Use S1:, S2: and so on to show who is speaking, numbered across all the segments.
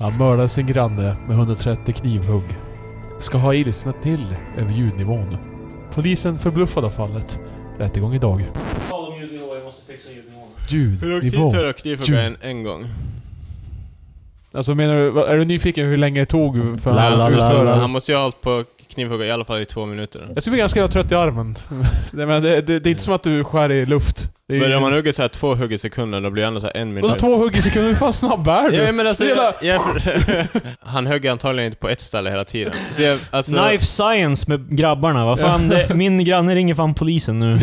S1: Han mördade sin granne med 130 knivhugg. Ska ha ilsnat till över ljudnivån. Polisen förbluffad av fallet. Rättegång idag.
S2: Tal om ljudnivå, jag måste fixa ljudnivån.
S3: Hur lång tid
S1: Ljudnivå.
S3: tar det att knivhugga en, en gång?
S1: Alltså menar du, vad- är du nyfiken hur länge det tog för
S3: Han-
S1: att
S3: han-
S1: utföra?
S3: Han måste ju ha hållit på att knivhugga i alla fall i två minuter.
S1: Jag skulle bli ganska trött i armen. Nej men det, det, det är inte som att du skär i luft. Det är,
S3: Men om man hugger så här två hugg i sekunden, då blir det ändå så här en
S1: Vadå
S3: minut.
S1: två hugg i sekunden? Hur fan snabb är du?
S3: Ja, men alltså,
S1: Det är
S3: jag, jag, han högg antagligen inte på ett ställe hela tiden. Så jag, alltså,
S2: Knife science med grabbarna. Vad fan, det, min granne ringer fan polisen nu.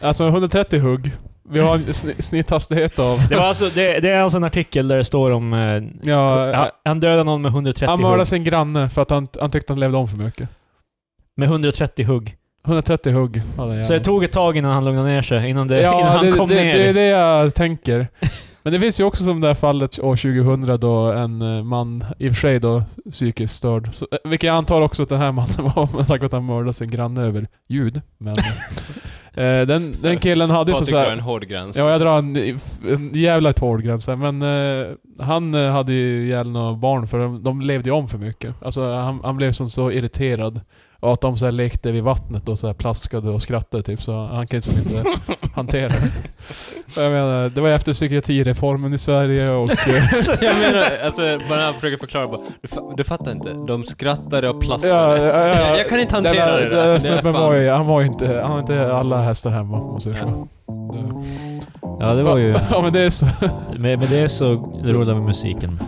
S1: Alltså 130 hugg. Vi har en sn- snitthastighet av...
S2: Det, var alltså, det, det är alltså en artikel där det står om... Eh,
S1: Ja,
S2: han- han dödade någon med 130
S1: han
S2: hugg.
S1: mördade sin granne för att han, han tyckte han levde om för mycket.
S2: Med 130 hugg.
S1: 130 hugg hade han
S2: Så det tog ett tag innan han lugnade ner sig, innan, det, innan
S1: Ja,
S2: han
S1: det,
S2: kom
S1: det,
S2: ner.
S1: det är det jag tänker. Men det finns ju också som det här fallet år 2000 då en eh, man, i och för sig då psykiskt störd, så, eh, vilket jag antar också att den här mannen var med tanke på att han mördade sin granne över ljud. Men, eh, den, den killen hade ju så,
S3: Patrik
S1: så
S3: drar
S1: här,
S3: en hård gräns.
S1: Ja, jag drar en, en jävla hård gräns här, men eh, han eh, hade ju ihjäl några barn för de, de levde ju om för mycket. Alltså han, han blev som så irriterad. Och att de så här lekte vid vattnet och så här plaskade och skrattade typ, så han kan ju som inte hantera det. Och Jag menar, det var ju efter psykiatrireformen i Sverige och... eh,
S3: Så jag menar, alltså, bara när han försöker förklara bara, du, fa- du fattar inte, de skrattade
S1: eh,
S3: och
S1: ja,
S3: plaskade.
S1: ja, ja.
S3: Jag kan inte hantera
S1: Den där-
S3: det där.
S1: den där
S3: Det är
S1: snubben
S3: fan-
S1: var ju, han var ju inte, han har inte alla hästar hemma om man säger så.
S2: Ja, det var ju...
S1: Ja men det är så.
S2: Med, med det så rullar vi musiken.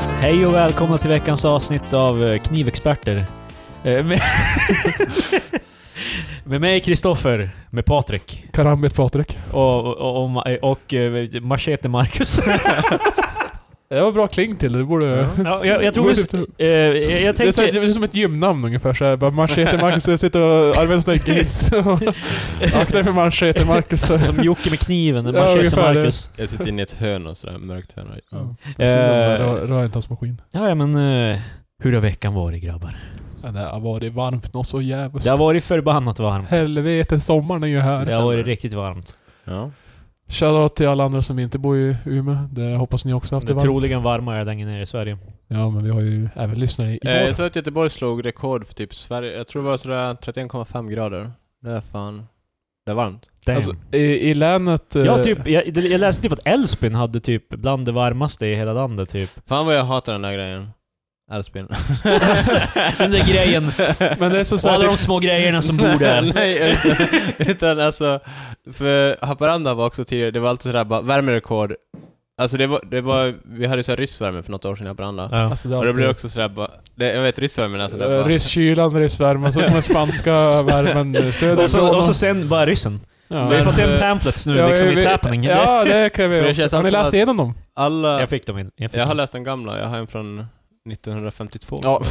S2: Hej och välkomna till veckans avsnitt av eh, Knivexperter. Eh, Med, med mig Kristoffer, med Patrik.
S1: Karambit Patrik.
S2: Och, och, och, ma- och eh, machete Marcus.
S1: Det var bra kling till det, du borde...
S2: ja, jag, jag tror...
S1: borde
S2: vi-
S1: typ-
S2: eh, jag, jag
S1: Det är, så här, det
S2: tänkte...
S1: är som ett gymnamn ungefär såhär. Bara Machete Marcus, jag sitter och arbetar sådana här gates. Akta dig för Machete Marcus.
S2: Som Jocke med kniven,
S1: Ja,
S2: machete
S1: ungefär det.
S2: Marcus.
S3: Jag sitter inne i ett hörn och sådär, mörkt hörn. Ja.
S2: Eh.
S1: Rör rör inte hans maskin.
S2: Ja, ja men... eh, hur har veckan varit grabbar?
S1: Ja, Det har varit varmt något så jävligt.
S2: Det har varit förbannat varmt.
S1: Helvete, sommaren är ju här.
S2: Det har varit riktigt varmt.
S3: Ja.
S1: Shoutout till alla andra som inte bor i Umeå. Det hoppas ni också haft det
S2: Det är
S1: varmt.
S2: troligen varmare längre ner i Sverige.
S1: Ja, men vi har ju även lyssnare i
S3: Eh, jag
S1: norr.
S3: såg att Göteborg slog rekord för typ Sverige, jag tror det var sådär 31,5 grader. Det är fan... Det är varmt.
S2: Damn.
S1: Alltså, i, I länet... eh,
S2: jag, typ, jag, det- jag läste typ att Älvsbyn hade typ bland det varmaste i hela landet typ.
S3: Fan vad jag hatar den där grejen. Älvsbyn.
S2: Den där grejen.
S1: Men det är så
S2: Och alla
S1: såhär...
S2: de små grejerna som bor där.
S3: Nej, utan, utan alltså... För Haparanda var också tidigare, det var alltid sådär bara värmerekord. Alltså det var, det var vi hade ju såhär ryssvärme för något år sedan i Haparanda.
S2: Ja.
S1: Alltså, det är
S3: Och det blev
S1: alltid-
S3: också sådär bara, det, jag vet ryssvärmen alltså det
S1: eh,
S3: bara...
S1: Rysskylan, ryssvärmen, så kommer spanska värmen eh,
S2: Och, så,
S1: söderifrån.
S2: och så sen bara ryssen.
S1: Ja.
S2: Vi har
S3: Men-
S2: fått hem pamphlets nu,
S1: eh, Ja,
S2: liksom,
S1: vi-
S2: it's happening. Det-
S1: Ja, det kan vi
S3: För det
S1: göra.
S3: känns
S1: Har ni
S3: alltid som
S1: läst
S3: att-
S1: igenom dem?
S3: Alla...
S2: Jag fick dem in. Jag fick
S3: Jag har
S2: dem.
S3: läst den gamla, jag har en från 1952.
S1: Ja,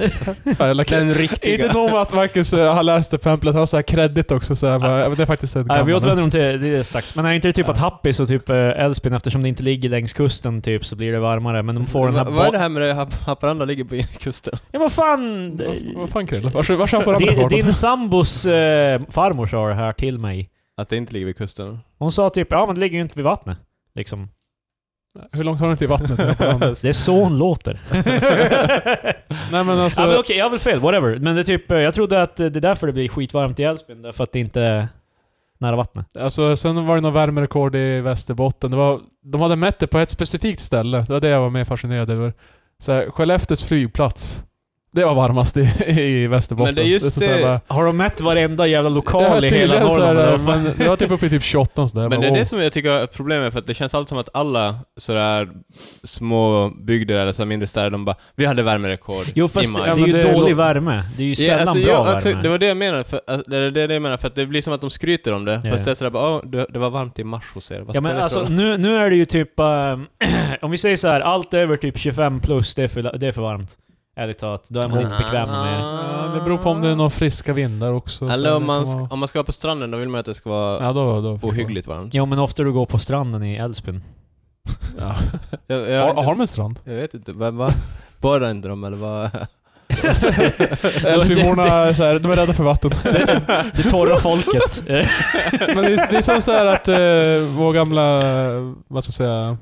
S1: Eller,
S3: Den
S1: inte
S3: riktiga.
S1: nog med att Marcus eh, har läst det pamplet, han har såhär credit också. Så här, bara, ja, men det är faktiskt ett
S2: Nej, vi
S1: gammalt.
S2: återvänder dem till det är strax. Men är inte det typ
S1: Ja.
S2: att Happis och typ eh, Älvsbyn, eftersom det inte ligger längs kusten typ, så blir det varmare. Men de får den här...
S3: Vad vad är
S2: Bo-
S3: det här med det? Hap- Haparanda ligger på kusten.
S2: ja, vad fan!
S1: Vad- Vad fan Krille? Vars vars apparat
S2: Din,
S1: har du?
S2: din sambos eh, farmor sa det här till mig.
S3: Att det inte ligger vid kusten.
S2: Hon sa typ ja men det ligger ju inte vid vattnet. Liksom.
S1: Hur långt har den till vattnet? den apparaten?
S2: Det är så hon låter.
S1: Nej men alltså...
S2: ja, men okej, jag har väl fel. Whatever. Men det är typ, eh, jag trodde att eh, det är därför det blir skitvarmt i Älvsbyn. Därför att det inte är nära vattnet.
S1: Alltså, sen var det något värmerekord i Västerbotten. Det var, de hade mätt det på ett specifikt ställe. Det var det jag var mer fascinerad över. Så här, Skellefteås flygplats. Det var varmast i, i Västerbotten.
S3: Men det är just
S1: så här
S3: det-
S1: bara-
S2: Har de mätt varenda jävla
S1: Ja,
S2: lokal i hela
S1: tydligen så är
S2: Norrland?
S1: det,
S2: Vad fan?
S1: men det var typ uppe i typ 28 och sådär.
S3: Men det
S1: Bara,
S3: är
S1: wow.
S3: det som jag tycker är ett problem är för att det känns alltid som att alla sådär små bygder eller så här mindre städer, de bara ”Vi hade värmerekord
S2: Jo fast det,
S3: i maj”.
S1: Ja,
S2: är
S1: men
S2: ju
S1: det är
S2: dålig
S1: lo-
S2: värme. Det är ju sällan
S3: alltså,
S2: bra
S3: jag-
S2: värme.
S3: alltså, det var det jag menade, för, alltså, det är det jag menar, för att det blir som att de skryter om det,
S2: Ja.
S3: fast det är sådär bara "Åh, det, det var varmt i mars hos er”. Vad
S2: Ja men
S3: spelar det för
S2: alltså
S3: roll?
S2: nu, nu är det ju typ... ehm, om vi säger så här, allt över typ 25 plus, det är för, det är för varmt. Ärligt talat, då är man inte bekväm med
S3: Ah.
S2: det.
S1: Ja, det beror på om det är några friska vindar också. så
S3: Eller om
S1: det
S3: man,
S1: kan
S3: sk-
S1: vara-
S3: om man ska vara på stranden, då vill man att det ska vara
S1: Ja, då, då
S3: ohyggligt varmt.
S2: Ja men ofta du går på stranden i Älvsbyn.
S1: Ja.
S3: Jag, jag,
S1: Har, har de en strand?
S3: jag vet inte, vem var... Borrar inte de eller vad?
S1: Älvsbyborna är så här, de är rädda för vatten.
S2: Det, det torra folket. Eh,
S1: Men det är, det är som så här att eh, vår gamla, eh, vad ska jag säga,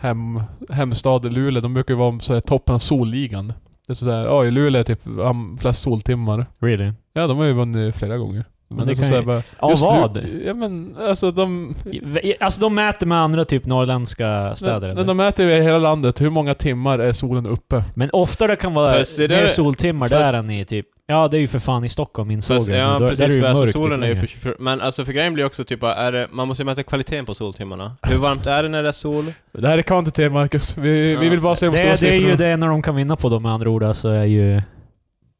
S1: hem, hemstad Luleå, de brukar ju vara så här, toppen av solligan. Det är sådär, ja i Luleå är typ um, flest soltimmar.
S2: really?
S1: Ja, de har ju vunnit flera gånger. Men
S2: Men
S1: det är så
S2: det kan
S1: så här
S2: ju-
S1: bara,
S2: Av
S1: just Lu-
S2: vad?
S1: Ja men alltså de...
S2: I- i- Alltså de mäter med andra typ norrländska städer
S1: Men
S2: eller?
S1: de mäter ju i hela landet, hur många timmar är solen uppe?
S2: Men ofta det kan vara
S3: Fast är det-
S2: mer soltimmar
S3: fast-
S2: där än i typ... Ja, det är ju för fan i Stockholm insåg
S3: Fast,
S2: jag.
S3: ja
S2: Då- där är det
S3: precis,
S2: ju
S3: för alltså
S2: mörkt
S3: solen är ju
S2: längre.
S3: uppe 24... Men alltså för grejen blir också typ bara, är det, man måste ju mäta kvaliteten på soltimmarna. Hur varmt är det när det är sol?
S1: Det här är kvantitet Marcus, vi, vi
S3: Ja.
S1: vill bara se de stora
S2: det, det är
S1: siffrorna.
S2: ju det när de kan vinna på dem med andra ord. Alltså är ju...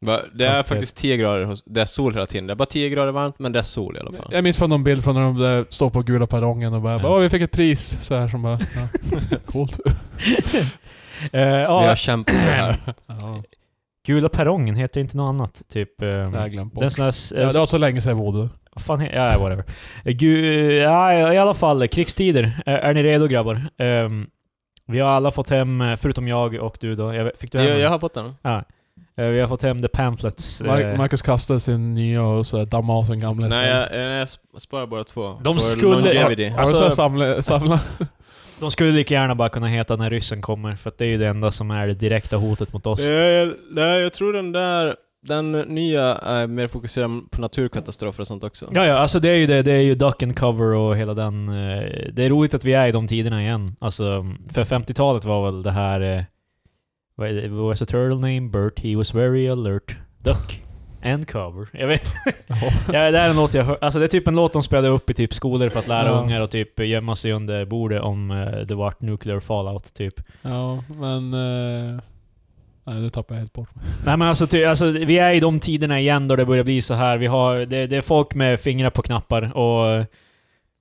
S3: Va, det är
S2: Okej.
S3: faktiskt 10 grader, hos- det är sol hela tiden. Det är bara 10 grader varmt, men det är sol i alla fall.
S1: Jag minns på någon bild från när de där står på gula perrongen och bara,
S2: Ja.
S1: ja. vi fick ett pris så här som bara, ja. coolt.
S2: Eh,
S3: Vi har
S2: ja,
S3: kämpat med det här.
S1: Ja,
S2: Gula perrongen heter inte något annat. Typ... eh,
S1: det har jag glömt
S2: det är en
S1: bort.
S2: sån där...
S1: Ja,
S2: eh,
S1: det var så länge sedan jag bodde.
S2: Vad fan he- ja, whatever. Eh, Gu- ja, i alla fall, krigstider. Eh, är ni redo grabbar? Ehm, vi har alla fått hem, eh, förutom jag och du då. Jag, vet- fick du hem
S3: Jag,
S2: den?
S3: jag har fått den.
S2: Eh, vi har fått hem the pamphlets.
S1: Mar-
S2: eh,
S1: Marcus kastade sin nya och så här dammade av sin gamla
S3: Nej, jag, jag, jag sparar bara två.
S2: De
S3: För
S2: skulle-
S3: longevity.
S1: Har du så här
S2: alltså-
S1: samla, samla?
S2: de skulle lika gärna bara kunna heta när ryssen kommer, för att det är ju det enda som är det direkta hotet mot oss.
S3: Eh, Nej, jag tror den där, den nya är mer fokuserad på naturkatastrofer och sånt också.
S2: Ja, ja, alltså det är ju det. Det är ju duck and cover och hela den... eh, det är roligt att vi är i de tiderna igen. Alltså, för 50-talet var väl det här... Eh, vad är det? Was a turtle named Bert? He was very alert. Duck and cover. Jag vet ja, Det här är en låt jag hör, Alltså det är typ en låt de spelade upp i typ skolor för att lära
S1: Ja.
S2: ungar och typ gömma sig under bordet om eh, det vart nuclear fallout typ.
S1: ja, men... eh, nej, nu tappade jag helt bort mig.
S2: Nej men alltså, ty, alltså, vi är i de tiderna igen då det börjar bli så här. Vi har, det, det är folk med fingrar på knappar och...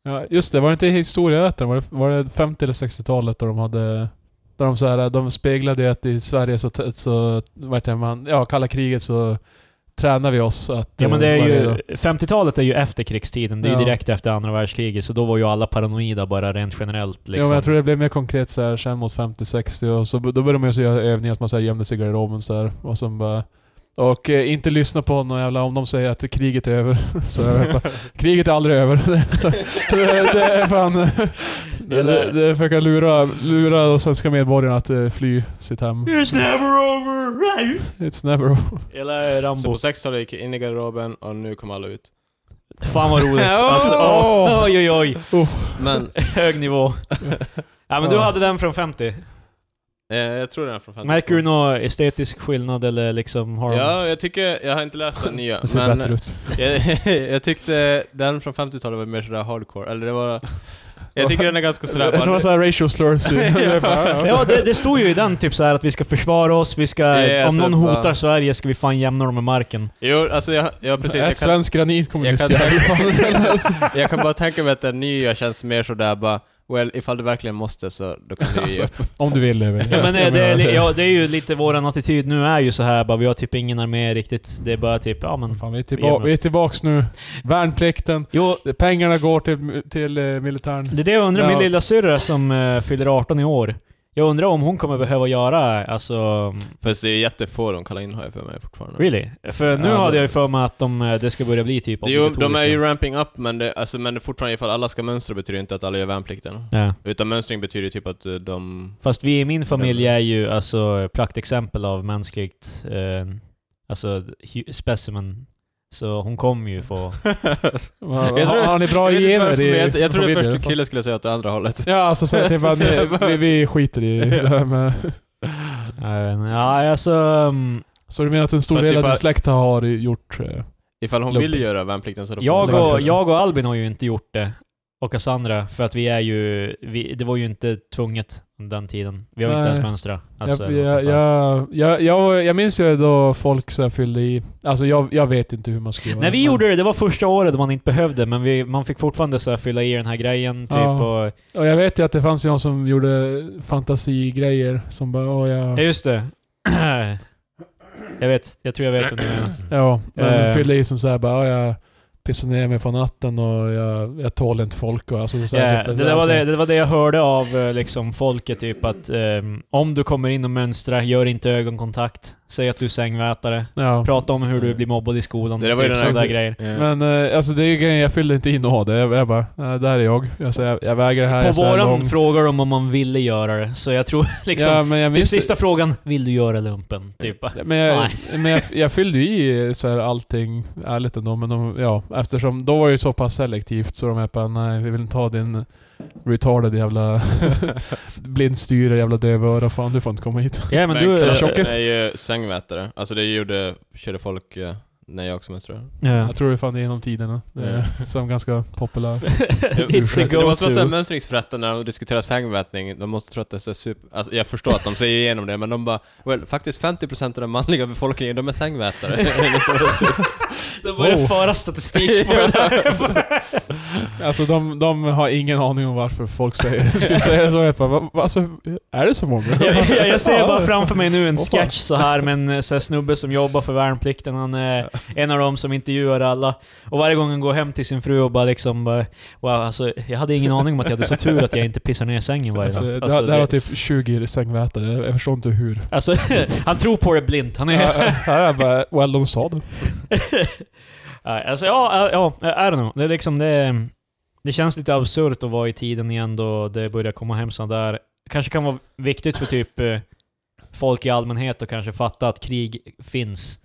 S1: Ja, just det. Var det inte historieätaren? Var det, var det 50 eller 60-talet då de hade... Där de, så här, de speglade ju att i Sverige så, t- så vad heter man, ja, kalla kriget så tränar vi oss att...
S2: Ja men
S1: eh,
S2: det är
S1: vara
S2: ju,
S1: redo.
S2: 50-talet är ju efter krigstiden, det är ju
S1: Ja.
S2: direkt efter andra världskriget, så då var ju alla paranoida bara rent generellt
S1: Ja,
S2: liksom.
S1: men jag tror det blev mer konkret så här, sen mot 50-60 och så, då började de ju så göra övningar att man så här, gömde sig i garderoben så här, och sen bara... Och eh, inte lyssna på någon jävla... Om de säger att kriget är över. Så jag vet bara, kriget är aldrig över. Det är så, det, det är fan... Det, det, det försöker lura, lura de svenska medborgarna att eh, fly sitt hem.
S2: It's never over! right?
S1: It's never over.
S2: Eller
S3: Så
S2: Rambo.
S3: på 60-talet gick jag in i garderoben och nu kommer alla ut.
S2: Fan vad roligt.
S3: Åh!
S2: Alltså, åh, oj oj oj.
S3: Men
S2: Hög nivå. Ja men du
S1: Ja.
S2: hade den från 50.
S3: eh, jag tror den är från 52.
S2: Märker du någon estetisk skillnad eller liksom har de-
S3: Ja, jag tycker, jag har inte läst den nya,
S1: Det ser bättre
S3: men
S1: ut.
S3: jag, jag tyckte den från 50-talet var mer sådär hardcore, eller det var... Jag tycker den är ganska sådär...
S1: Det var
S3: bara-
S1: såhär racial slurs. ju. Det är bara, ja.
S2: Ja, det, det stod ju i den typ så här att vi ska försvara oss, vi ska...
S3: Ja,
S2: om
S3: alltså,
S2: någon
S3: bara-
S2: hotar Sverige ska vi fan jämna dem med marken.
S3: Jo, alltså jag, jag precis, jag
S1: Ät
S3: kan,
S1: svensk granit
S3: jag, kan
S1: kommunist.
S3: tänka, jag kan bara tänka mig att den nya känns mer sådär bara, well, ifall du verkligen måste så då kan du ju ge
S1: Alltså,
S3: upp.
S1: Om du vill över.
S2: Ja, men eh,
S1: Jag
S2: det, är,
S1: menar,
S2: li- ja, det är ju lite våran attityd nu är ju så här bara, vi har typ ingen armé riktigt. Det är bara typ, ja men...
S1: Fan, vi, är tillba- vi är tillbaks nu. Värnplikten.
S2: Jo,
S1: Det- Pengarna går till, till eh, militären.
S2: det är det jag undrar,
S1: Ja.
S2: min lilla syrra som eh, fyller 18 i år. Jag undrar om hon kommer behöva göra, alltså...
S3: Fast det är jättefå de kallar in har jag för mig fortfarande.
S2: Really? För nu
S1: Ja,
S2: hade
S1: det-
S2: jag ju för mig att de, eh, det ska börja bli typ
S3: Jo, de är ju
S2: obligatoriska.
S3: ramping up, men det, alltså, men det är fortfarande ifall alla ska mönstra betyder det inte att alla gör värnplikten.
S2: Ja.
S3: Utan mönstring betyder ju typ att eh, de...
S2: Fast vi i min familj är ju alltså praktexempel av mänskligt, eh, alltså hu- specimen. Så hon kommer ju få...
S1: Har,
S3: tror-
S1: har ni bra
S3: jag, vet inte
S1: gener
S3: varför,
S1: i
S3: men jag, jag trodde
S1: familjen i alla
S3: först
S1: fall?
S3: Krille skulle säga åt det andra hållet.
S1: Ja, alltså så att det
S3: Så ser jag
S1: bara,
S3: bara
S1: vi,
S3: ut.
S1: vi skiter i det här med...
S2: Uh, ja, alltså... mm,
S1: Så du menar att en stor
S3: Fast
S1: del av din
S3: ifall-
S1: släkt har gjort... eh,
S3: Ifall hon
S1: Lugnt.
S3: vill göra värnplikten så då
S2: Jag
S1: lägga
S2: och,
S1: till det.
S2: jag och Albin har ju inte gjort det. Och Cassandra, för att vi är ju... Vi, det var ju inte tvunget under den tiden. Vi har ju inte
S1: Nej.
S2: ens mönstrat. Alltså,
S1: jag,
S2: eller något
S1: jag,
S2: sånt där.
S1: jag, jag, jag, jag minns ju då folk så här fyllde i... Alltså jag, jag vet inte hur man skriver.
S2: När vi
S1: men-
S2: gjorde det, det var första året man inte behövde, men vi, man fick fortfarande så här fylla i den här grejen, typ.
S1: Ja.
S2: Och,
S1: Och jag vet ju att det fanns ju någon som gjorde fantasigrejer som bara åh
S2: ja,
S1: jag...
S2: just det. jag vet, jag tror jag vet vad du menar.
S1: Ja, men
S2: Eh.
S1: fyllde i som såhär bara åh jag pissar ner mig på natten och jag, jag tål inte folk och alltså så här,
S2: Ja,
S1: typ,
S2: det, där var det, det var det jag hörde av eh, liksom, folket, typ att ehm, om du kommer in och mönstrar, gör inte ögonkontakt. Säg att du är sängvätare.
S1: Ja.
S2: Prata om hur du blir mobbad i skolan.
S3: Det där var ju
S2: typ
S3: den här-
S2: sådana där grejer.
S3: Ja.
S1: Men eh, alltså det är ju grejen, jag fyllde inte i nåd. Jag, jag bara, "Nej, där är jag. Alltså, jag, jag väger det här. jag är
S2: På
S1: så här
S2: våran
S1: lång."
S2: frågar de om man ville göra det, så jag tror liksom...
S1: ja, men jag
S2: typ
S1: minns,
S2: sista frågan, vill du göra lumpen? Typ.
S1: Men, jag,
S2: Nej.
S1: men jag, jag fyllde ju i så här allting ärligt ändå, men de, ja, eftersom då var det ju så pass selektivt så de här bara nej, vi vill inte ha din retarded jävla blindstyre, jävla dövöra, fan du får inte komma hit.
S2: Ja men,
S3: Men
S2: du...
S1: Kalle
S3: Kalle
S1: Tjockis?
S3: är ju sängmätare. Alltså det gjorde, körde folk eh, när jag också menstruerade.
S2: Ja.
S1: Jag tror det fan det är genom tiderna. Det är, som ganska populär.
S2: It's the
S1: Ursäkta.
S3: Det måste vara såhär
S2: go-to.
S3: mönstringsförrättare när de diskuterar sängmätning, de måste tro att det är så super... Alltså jag förstår att de säger igenom det, men de bara well, faktiskt 50% av den manliga befolkningen, de är sängmätare. Enligt vad det står.
S2: De börjar
S1: Wow.
S2: föra statistik på det där.
S1: Alltså de, de har ingen aning om varför folk säger det. Skulle säga så, jag bara, "Va- va, alltså, är det så många?
S2: jag, jag, jag ser bara framför mig nu en
S1: Åh, fan.
S2: sketch så här med en eh, så här, snubbe som jobbar för värnplikten. Han är en av dem som intervjuar alla. Och varje gång han går hem till sin fru och bara liksom bara, Wow, alltså, jag hade ingen aning om att jag hade så tur att jag inte pissar ner sängen varje
S1: Alltså,
S2: natt.
S1: det,
S2: Alltså,
S1: det här var
S2: det-
S1: typ 20 sängvätare, jag förstår inte hur.
S2: alltså, han tror på det blint. Han är...
S1: Ja, Här är jag bara, well de sa det.
S2: Nej, alltså ja, ja, ja, I don't know. Det är liksom det... Det känns lite absurt att vara i tiden igen då det börjar komma hem sådana där... Kanske kan vara viktigt för typ eh, folk i allmänhet att kanske fatta att krig finns.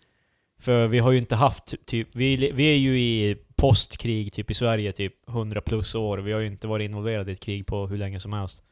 S2: För vi har ju inte haft typ... Vi, le- vi är ju i postkrig typ i Sverige typ 100 plus år. Vi har ju inte varit involverade i ett krig på hur länge som helst.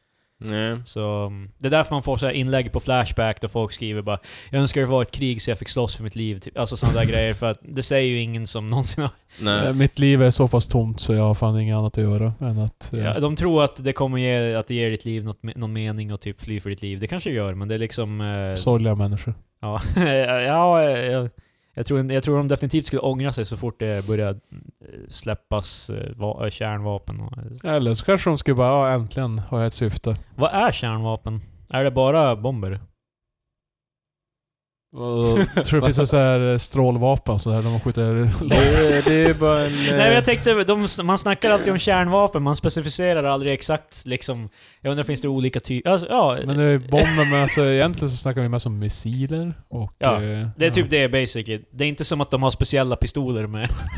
S3: Nej.
S2: Så mm, det är därför man får så här inlägg på Flashback där folk skriver bara Jag önskar det var ett krig så jag fick slåss för mitt liv. Typ. Alltså sådana där grejer. För att det säger ju ingen som någonsin har
S1: Eh,
S3: Nej.
S1: Mitt liv är så pass tomt så jag har fan inget annat att göra än att... eh,
S2: Ja, de tror att det kommer ge, att det ger ditt liv något, me- någon mening och typ fly för ditt liv. Det kanske det gör, men det är liksom... Eh,
S1: Sorgliga människor.
S2: ja, ja, eh, jag, jag, tror, jag tror de definitivt skulle ångra sig så fort det börjar eh, släppas eh, va, eh, kärnvapen. Och, eh.
S1: Eller så kanske de skulle bara, ja äntligen har jag ett syfte.
S2: Vad är kärnvapen? Är det bara bomber?
S1: Och jag tror det finns en sån här eh, strålvapen så här, där man skjuter
S3: Det, är- det är bara en... eh,
S2: Nej, men jag tänkte, de, man snackar alltid om kärnvapen, man specificerar aldrig exakt liksom... Jag undrar, finns det olika typer? Alltså, ja,
S1: Men det är bomber, men alltså egentligen så snackar vi mest om missiler och...
S2: Ja,
S1: eh,
S2: det är typ det basically. Det är inte som att de har speciella pistoler med
S1: så här.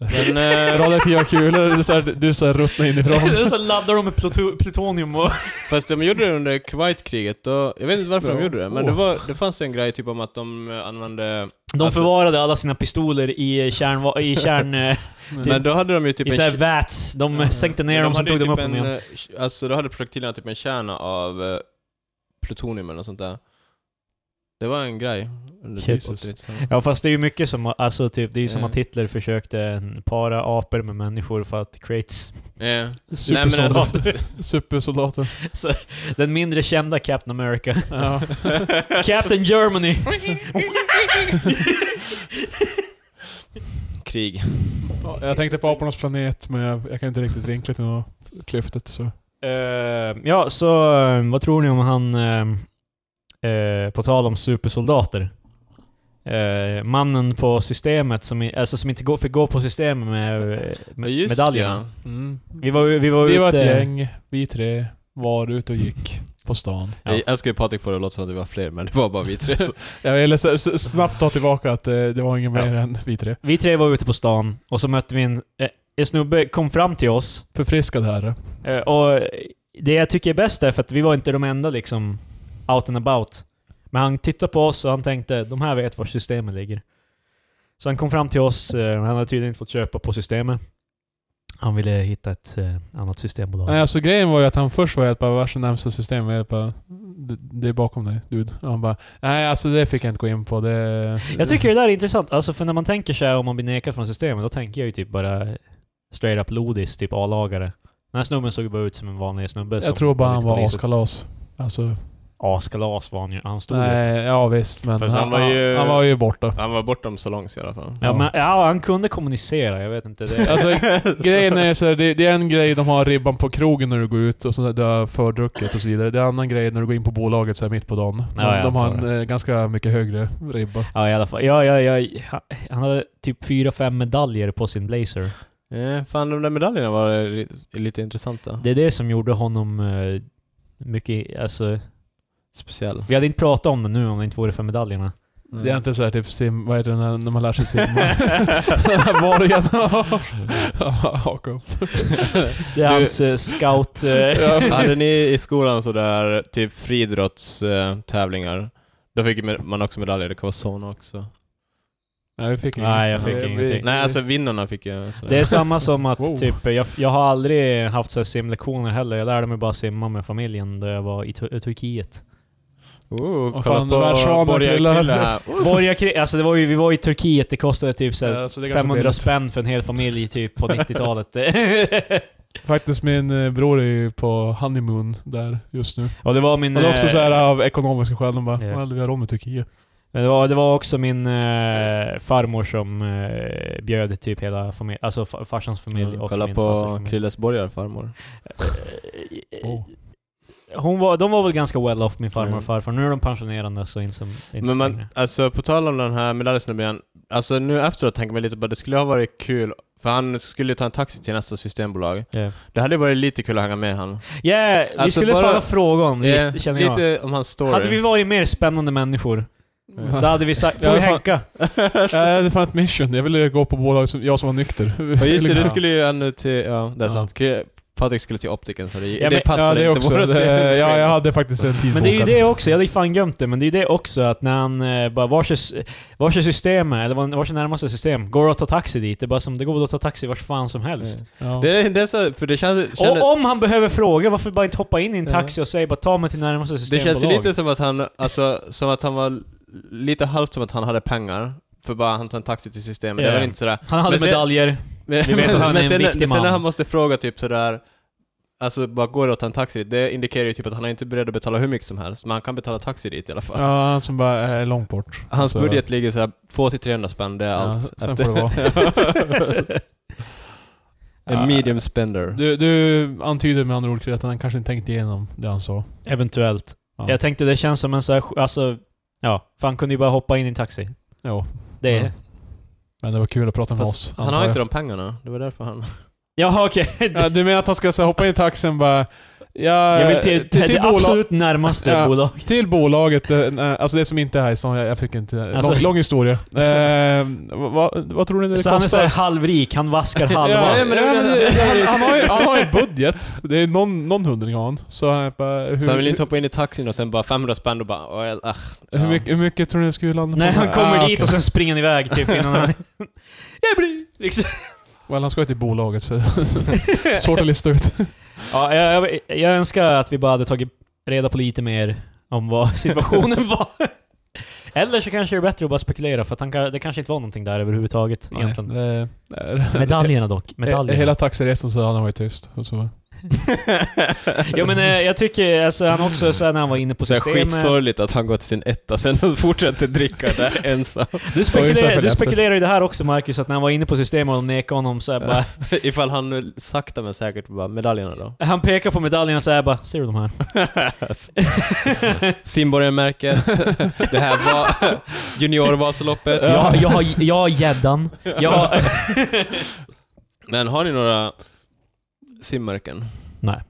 S3: Men, eh,
S1: Radioaktiva kulor, du är så här, du är så här ruttna inifrån.
S2: så laddar de med pluto- plutonium och...
S3: Fast de gjorde det under Kuwaitkriget, då, jag vet inte varför de gjorde det, men det, var, det fanns en grej typ om att de eh, använde...
S2: De
S3: Alltså-
S2: förvarade alla sina pistoler i kärn... I, kärn, eh,
S3: Men då hade de ju typ
S2: i
S3: en...
S2: så här
S3: ke-
S2: vats. De
S1: Ja.
S2: sänkte
S3: men
S2: ner dem, sen
S3: hade ju
S2: tog dem upp
S3: typ
S2: dem
S3: en,
S2: igen.
S3: eh, k- Alltså då hade projektilerna typ en kärna av eh, plutonium eller något sånt där. Det var en grej. under typ
S1: Jesus.
S3: 80-talet.
S2: Ja fast det är ju mycket som, alltså typ, det är ju som
S3: Ja.
S2: att Hitler försökte para apor med människor för att creates.
S3: Ja. Nej, men
S1: Supersoldater.
S3: alltså,
S1: Supersoldater.
S2: Den mindre kända Captain America. Captain Germany!
S3: krig.
S1: Ja, jag tänkte på apornas planet, men jag, jag kan inte riktigt vinkla till något klyftet så.
S2: Eh, ja, så eh, vad tror ni om han, eh, eh, på tal om supersoldater, Eh, mannen på systemet som, i- alltså, som inte går, fick gå på systemet med, eh, med
S3: Just
S2: medaljerna?
S3: ja.
S2: Vi var, ju- vi var
S1: Mm. Vi var
S2: ute...
S1: ett gäng, vi tre var ute och gick på stan.
S2: Ja.
S3: Jag älskar ju Patrik får det att låta som att vi var fler, men det var bara vi tre. Så.
S1: Jag ville s- s- snabbt ta tillbaka att eh, det var ingen
S2: Ja.
S1: mer än vi tre.
S2: Vi tre var ute på stan och så mötte vi en, eh, en snubbe, kom fram till oss.
S1: Förfriskad herre.
S2: eh, och det jag tycker är bäst är för att vi var inte de enda liksom out and about. Men han tittade på oss och han tänkte de här vet var systemet ligger. Så han kom fram till oss, eh, han hade tydligen inte fått köpa på systemet. Han ville hitta ett eh, annat systembolag.
S1: Nej, alltså grejen var ju att han först var helt bara vars närmsta system? Och Jag bara, det, det är bakom dig, dude. Och han bara, nej alltså det fick jag inte gå in på. Det,
S2: Jag tycker det där är intressant, alltså för när man tänker så här om man blir nekad från systemet, då tänker jag ju typ bara straight up lodis, typ A-lagare. Den här snubben såg ju bara ut som en vanlig snubbe.
S1: jag
S2: som
S1: tror bara han
S2: lite
S1: var
S2: polis.
S1: askalas. Alltså,
S2: askalas var han ju. Han stod ju.
S1: Nej, ja visst men
S3: Fast
S1: han, han, var ju... han var ju borta.
S3: Han var bortom Salongs i alla fall.
S2: Ja, men, ja, han kunde kommunicera. Jag vet inte. Det.
S1: Alltså grejen är så här, det, det är en grej de har ribban på krogen när du går ut och så där, du har fördrucket och så vidare. Det är en annan grej när du går in på bolaget så här mitt på dagen. De,
S2: Ja, jag
S1: de har
S2: antar
S1: en eh, ganska mycket högre ribba.
S2: Ja, i alla fall. Ja, ja, ja, han- han hade typ fyra fem medaljer på sin blazer.
S3: Eh, fan, de där medaljerna var eh, li- lite intressanta.
S2: Det är det som gjorde honom eh, mycket... Alltså,
S3: Speciell.
S2: vi hade inte pratat om det nu om det inte vore för medaljerna.
S3: Mm.
S1: Det är inte så här typ sim... Vad heter det när, när man lär sig simma? Den här borgen. Haka upp.
S2: Det är hans eh, scout... Eh,
S3: Hade ni i skolan sådär typ friidrottstävlingar? Då fick med- man också medaljer, det kan vara såna också.
S1: Nej, vi fick inget.
S2: Nej, jag fick
S1: Vi-
S2: ingenting.
S1: vi-
S3: Nej, alltså vinnarna fick ju sådär.
S2: det är samma som att
S1: Wow.
S2: typ, jag, jag har aldrig haft så här simlektioner heller. Jag lärde mig bara simma med familjen då jag var i Tur- eh, Turkiet.
S3: Oh,
S1: Vad
S3: kolla
S1: fan,
S3: på
S1: den där svanen
S3: borgarkille
S1: trillar.
S3: här.
S2: Borgarkrig, alltså det var ju, vi var i Turkiet, det kostade typ så här
S1: Ja, så det är ganska
S2: 500
S1: billigt.
S2: spänn för en hel familj typ på 90-talet.
S1: Faktiskt min eh, bror är ju på honeymoon där just nu.
S2: och det var min...
S1: Men det är också
S2: eh,
S1: så här av ekonomiska skäl. De bara
S2: Ja.
S1: yeah. vi har råd med Turkiet.
S2: Men det var, det var också min eh, farmor som eh, bjöd typ hela familjen, alltså fa- farsans familj och
S3: Mm, Kolla
S2: min
S3: på
S2: fasters familj.
S3: Krilles borgarfarmor.
S2: Eh,
S1: Oh.
S2: Hon var, de var väl ganska well off, min farmor
S3: Mm.
S2: och farfar. Nu är de pensionerade så inte, som, inte
S3: Men
S2: så
S3: man,
S2: längre.
S3: alltså på tal om den här medaljsnubben, alltså nu efteråt tänker man lite på att det skulle ha varit kul, för han skulle ju ta en taxi till nästa systembolag.
S2: Yeah,
S3: Det hade ju varit lite kul att hänga med han.
S2: yeah vi
S3: Alltså,
S2: skulle
S3: bara-
S2: fan ha fråga om Mm. det,
S3: Eh,
S2: känner jag.
S3: lite om hans story.
S2: Hade vi varit mer spännande människor, då hade vi sagt... Får
S1: Ja,
S2: vi
S1: fan.
S2: Henka?
S1: Nej, det fanns ett mission. Jag ville gå på bolag som jag som var nykter. Liksom.
S3: Och just det,
S1: Ville-
S3: du skulle ju ännu till... Ja, det är
S2: Ja.
S3: sant. Kri- Patrik skulle till optiken så det,
S2: Ja,
S3: det
S2: men-
S3: passar
S1: ja, det
S3: inte
S1: också.
S3: vårat-
S1: Det, ja, jag hade faktiskt en tid
S2: Men det är ju
S1: bokad.
S2: det också, jag hade ju fan glömt det, men det är ju det också att när han eh, bara vars är, vars är systemet, eller var- vars är närmaste system? Går det att ta taxi dit? Det är bara som, det går väl att ta taxi vars fan som helst.
S1: Ja.
S3: Det, är- det är så, för det känns... känner-
S2: Och om han behöver fråga, varför bara inte hoppa in i en
S3: Ja.
S2: taxi och säga bara ta mig till närmaste
S3: det
S2: systembolag?
S3: känns ju lite som att han, alltså, som att han var lite halvt som att han hade pengar. För bara han tar en taxi till systemet.
S2: Ja.
S3: Det var inte sådär...
S2: Han hade
S3: Men sen-
S2: medaljer.
S3: Men,
S2: Vi vet att han är en
S3: sen,
S2: viktig
S3: sen när
S2: man.
S3: han måste fråga typ sådär... Alltså bara går det att ta en taxi dit? Det indikerar ju typ att han är inte beredd att betala hur mycket som helst. Men han kan betala taxi dit i alla fall.
S1: Ja, han som bara är långt bort.
S3: Hans
S1: Så-
S3: budget ligger såhär 200-300 spänn, det är allt.
S1: sen
S3: Efter-
S1: får det vara.
S3: en medium spender.
S1: Du, du antyder med andra ord Krille, att han kanske inte tänkte igenom det han sa.
S2: Eventuellt.
S1: Ja.
S2: Jag tänkte det känns som en sån här, alltså, ja. För han kunde ju bara hoppa in i en taxi.
S1: Jo.
S2: Det
S1: Ja.
S2: är...
S1: Men det var kul att prata med
S3: Fast
S1: oss.
S3: han
S1: antar
S3: har
S1: jag.
S3: inte de pengarna, det var därför han...
S2: Jaha okej.
S1: Ja, du menar att han ska så här, hoppa in i taxin och bara... Ja,
S2: Jag vill till, till, det
S1: bolag-
S2: absolut närmaste
S1: Ja.
S2: bolag.
S1: Till bolaget, eh, nej, alltså det som inte är här i stan, jag, jag fick inte...
S2: Alltså-
S1: Lång, lång historia. Eh, vad, vad, vad tror ni det
S2: Så han är
S1: kostar?
S2: såhär halvrik, han vaskar halva.
S1: Ja,
S3: Nej,
S1: men
S3: men det-
S1: det- han, han, har ju, han har ju budget. Det är någon, någon hundring har han. Så, han bara, hur,
S3: Så han vill inte hoppa in i taxin och sen bara 500 spänn och bara... "Åh, jag- ah."
S1: hur, mycket, hur mycket tror ni det skulle landa på?
S2: Nej, han kommer
S1: Ah,
S2: dit
S1: okej.
S2: och sen springer han iväg typ innan han... jag blir... Liksom.
S1: Well, han ska ju till bolaget så... Svårt att lista ut.
S2: Ja, jag, jag, jag önskar att vi bara hade tagit reda på lite mer om vad situationen var. Eller så kanske det är bättre att bara spekulera för att han, kan- det kanske inte var någonting där överhuvudtaget egentligen.
S1: Nej, det-
S2: Medaljerna dock. Medaljerna.
S1: Eh, Hela taxiresan så hade han varit tyst. Och så.
S2: Ja men eh, jag tycker alltså han också såhär när han var inne på
S3: Så det är
S2: systemet.
S3: skitsorgligt att han går till sin etta sen och fortsätter dricka där ensam.
S2: Du
S1: Oj, så här
S2: spekulerar,
S1: för
S2: du
S1: lätt.
S2: spekulerar ju det här också Marcus, att när han var inne på systemet och de nekade honom såhär bara...
S3: Ifall han nu sakta men säkert bara, medaljerna då?
S2: Han pekar på medaljerna såhär bara, ser du de här?
S3: Simborgarmärket, det här var juniorvasaloppet.
S2: Jag, har- jag, har, jag har gäddan. Jag har...
S3: Men har ni några simmärken?
S2: Nej.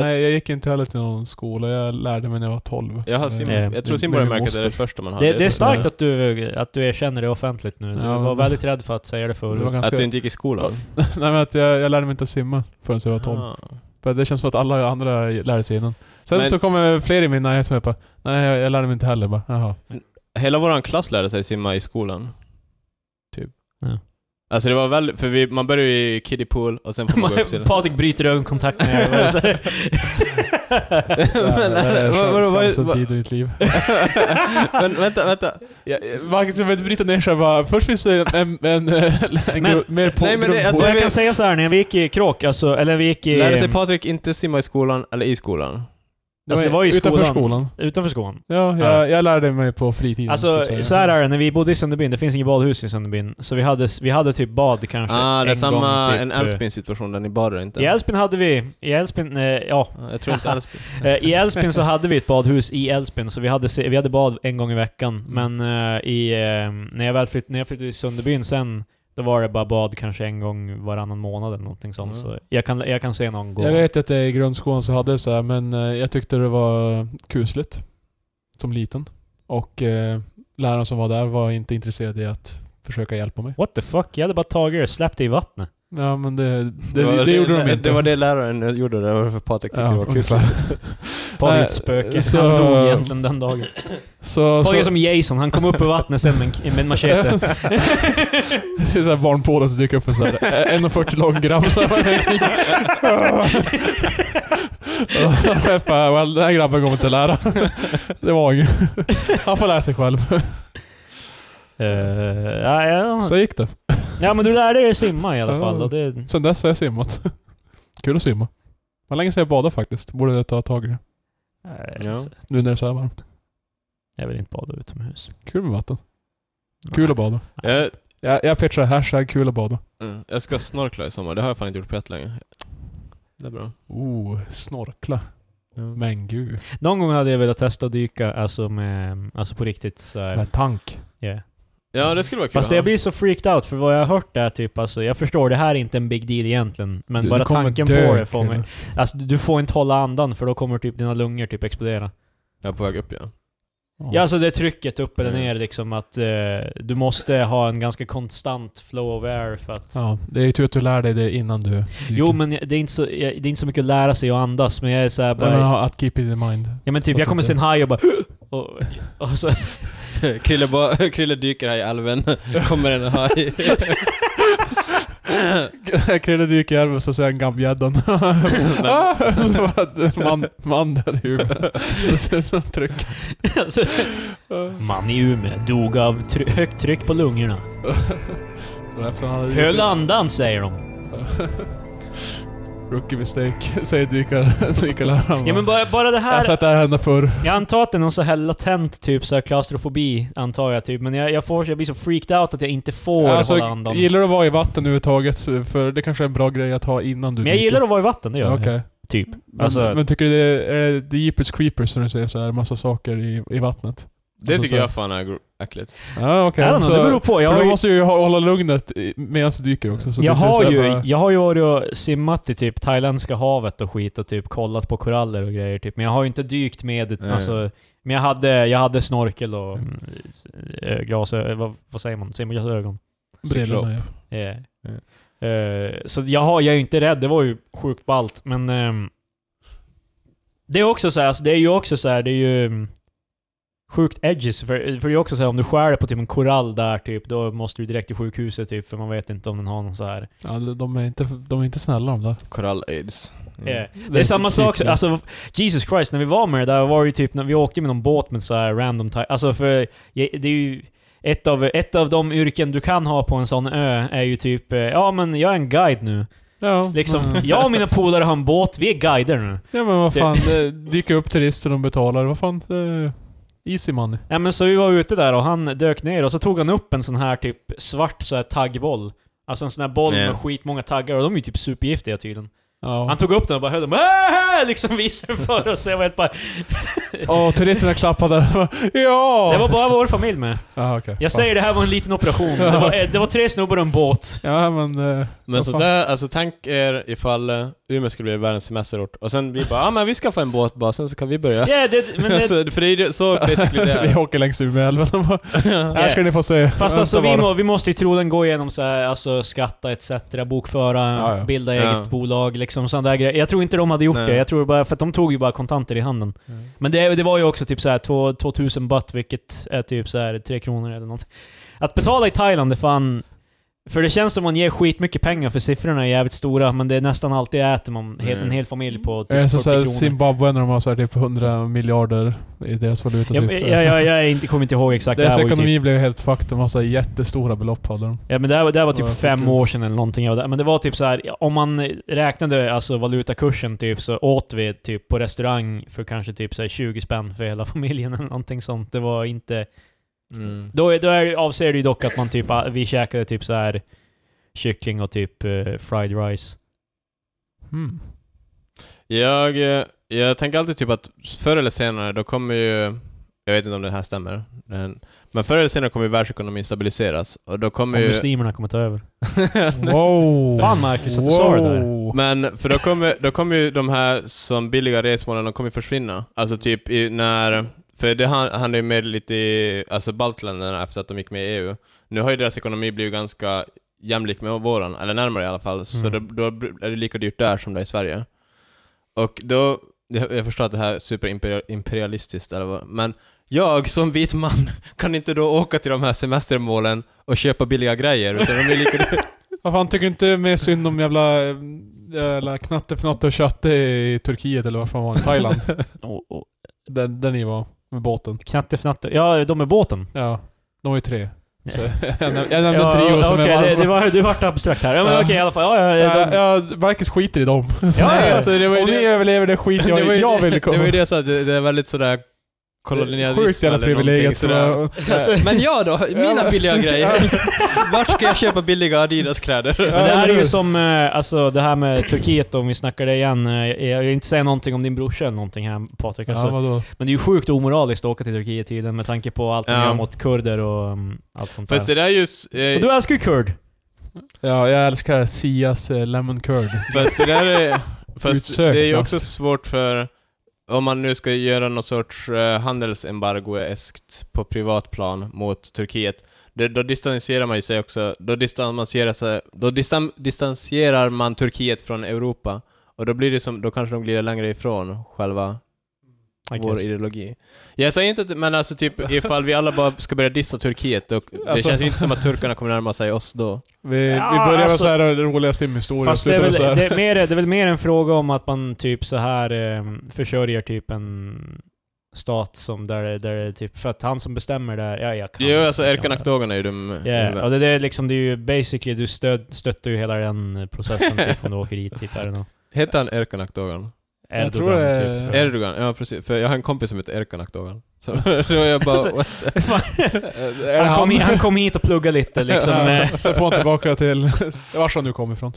S1: Nej, jag gick inte heller till någon skola. Jag lärde mig när jag var 12.
S3: Jag, har sim-
S1: Eh,
S2: Eh,
S3: jag tror
S1: men- men
S3: simborgarmärket
S1: vi
S3: är det första man hade.
S2: Det, det är
S3: Jag tror-
S2: starkt att du, att du erkänner det offentligt nu. Du
S1: Ja,
S2: var
S1: men-
S2: väldigt rädd för att säga det
S1: Det
S2: förut.
S1: var ganska-
S3: Att du inte gick i skolan?
S1: Nej men att jag, jag lärde mig inte att simma förrän jag var 12.
S3: Ah.
S1: För det känns som att alla andra lärde sig innan. Sen
S3: Men-
S1: så kommer fler i min närhet som jag bara, nej jag, jag lärde mig inte heller. Bara, Jaha.
S3: Hela våran klass lärde sig simma i skolan. Typ.
S2: Ja.
S3: Alltså det var väl, för vi, man börjar ju i kiddie pool och sen får man gå upp till...
S2: Patrik bryter ögonkontakt med dig.
S1: Det är
S3: vad- vadå, vad-
S1: skämsen
S3: vad-
S1: tid i ditt liv.
S3: Men vänta, vänta.
S1: Marcus, jag vill inte bryta ner sig bara. Först finns det en, en,
S2: Men-
S1: mer på
S3: Nej, men det- alltså-
S2: jag kan säga så här när vi gick i kråk, alltså, eller vi gick i...
S3: Lärde sig Patrik inte simma i skolan eller i skolan?
S2: Alltså, det var ju
S1: utanför
S2: skolan.
S1: skolan.
S2: Utanför skolan.
S1: Ja, jag,
S2: Ja.
S1: jag lärde mig på fritiden.
S2: Alltså,
S1: att säga.
S2: så här är det, när vi bodde i Sunderbyn, det finns inget badhus i Sunderbyn, så vi hade, vi hade typ bad kanske
S3: Ah, det är
S2: en
S3: samma,
S2: gång. Typ,
S3: en Älvsbyn-situation där ni badar inte.
S2: I Älvsbyn hade vi, i Älvsbyn, eh, ja.
S3: Ja, Jag tror inte Älvsbyn.
S2: Eh, I Älvsbyn så hade vi ett badhus i Älvsbyn, så vi hade, se- vi hade bad en gång i veckan.
S1: Mm.
S2: Men eh, i, eh, när, jag väl flytt, när jag flyttade till Sunderbyn sen, då var det bara bad kanske en gång varannan månad eller någonting sånt.
S1: Mm.
S2: Så jag kan, jag kan se någon gå.
S1: Jag vet att det i grundskolan så hade jag så här, men eh, jag tyckte det var kusligt. Som liten. Och eh, läraren som var där var inte intresserad i att försöka hjälpa mig.
S2: What the fuck? Jag hade bara tagit det och släppt det i vattnet.
S1: Ja men det, det, det,
S3: var
S1: gjorde de
S3: det,
S1: inte.
S3: Det var det läraren gjorde, det var för Patrik tyckte
S1: Ja,
S3: det var kul.
S1: ungefär.
S2: Patrik
S1: Nej,
S2: ett spöke.
S1: så-
S2: Han dog egentligen den dagen.
S1: Så,
S2: Patrik
S1: så,
S2: är som Jason, han kom upp ur vattnet sen med en, med en machete.
S1: det är så här barnpålar som dyker upp en så här 1,40 lång grabb så här med en kniv. Och Peppa, well, den här grabben kommer inte lära. Det var inget. Han får lära sig själv.
S2: Eh, ja, ja,
S1: Så gick det.
S2: ja, men du lärde dig simma i alla
S1: Ja.
S2: fall. Och det,
S1: Sen dess har jag simmat. Kul att simma. Vad länge sedan jag badade faktiskt. Borde jag ta tag i det.
S2: Eh,
S3: Ja.
S1: Nu när det är så här varmt.
S2: Jag vill inte bada utomhus.
S1: Kul med vatten. Kul att bada.
S3: Jag,
S1: Jag, jag pitchar hashtag kul att bada.
S3: mm, jag ska snorkla i sommar, det har jag fan inte gjort på länge. Det är bra.
S1: Oh, snorkla.
S3: Ja.
S1: Men gud.
S2: Någon gång hade jag velat testa att dyka, alltså, med, alltså på riktigt så här,
S1: Med tank.
S2: yeah.
S3: ja, det skulle vara kul.
S2: Fast
S3: att ha.
S2: jag blir så freaked out för vad jag har hört är typ, alltså, jag förstår det här är inte en big deal egentligen, men
S1: Du- du
S2: bara
S1: kommer
S2: tanken
S1: dö,
S2: på det får mig...
S1: kille.
S2: Alltså du- du får inte hålla andan för då kommer typ dina lungor typ explodera.
S3: Jag är på väg upp igen.
S2: Ja, alltså det är trycket upp eller
S3: Mm.
S2: ner liksom att eh, du måste ha en ganska konstant flow of air för att...
S1: Ja, det är ju tur att du lär dig det innan du... dyker.
S2: Jo men jag- det är, inte så, jag, det är inte så mycket att lära sig att andas, men jag är såhär
S1: Nej,
S2: bara...
S1: men ha- att keep it in mind.
S2: ja men
S1: så
S2: typ,
S1: att
S2: jag kommer
S1: inte-
S2: se en haj och bara... Och, och så,
S3: Krille, ba- Krille dyker här i älven, kommer en haj.
S1: Krille dyker i älven så ser han gammgäddan. Ah, det var ett man, man död i huvudet. Så Tryck.
S2: alltså, man i Umeå dog av try- högt tryck på lungorna.
S1: Eftersom han hade
S2: Höll
S1: gjort-
S2: andan säger de.
S1: Rookie mistake, säger dykar- dykarläraren.
S2: Ja men bara, bara det
S1: Jag har
S2: här...
S1: sett det här hända förr.
S2: Jag antar att det är någon så här latent typ så här klaustrofobi, antar jag typ. Men jag, jag, får, jag blir så freaked out att jag inte får
S1: Alltså,
S2: hålla andan.
S1: gillar du att vara i vatten överhuvudtaget? så- För det kanske är en bra grej att ha innan du
S2: Men jag gillar att vara i vatten, det gör jag.
S1: Okej.
S2: Typ.
S1: Men,
S2: Alltså,
S1: men tycker du det är the jeepers creepers när du ser så här massa saker i, i vattnet?
S3: Det
S1: Alltså,
S3: tycker
S1: så-
S3: jag fan är gro- äckligt.
S1: Ja, okej.
S2: I don't know, det beror på. Jag
S1: för
S2: har
S1: du
S2: ju,
S1: måste ju ha- hålla lugnet i- medan du dyker också. Så
S2: jag,
S1: det är typ så
S2: har
S1: här
S2: ju,
S1: bara-
S2: jag har ju varit och simmat i typ thailändska havet och skit och typ kollat på koraller och grejer typ. Men jag har ju inte dykt med...
S3: Nej.
S2: Alltså, men jag hade, jag hade snorkel och
S1: Mm.
S2: äh, glas... eh, Vad, vad säger man? Simglasögon.
S1: brillorna. Ja.
S2: Yeah.
S3: Mm.
S2: Eh, så jag, har, jag är ju inte rädd, det var ju sjukt ballt. Men ehm, det är också så här, alltså, det är ju också så här, det är ju mm, sjukt edges. För, för det är också så här, om du skär på typ en korall där typ, då måste du direkt till sjukhuset typ, för man vet inte om den har någon så här.
S1: Ja, de- de, är inte, de är inte snälla de där.
S3: Korall-aids. Mm.
S2: Eh, Det är samma sak, som- alltså Jesus Christ, när vi var med det där var det ju typ när vi åkte med någon båt med så här random type, alltså för jag- det är ju ett av, ett av de yrken du kan ha på en sån ö är ju typ, eh, ja men jag är en guide nu.
S1: Ja,
S2: Liksom,
S1: men,
S2: jag och mina polare har en båt, vi är guider nu.
S1: ja, men vad
S2: det-
S1: fan. Det dyker upp turister och de betalar. Vad fan. eh, Easy money.
S2: Nej men så vi var ute där och han dök ner och så tog han upp en sån här typ svart så här taggboll. Alltså en sån här boll
S3: Ja.
S2: med skitmånga taggar och de är ju typ supergiftiga tydligen.
S1: Ja.
S2: Han tog upp den och bara höll den "Aah!" liksom visade för oss. Jag var helt bara...
S1: Och turisterna klappade. ja!
S2: Det var bara vår familj med.
S1: Ja, okej.
S2: Jag
S1: Fan.
S2: säger det här var en liten operation. Det var, eh, det var tre snubbar och en båt.
S1: Ja, men... eh,
S3: Men
S1: vad
S3: så
S1: fan.
S3: där, alltså tänk er ifall eh, Umeå skulle bli världens semesterort och sen vi bara ah, men vi ska få en båt bara, sen så kan vi börja.
S2: Yeah, det, men det,
S3: alltså, för det är ju så basically det
S1: Vi
S3: är.
S1: åker längs Umeälven. Här ska ni få se.
S2: fast
S1: Vänta
S2: alltså vi,
S1: bara.
S2: må, vi måste ju troligen gå igenom så här, alltså skatta etc, bokföra,
S1: Ja, ja.
S2: bilda
S3: Ja.
S2: eget bolag, liksom sådana där grejer. Jag tror inte de hade gjort
S3: Nej.
S2: det. Jag tror bara, för att de tog ju bara kontanter i handen. Men det, det var ju också typ så här två- 2000 baht, vilket är typ så här 3 kronor eller något. Att betala i Thailand är fan... För det känns som man ger skitmycket pengar för siffrorna är jävligt stora, men det är nästan alltid äter man he-
S3: Mm.
S2: en hel familj på
S1: Är det
S2: typ 40
S1: som såhär
S2: kronor.
S1: Zimbabwe när de har såhär typ 100 miljarder i deras valuta
S2: Ja,
S1: typ.
S2: men jag, jag, jag är inte, kommer inte ihåg exakt. alltså. Det
S1: Deras
S2: här var ju typ,
S1: ekonomi blev helt fucked. De har såhär jättestora belopp hade de.
S2: ja, men det här, var- det här var typ
S1: Ja,
S2: fem
S1: okej.
S2: år sedan eller någonting. Jag var där. Men det var typ så här om man räknade alltså valutakursen typ, så åt vi typ på restaurang för kanske typ så här 20 spänn för hela familjen eller någonting sånt. Det var inte...
S3: Mm.
S2: Då, är- då är, det- avser det ju dock att man typ, ah, vi käkade typ så här kyckling och typ eh, fried rice.
S1: Hmm.
S3: Jag, eh, jag tänker alltid typ att förr eller senare, då kommer ju... Jag vet inte om det här stämmer. Men- Men förr eller senare kommer ju världsekonomin stabiliseras. Och då
S2: Och
S3: kommer ju...
S2: muslimerna kommer ta över.
S1: Wow!
S2: Fan, Marcus, att du sa det där.
S3: Men för då kommer, då kommer ju de här som billiga resmålen, de kommer ju försvinna. Alltså typ i, när... För det han- handlar ju med lite i alltså baltländerna efter att de gick med i EU. Nu har ju deras ekonomi blivit ganska jämlik med våran, eller närmare i alla fall. Så
S2: Mm.
S3: då, då är det lika dyrt där som det är i Sverige. Och då... Jag jag förstår att det här är superimperialistiskt eller vad, men jag som vit man kan inte då åka till de här semestermålen och köpa billiga grejer utan de är lika dyra.
S1: Vad fan, tycker du inte mer synd om jävla, eh, jävla knattefnatte och tjatte i Turkiet eller vad fan var det? Thailand?
S2: Och, och,
S1: där, där ni var med båten.
S2: knattefnatte. Ja, de med båten.
S1: Ja. De var ju tre. Så, jag näm- jag nämnde
S2: ja,
S1: trio som
S2: okej,
S1: är
S2: det, det
S1: varma.
S2: var, det vart abstrakt här. Ja, men
S1: Ja.
S2: okej i alla fall. Ja, ja, ja,
S1: Ja,
S2: de,
S1: ja, Marcus skiter i dem. Så,
S2: Ja,
S3: Nej,
S2: ja.
S3: alltså, det var ju
S1: om
S3: det-
S1: ni överlever det skit
S3: Det var
S1: jag,
S3: ju-
S1: jag vill komma.
S3: Det var ju det jag sa, det, det är väldigt sådär kolonialism
S1: Sjukt jävla
S3: eller någonting
S1: privilegiet. som
S3: sådär. Alltså,
S1: var-
S3: Men jag då? Mina billiga grejer? Vart ska jag köpa billiga Adidas-kläder?
S2: men det
S1: Ja,
S2: här är
S1: eller
S2: ju
S1: hur?
S2: som eh, alltså, det här med Turkiet, om vi snackar det igen. eh, Jag jag vill inte säga någonting om din brorsa eller någonting här Patrik. Alltså.
S1: Ja, vadå?
S2: Men det är ju sjukt omoraliskt att åka till Turkiet tydligen med tanke på allt de
S3: Ja.
S2: gör mot kurder och mm, allt sånt
S3: Fast
S2: där.
S3: det där är ju...
S2: Och
S3: Eh,
S2: du älskar ju kurd.
S1: Ja, jag älskar Sias eh, Lemon Curd.
S3: fast det där är... Fast det
S1: Utsökt,
S3: är ju
S1: alltså.
S3: också svårt för... Om man nu ska göra någon sorts eh, handelsembargo-eskt på privatplan mot Turkiet, det, då distanserar man ju sig också, då distanserar, sig, då distan, distanserar man Turkiet från Europa. Och då blir det som, då kanske de glider längre ifrån själva
S2: I
S3: vår
S2: guess.
S3: ideologi. Jag säger inte att, men alltså typ ifall vi alla bara ska börja dissa Turkiet, då, det
S1: Alltså-
S3: känns ju inte som att turkarna kommer närma sig oss då.
S1: Vi, vi
S2: Ja,
S1: börjar med
S2: alltså-
S1: så här roliga simhistorier och
S2: Fast det är,
S1: slutar
S2: väl,
S1: med så här.
S2: det, är mer, det är väl mer en fråga om att man typ så här eh, försörjer typ en stat som där, det- där det är typ... För att han som bestämmer där... Ja, jag kan
S3: Jo,
S2: inte
S3: alltså
S2: snacka om
S3: Erkan
S2: det.
S3: Akdogan är ju dum.
S2: Ja, och det, det är liksom, det är ju basically, du stöd, stöttar ju hela den processen typ om du åker dit, typ, är det något?
S3: Heter han Erkan Akdogan?
S2: Erdogan,
S1: Jag tror det är-
S2: typ. tror jag.
S3: Erdogan, ja precis. För jag har en kompis som heter Erkan Akdogan. Så då är jag bara...
S2: Så-
S3: what?
S1: Eh, är det
S2: Han kom, hit, han kom hit och pluggade lite liksom. eh,
S1: Ja, sen får han tillbaka till vars han nu kom ifrån.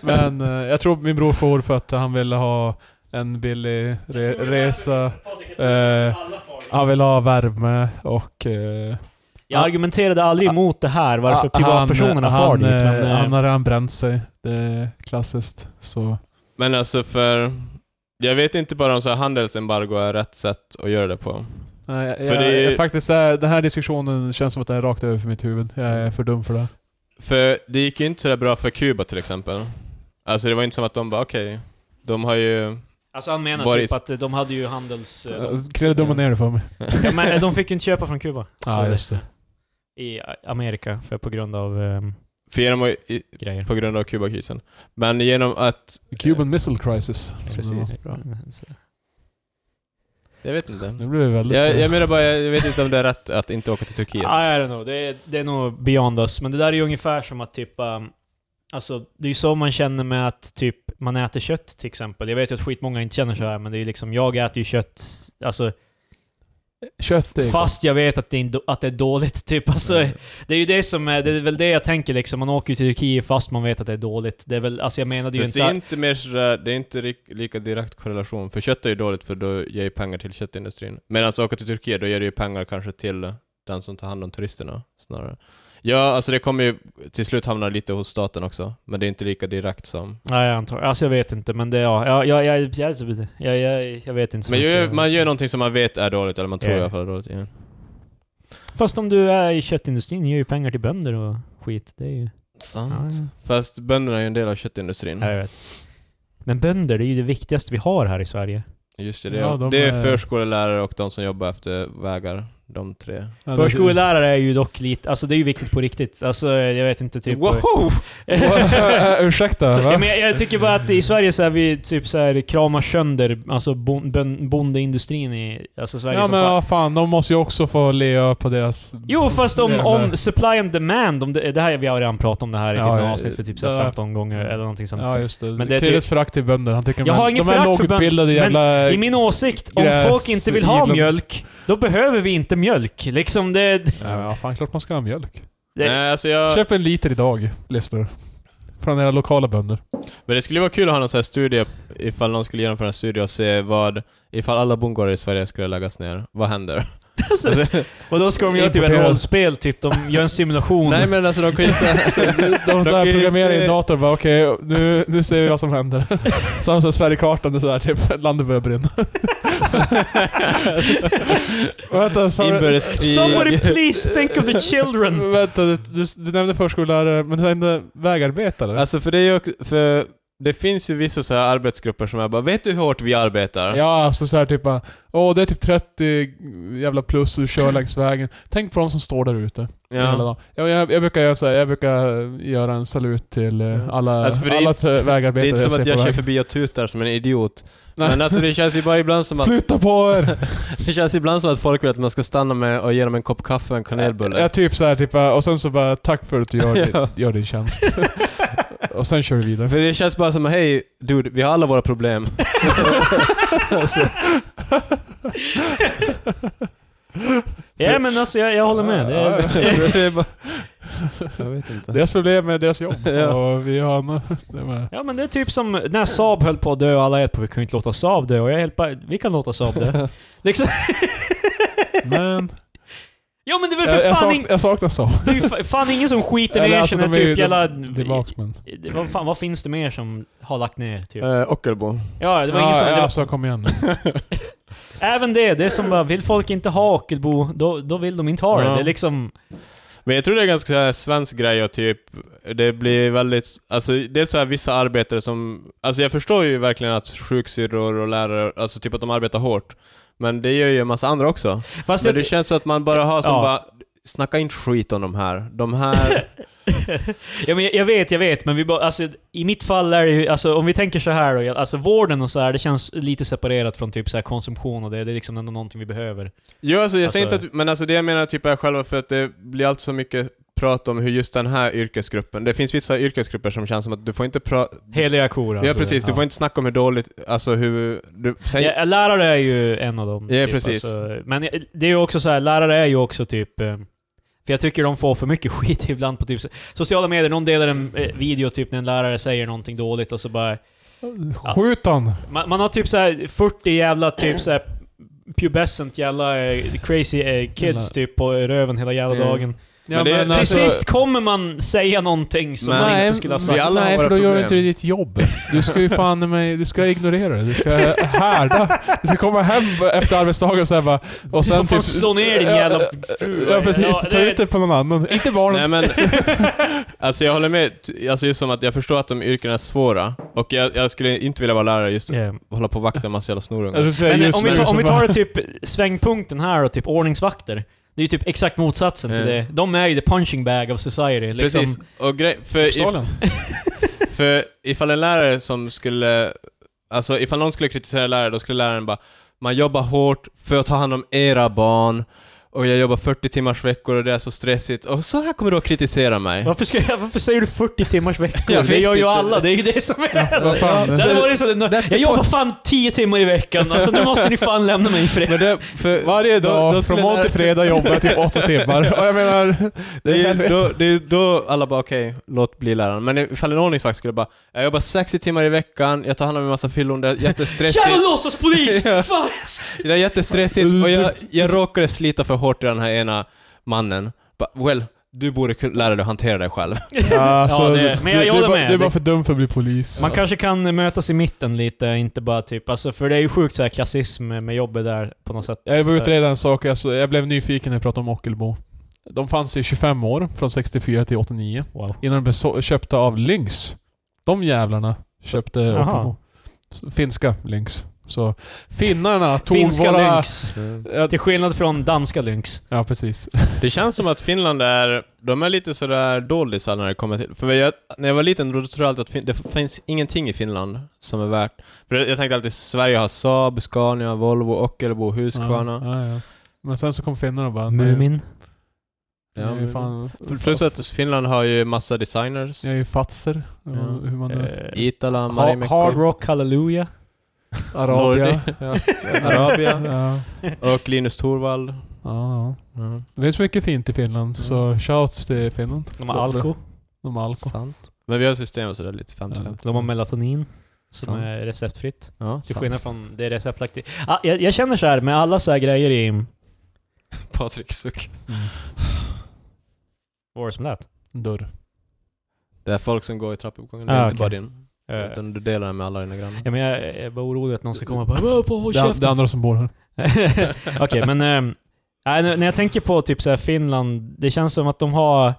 S1: Men eh, jag tror min bror får för att han ville ha en billig re resa. Eh, han ville ha värme och... Eh,
S2: jag argumenterade aldrig emot det här, varför
S1: ah, han-
S2: privatpersonerna far
S1: han,
S2: dit.
S1: eh,
S2: Men, eh,
S1: Han har redan bränt sig. Det är klassiskt. Så...
S3: Men alltså för... Jag vet inte bara om så här handelsembargo är rätt sätt att göra det på.
S1: Nej, jag,
S3: För
S1: jag,
S3: det är-
S1: jag, faktiskt, eh, den här diskussionen känns som att den är rakt över för mitt huvud. Jag är för dum för det.
S3: För det gick ju inte så där bra för Kuba till exempel. Alltså det var inte som att de bara okej, de har ju...
S2: alltså han menar
S3: Var
S2: typ
S3: is-
S2: att eh, de hade ju handels... eh, de-
S1: Krille dumma ner det för mig.
S2: Ja, men de fick ju inte köpa från Kuba.
S1: Ja,
S2: Så-
S1: just det.
S2: I eh, Amerika, för på grund av eh,
S3: För genom att, i-
S2: grejer.
S3: på grund av Kubakrisen. Men genom att...
S1: Cuban Missile Crisis.
S3: Precis. Bra.
S2: Så-
S3: Jag vet inte.
S1: Nu blir vi väldigt... eh,
S3: Jag, jag menar bara, jag vet inte om det är rätt att inte åka till Turkiet.
S2: I don't know. Det är, det är nog beyond us. Men det där är ju ungefär som att typ... Um, alltså, det är ju så man känner med att typ man äter kött till exempel. Jag vet ju att skitmånga inte känner så här, men det är ju liksom, jag äter ju kött, alltså,
S1: Kött är
S2: fast jag vet att det är, en då- att det är dåligt. Typ. Alltså,
S3: Mm.
S2: Det är ju det som är, det är väl det jag tänker liksom. Man åker ju till Turkiet fast man vet att det är dåligt. Det är väl, alltså jag menade ju
S3: Fast
S2: inte...
S3: det är inte mer sådär, det är inte rik- lika direkt korrelation. För kött är ju dåligt för då ger ju pengar till köttindustrin. Medan åka till Turkiet, då ger det ju pengar kanske till den som tar hand om turisterna snarare. Ja, alltså det kommer ju till slut hamna lite hos staten också. Men det är inte lika direkt som...
S2: Nej, jag antar. Alltså jag vet inte, men det... Ja, jag, jag, jag, jag, jag, jag, jag vet inte så
S3: Men ju-
S2: mycket.
S3: man gör någonting som man vet är dåligt, eller man tror
S2: Ja.
S3: i alla fall är dåligt. Ja.
S2: Fast om du är i köttindustrin, ger ju pengar till bönder och skit. Det är ju...
S3: Sant.
S2: Ja, ja.
S3: Fast bönderna är ju en del av köttindustrin.
S1: Mm.
S2: Ja, jag vet. Men bönder, det är ju det viktigaste vi har här i Sverige.
S3: Just det, det,
S1: Ja,
S3: är-
S1: de
S3: det är
S1: är-
S3: förskolelärare och de som jobbar efter vägar. de tre.
S1: Ja, det-
S2: Förskollärare är ju dock lite... Alltså det är ju viktigt på riktigt. Alltså jag vet inte typ...
S3: Wow!
S1: Wow, Ursäkta,
S2: Ja,
S1: va?
S2: men jag, jag tycker bara att i Sverige så är vi typ så här, kramar sönder alltså bon, bon, bondeindustrin i alltså Sverige
S1: Ja
S2: som
S1: men
S2: fan.
S1: vad fan, de måste ju också få leva på deras...
S2: Jo, fast om,
S1: Jävlar.
S2: om supply and demand, om det, det här, vi har redan pratat om det här i typ
S1: Ja,
S2: några
S1: ja,
S2: avsnitt för typ så
S1: det
S2: här
S1: där-
S2: 15 gånger eller någonting sånt.
S1: Ja just det.
S2: Men det är typ-
S1: Krilles förakt till bönder. Han tycker
S2: Jag har
S1: de, är-
S2: ingen
S1: de är
S2: förakt för
S1: lågutbildade
S2: bönder, men
S1: jävla...
S2: I min åsikt, om
S1: gräs-
S2: folk inte vill ha
S1: gillar-
S2: mjölk, då behöver vi inte mjölk. Liksom det...
S1: Ja, men, ja, fan, klart man ska ha mjölk.
S2: Det-
S3: Nej, alltså jag...
S1: Köp en liter idag, lyssnare. Från era lokala bönder.
S3: Men det skulle vara kul att ha någon sån här studie, ifall någon skulle genomföra en studie och se vad... Ifall alla bondgårdar i Sverige skulle läggas ner, vad händer?
S2: Alltså,
S3: Alltså,
S2: och då ska de göra typ ett
S1: Importerad.
S2: rollspel, typ. De gör en simulation.
S3: nej men alltså de kan ju säga...
S1: De så
S3: kan
S1: här
S3: ju
S1: programmerar i
S3: se-
S1: en dator och bara okej, nu, nu ser vi vad som händer. Så har de så här Sverigekartan, det är såhär typ, landet börjar brinna. Vänta, sa du,
S3: Inbördeskrig...
S2: Somebody please think of the children!
S1: vänta du, du, du nämnde förskollärare, men du nämnde vägarbetare?
S3: Alltså för det är ju också, för det finns ju vissa så här arbetsgrupper som är bara ”Vet du hur hårt vi arbetar?”
S1: Ja, alltså såhär typ bara, åh det är typ 30 jävla plus du kör längs vägen. Tänk på de som står där ute. hela dagen. Jag, jag, jag brukar göra så här, jag brukar göra en salut till eh,
S3: Mm.
S1: alla,
S3: Alltså, för det är
S1: alla t-
S3: Det är
S1: vägarbetare
S3: inte som att
S1: ser
S3: jag
S1: på
S3: kör
S1: vägen.
S3: förbi och tutar som en idiot.
S1: Nej.
S3: Men alltså det känns ju bara ibland som att,
S1: Flytta på er!
S3: det känns ibland som att folk vill att man ska stanna med och ge dem en kopp kaffe och en kanelbulle.
S1: Jag typ så här, typ, eh, och sen så bara tack för att du gör,
S3: Ja.
S1: din, gör din tjänst. och sen kör du vidare.
S3: För det känns bara som ”Hej dude, vi har alla våra problem”. Så- alltså,
S2: Ja men alltså jag, jag håller med. Det är,
S3: det är bara... Jag vet inte.
S1: Deras problem är deras jobb.
S3: Ja.
S1: Och vi har en, det med.
S2: Ja men det är typ som när Saab höll på att dö och alla är på vi kan ju inte låta Saab dö och jag är helt bara, vi kan låta Saab dö. liksom.
S1: Men,
S2: Ja men det är väl
S1: jag,
S2: för
S1: jag,
S2: fan,
S1: sak,
S2: ing,
S1: jag saknar så.
S2: det är ju fa- fan ingen som skiter
S1: Eller,
S2: ner
S1: alltså,
S2: sig när
S1: de är ju-
S2: typ jävla...
S1: Tillbaks men.
S2: Det- Vad fan, vad finns det mer som har lagt ner? Typ?
S3: Eh, Ockelbo.
S2: Ja, det var ingen
S1: ja,
S2: som... det
S1: ja,
S2: var-
S1: alltså kom igen nu.
S2: Även det, det är som bara, vill folk inte ha Ockelbo, då, då vill de inte ha det.
S3: Ja.
S2: Det är liksom...
S3: Men jag tror det är ganska så här svensk grej och typ, det blir väldigt, alltså det är så här vissa arbetare som, alltså jag förstår ju verkligen att sjuksyrror och lärare, alltså typ att de arbetar hårt. Men det gör ju en massa andra också.
S2: Fast
S3: Men
S2: jag-
S3: Alltså, det känns så att man bara har som
S2: Ja.
S3: bara, snacka inte skit om de här. De här,
S2: ja, men jag, jag vet, jag vet, men vi bara, alltså, i mitt fall är det ju, alltså, om vi tänker så här då, jag- alltså vården och så här, det känns lite separerat från typ så här konsumtion och det, det är liksom ändå någonting vi behöver.
S3: jo alltså jag säger
S2: Alltså-
S3: inte att, men alltså det jag menar typ är själva för att det blir allt så mycket prat om hur just den här yrkesgruppen, det finns vissa yrkesgrupper som känns som att du får inte prata,
S2: Heliga kor alltså.
S3: ja precis, du får inte snacka om hur dåligt, alltså hur, du, säg,
S2: Ja, lärare är ju en av dem.
S3: Ja, precis.
S2: Alltså, men jag- det är ju också så här, lärare är ju också typ... eh, För jag tycker de får för mycket skit ibland på typ så- sociala medier. Någon delar en eh, video typ när en lärare säger någonting dåligt och så bara...
S1: Skjut han!
S2: Man, man har typ så här 40 jävla typ så här pubescent jävla eh, crazy eh, kids
S1: Jävla-
S2: typ på röven hela jävla
S3: Mm.
S2: dagen.
S1: Ja,
S3: det-
S1: men
S3: till
S2: Till
S1: alltså-
S2: sist kommer man säga någonting som
S3: Men-
S2: man
S1: Nej,
S2: inte skulle ha
S3: vi
S2: sagt.
S3: alla- har
S1: Nej,
S3: våra
S1: för då gör du
S3: problem.
S1: inte ditt jobb. Du ska ju fan i mig, du ska ignorera det. Du ska härda. Du ska komma hem efter arbetsdagen och säga bara... Och sen typ-
S2: Du får slå ner din jävla fru.
S1: Ja, precis.
S2: Ja,
S1: Ta
S2: det-
S1: ut det på någon annan. Inte barnen.
S3: Nej men, alltså jag håller med. T- Alltså just som att jag förstår att de yrkena är svåra. Och jag, jag skulle inte vilja vara lärare just
S2: Yeah.
S3: hålla på och vakta en massa jävla
S1: Eller
S3: snorungar.
S1: så säger jag
S2: Men
S1: just
S2: eh, om vi,
S1: nu
S2: tar,
S1: som
S2: om vi
S1: bara-
S2: tar typ svängpunkten här och typ ordningsvakter. Det är ju typ exakt motsatsen till
S3: Mm.
S2: det. De är ju the punching bag of society. Liksom.
S3: Precis. Eh, Och grej, för, if,
S1: Uppsala.
S3: för ifall en lärare som skulle, alltså ifall någon skulle kritisera en lärare, då skulle läraren bara Man jobbar hårt för att ta hand om era barn. Och jag jobbar 40 timmars veckor och det är så stressigt. Och så här kommer du att kritisera mig.
S2: Varför, ska jag, varför säger du 40 timmars veckor?
S3: Jag
S2: Det
S3: vet
S2: gör ju
S3: inte.
S2: alla, det är ju det som är... Alltså,
S1: Vad fan?
S2: det hade varit så, att- jag jobbar fan 10 timmar i veckan, alltså nu måste ni fan lämna mig i fred.
S3: Men det, för,
S1: Varje
S3: då-
S1: dag,
S3: då skulle
S1: från måndag till
S3: lärare-
S1: fredag jobbar jag typ åtta timmar. Och jag menar... Det
S3: Det
S1: är
S3: är, ju
S1: helvete.
S3: då, det är ju då alla bara okej, låt bli läraren. Men ifall en ordningsvakt skulle bara jag jobbar 60 timmar i veckan, jag tar hand om en massa fyllon, det är jättestressigt.
S2: Jävla låtsaspolis!
S3: Ja.
S2: Fan!
S3: det är jättestressigt och jag, jag råkade slita för hårt i den här ena mannen. Bara, well, du borde kunna lära dig att hantera dig själv.
S1: Alltså,
S2: Ja, det-
S1: du-
S2: men jag- jag
S1: du- du
S2: håller
S1: är bara-
S2: med.
S1: Du är bara
S2: Det-
S1: för dum för att bli polis.
S2: Man kanske kan mötas i mitten lite, inte bara typ... Alltså, för det är ju sjukt så här klassism med jobbet där på något sätt.
S1: Jag behöver utreda en sak. Alltså, jag blev nyfiken när jag pratade om Ockelbo. De fanns i 25 år, från 64 till 89.
S2: Wow.
S1: Innan de blev så- köpta av Lynx. De jävlarna köpte
S2: Jaha.
S1: Ockelbo. S- Finska Lynx. Så finnarna tog
S2: Finska
S1: våra...
S2: lynx.
S1: Ja,
S2: Till skillnad från danska lynx.
S1: ja, precis.
S3: Det känns som att Finland är, de är lite sådär doldisar när det kommer till, för jag, när jag var liten då tror jag alltid att fin, det finns ingenting i Finland som är värt, för jag tänkte alltid Sverige har Saab, Scania, Volvo, Ockelbo, Husqvarna.
S1: Ja, ja, ja. Men sen så kom finnarna och bara... nej,
S2: Mumin.
S1: nej,
S3: Ja, men-
S1: fan,
S3: Plus att Finland har ju massa designers.
S1: Jag är ju fatser.
S3: Ja.
S1: Hur man nu...
S2: Eh,
S3: Itala,
S2: ha,
S3: Marimekko,
S2: hard Rock Hallelujah.
S1: Arabia.
S3: Nordi.
S1: Ja.
S3: Arabia.
S1: Ja.
S3: och Linus Torvald.
S1: Ja, ja. Det finns mycket fint i Finland,
S3: Mm.
S1: så shouts till Finland.
S2: De har Alko.
S1: De har alko.
S3: Sant. Men vi har system och sådär lite 50-50.
S2: De har melatonin. Som
S3: Sant.
S2: är receptfritt.
S3: Ja,
S2: Till
S3: sant.
S2: skillnad från det receptlagt. Ah, jag, jag känner så här med alla så här grejer i...
S3: Patrik suck.
S2: Vad var det som lät?
S1: Dörr.
S3: Det är folk som går i trappuppgången, det är
S2: Ah,
S3: inte
S2: okej.
S3: bara din.
S2: Eh,
S3: Utan du delar den med alla dina grannar.
S2: Ja, men jag är bara orolig att någon ska komma och bara "Vad, vad, håll
S1: Det, det
S2: käften!"
S1: andra som bor här.
S2: Okej, men... ehm, nej, nu- när jag tänker på typ så här Finland, det känns som att de har...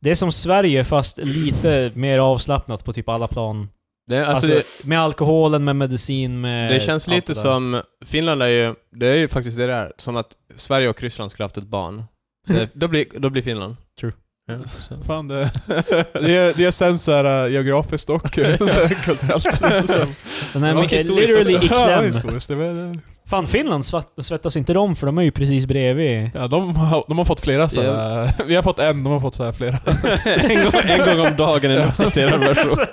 S2: Det är som Sverige fast lite mer avslappnat på typ alla plan.
S3: Det, är- alltså,
S2: Alltså,
S3: det,
S2: med alkoholen, med medicin, med...
S3: det känns
S2: allt
S3: lite
S2: det där.
S3: som, Finland är ju, det är ju faktiskt det där, som att Sverige och Ryssland skulle haft ett barn. Det, då, blir, då blir Finland.
S2: True.
S3: Ja, så.
S1: Fan det... Det är, det är sen så här, äh, geografiskt och äh, så här, kulturellt. Sen-
S2: Den är
S3: Och
S2: mycket,
S3: historiskt
S2: literally
S3: också.
S2: i
S1: Ja,
S2: kläm.
S1: historiskt. Det var- det-
S2: Fan, Finland svett- svettas inte de för de är ju precis bredvid.
S1: Ja, de, har, de har fått flera så här, Vi har fått en, de har fått så här flera.
S3: en, gång, en gång om dagen är en uppdaterad version.
S2: Alltså,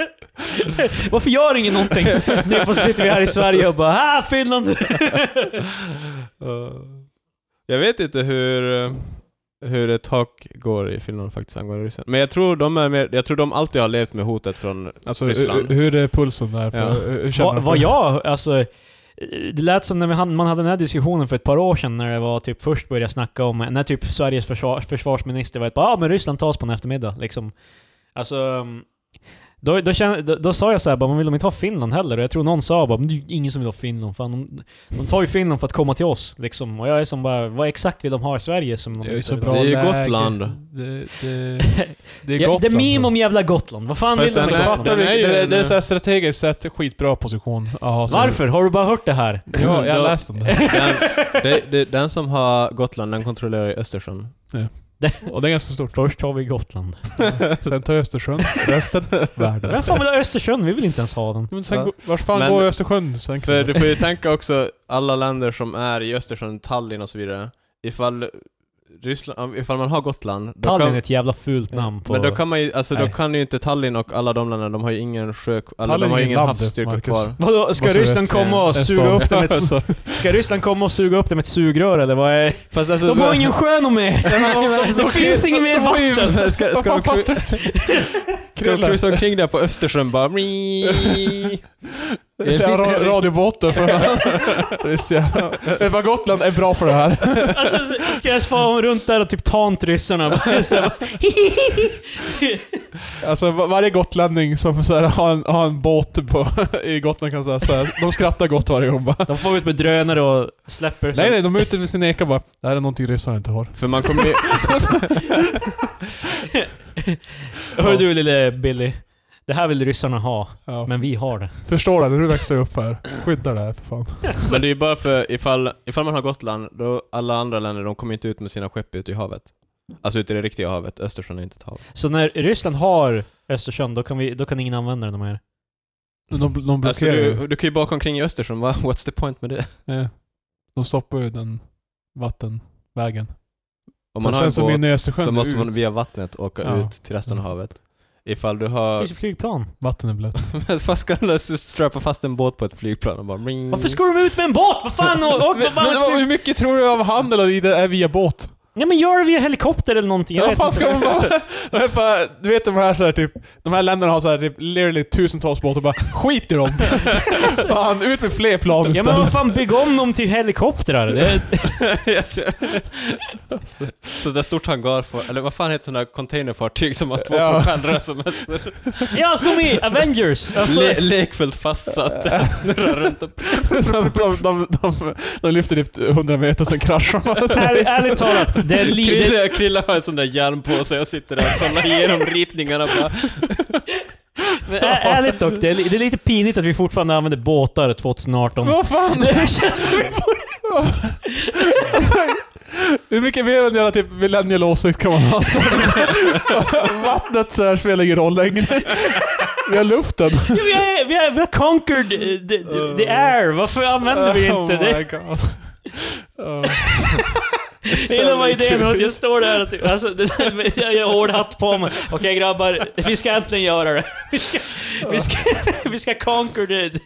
S2: Varför gör ingen någonting? Typ, och så sitter vi här i Sverige och bara ah, Finland!
S3: Eh, Jag vet inte hur, eh, hur ett tak går i Finland faktiskt angående ryssen. Men jag tror de är mer, jag tror de alltid har levt med hotet från...
S1: Alltså,
S3: Ryssland.
S1: hur, hur är pulsen där? För,
S3: Ja.
S1: hur- hur känner
S2: Vad
S1: de
S2: vad
S1: för-
S2: jag, alltså... Det lät som när vi han- man hade den här diskussionen för ett par år sedan när det var typ först började snacka om, när typ Sveriges försvar, försvarsminister var ett bara ah, men Ryssland tas på en eftermiddag liksom. Alltså... um, Då, då, kände, då, då sa jag så här, bara, man vill de inte ha Finland heller? Och jag tror någon sa bara, men det är ju ingen som vill ha Finland, fan de, de tar ju Finland för att komma till oss liksom. Och jag är som bara, vad exakt vill de ha i Sverige som de
S1: Det är ju
S2: inte
S1: så
S2: vill
S1: bra
S2: ha?
S3: Det är ju
S1: läge.
S3: Gotland.
S1: Det, det, det är
S2: Ja,
S1: Gotland.
S2: det är meme om jävla Gotland. Vad fan vill
S3: Fast
S2: de med
S3: den är-
S2: Gotland?
S1: Gotland,
S3: Den är ju
S1: det,
S3: en-
S1: det är så här strategiskt sett skitbra position att ha. så-
S2: Varför? Har du bara hört det här?
S1: Ja, jag har läst om det.
S3: Den, det- det- den som har Gotland, den kontrollerar ju Östersjön.
S1: Och det är ganska stort.
S2: Först har vi Gotland.
S1: Sen tar jag Östersjön. Resten, världen.
S2: Vem fan vill ha Östersjön? Vi vill inte ens ha den.
S1: Men sen,
S3: Ja.
S1: går- vart fan
S3: Men-
S1: går Östersjön sen?
S3: För du får ju tänka också, alla länder som är i Östersjön, Tallinn och så vidare. Ifall, Ryssland, ifall man har Gotland... då
S2: Tallinn
S3: kan-
S2: är ett jävla fult namn på...
S3: Men då kan man ju, alltså då
S2: Nej.
S3: kan ju inte Tallinn och alla de länderna, de har ju ingen sjö... Alla,
S1: Tallinn
S3: de har
S1: är
S3: ju
S1: ingen
S3: ingen
S1: land,
S3: havsstyrka
S1: Marcus.
S3: kvar.
S2: Vadå, ska
S1: Vad sa du?
S2: Ryssland komma och
S1: En
S2: suga
S1: stad.
S2: upp det med ett, Ska Ryssland komma och suga upp det med ett sugrör eller vad är...
S3: Fast alltså...
S2: De har ingen sjö nog mer! Det finns inget mer vatten!
S3: Ska, ska, ska, de,
S1: fan
S3: kru- ska de
S1: Krille.
S3: cruisa omkring där på Östersjön bara...
S1: Det är ra- radiobåten för det är så jävla- Vet vad Gotland är bra för det här.
S2: Alltså, ska jag fara runt där och typ tant ryssarna? Så jag bara,
S1: Alltså va- varje gotlänning som så här, har, en, har en båt på, i Gotland kan säga så här, de skrattar gott varje gång bara.
S2: De får ut med drönare och släpper...
S1: Nej nej, de är ute med sin eka bara. Det här är någonting ryssarna inte har.
S3: För man kommer ju...
S2: Hör du lille Billy. Det här vill ryssarna ha,
S1: Ja.
S2: men vi har det.
S1: Förstår det, när du växer upp här. Skydda det här för fan.
S3: Men det är ju bara för ifall, ifall man har Gotland, då alla andra länder, de kommer inte ut med sina skepp ute i havet. Alltså ute i det riktiga havet. Östersjön är inte ett hav.
S2: Så när Ryssland har Östersjön, då kan, vi, då kan ingen använda den mer.
S1: De, de blockerar
S3: Alltså
S1: ju.
S3: du, du kan ju bara åka omkring i Östersjön, va? What's the point med det?
S1: Nej. De stoppar ju den vattenvägen. Man
S3: Om man har
S1: känns som
S3: en
S1: inne i
S3: båt
S1: Östersjön.
S3: så måste
S1: ut.
S3: man via vattnet åka
S1: Ja.
S3: ut till resten av
S1: Mm.
S3: havet. Ifall du
S2: Det
S3: har...
S2: finns ju flygplan.
S1: Vatten är blött.
S3: Fast ska du strappa fast en båt på ett flygplan och bara...
S2: Varför ska de ut med en båt? Vad fan? Och, och,
S1: Men,
S2: bara,
S1: men hur mycket tror du av handel och i det är via båt?
S2: nej men gör det via helikopter eller någonting. Jag
S1: Ja,
S2: vet
S1: vad fan
S2: inte.
S1: ska de bara... De är bara du vet de här, så här typ... De här länderna har så här typ literally tusentals båtar bara skit i dem. fan, ut med fler plan
S2: Ja
S1: istället.
S2: men vad fan, bygg om dem till helikoptrar. Det,
S3: Yes. Alltså. så där stort hangar för, eller vad fan heter sådana containerfartyg som har två
S1: Ja.
S3: propellrar som är
S2: ja, som i Avengers! Alltså,
S3: le, lekfullt fastsatt, snurrar runt och
S1: Så de, de, de, de lyfter typ 100 meter, sen kraschar de. Så här.
S2: alltså, ärligt, ärligt talat, det är li-
S3: Krilla, Krilla har en sån där järnpåse och jag sitter där och kollar igenom ritningarna bara.
S2: Men ä- ärligt dock, det är, li- det är lite pinigt att vi fortfarande använder båtar 2018.
S1: Vad fan?
S2: Det känns som vi borde...
S1: Hur mycket mer än jävla typ millennial åsikt kan man ha? Vattnet så här spelar ingen roll längre. Vi har luften.
S2: Ja, vi, har, vi, har, vi har conquered eh, the, the, the air. Varför använder vi inte
S1: oh
S2: det?
S1: My God. Oh. Ja.
S2: Jag gillar bara idén med att jag står där och typ, alltså, det där med, jag jag har hård hatt på mig. Okej grabbar, vi ska äntligen göra det. Vi ska, vi ska, vi ska conquer det.
S3: Ta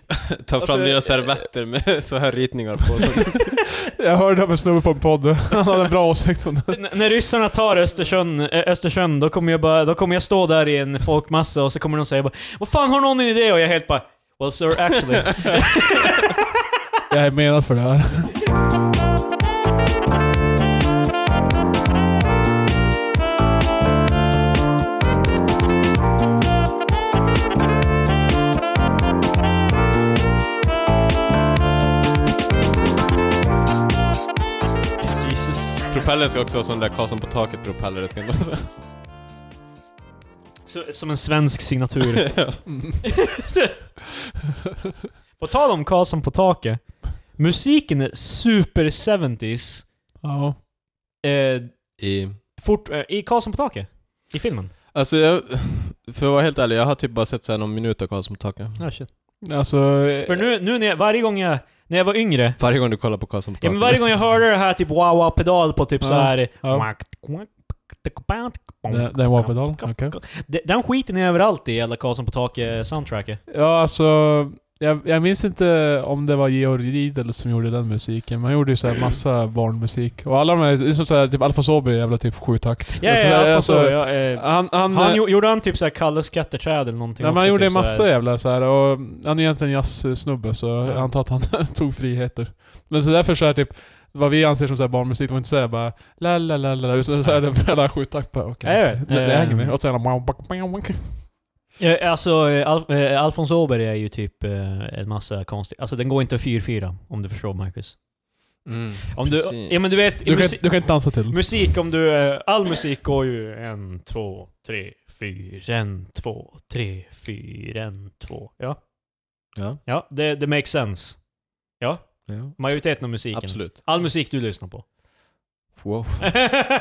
S3: fram
S1: Alltså,
S3: dina
S1: jag-
S3: servetter med så här ritningar på. Så.
S1: Jag hörde av en snubbe på en podd. Han hade en bra åsikt om det.
S2: N- när ryssarna tar Östersjön, eh, Östersjön då, kommer jag bara, då kommer jag stå där i en folkmassa och så kommer de säga bara Vad fan har någon en idé? Och jag helt bara Well sir actually.
S1: Jag är menad för det här.
S2: Jesus.
S3: Propellern ska också vara sån där Karlsson på taket-propeller. det ska inte vara så-
S2: Så, som en svensk signatur.
S3: Ja.
S2: på tal om Karlsson på taket. Musiken är super 70s.
S1: Ja.
S2: Eh,
S3: I...
S2: fort, eh, I Karlsson på taket? I filmen?
S3: Alltså, jag, för att vara helt ärlig, jag har typ bara sett så här någon minut av Karlsson på taket.
S2: Ah, shit.
S1: Alltså...
S2: För nu, nu när jag, varje gång jag, när jag var yngre,
S3: Varje gång du kollar på Karlsson på
S2: ja,
S3: taket.
S2: men varje gång jag hörde det här typ wow-wow-pedal på typ
S1: Ja,
S2: så här.
S1: ja. Den, den pedalen okej.
S2: Den- Den skiten är överallt i alla Karlsson på eh, taket-soundtracket.
S1: Ja, alltså... Jag, jag minns inte om det var Georg Riedel som gjorde den musiken, men han gjorde ju så här massa barnmusik. Och alla de här, det är som så här, typ Alfa Sobi, jävla typ sjutakt.
S2: Ja,
S1: Alltså,
S2: ja,
S1: det är
S2: ja,
S1: alltså-
S2: alltså, ja, eh,
S1: Han, han,
S2: han, gjo- gjorde han typ såhär Kalles katteträd eller någonting
S1: Nej, men
S2: också,
S1: han gjorde
S2: typ
S1: en massa
S2: såhär.
S1: jävla så här och han är egentligen jazzsnubbe så jag antar att han tog friheter. Men så därför så här typ, vad vi anser som så här barnmusik, det var inte såhär bara la la la la, la, utan såhär det hela sjuttakt på. Okej,
S2: Ja, ja.
S1: det, det hänger med. Och sen han
S2: Eh, Alltså, eh, Al eh, Alfons Åberg är ju typ eh, en massa konstig... Alltså den går inte att 4-4, om du förstår Marcus.
S3: Mm,
S2: Om du,
S3: precis.
S2: ja men du vet, i
S1: du, kan,
S2: musik-
S1: du kan inte dansa till den.
S2: Musik om du... eh, All musik går ju en, två, tre, fyra, en, två, tre, fyra, en, två. Ja,
S3: Ja,
S2: ja det, det makes sense.
S3: ja.
S2: Majoriteten av musiken.
S3: Absolut.
S2: All musik du lyssnar på.
S3: Wow.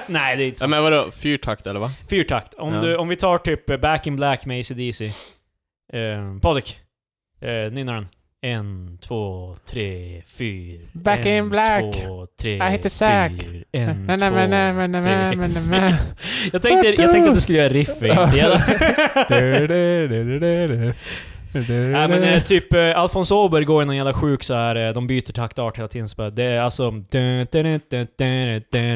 S2: Nej, det är inte
S3: Ja,
S2: sant.
S3: men vadå, fyrtakt eller va?
S2: Fyrtakt. Om,
S3: Ja.
S2: du, om vi tar typ eh, Back in Black med AC/DC. Eh, Patrik. Eh, nynna den. En, två, tre, fyra.
S1: Back
S2: en,
S1: in black.
S2: Två, tre,
S1: Jag heter Zack.
S2: fyra, En,
S1: Nej, nej,
S2: två,
S1: men, nej, men, nej,
S2: tre,
S1: men, nej,
S2: fyra.
S1: men.
S2: Jag tänkte, jag tänkte att du skulle göra riff
S1: Ja.
S2: i. Ja.
S1: Du, du, du, du, du, du. Du, du,
S2: Nej men
S1: du.
S2: eh, typ eh, Alfons Åberg går i någon jävla sjuk så här. eh, de byter taktart hela tiden. Så bara, det är alltså...
S3: Det är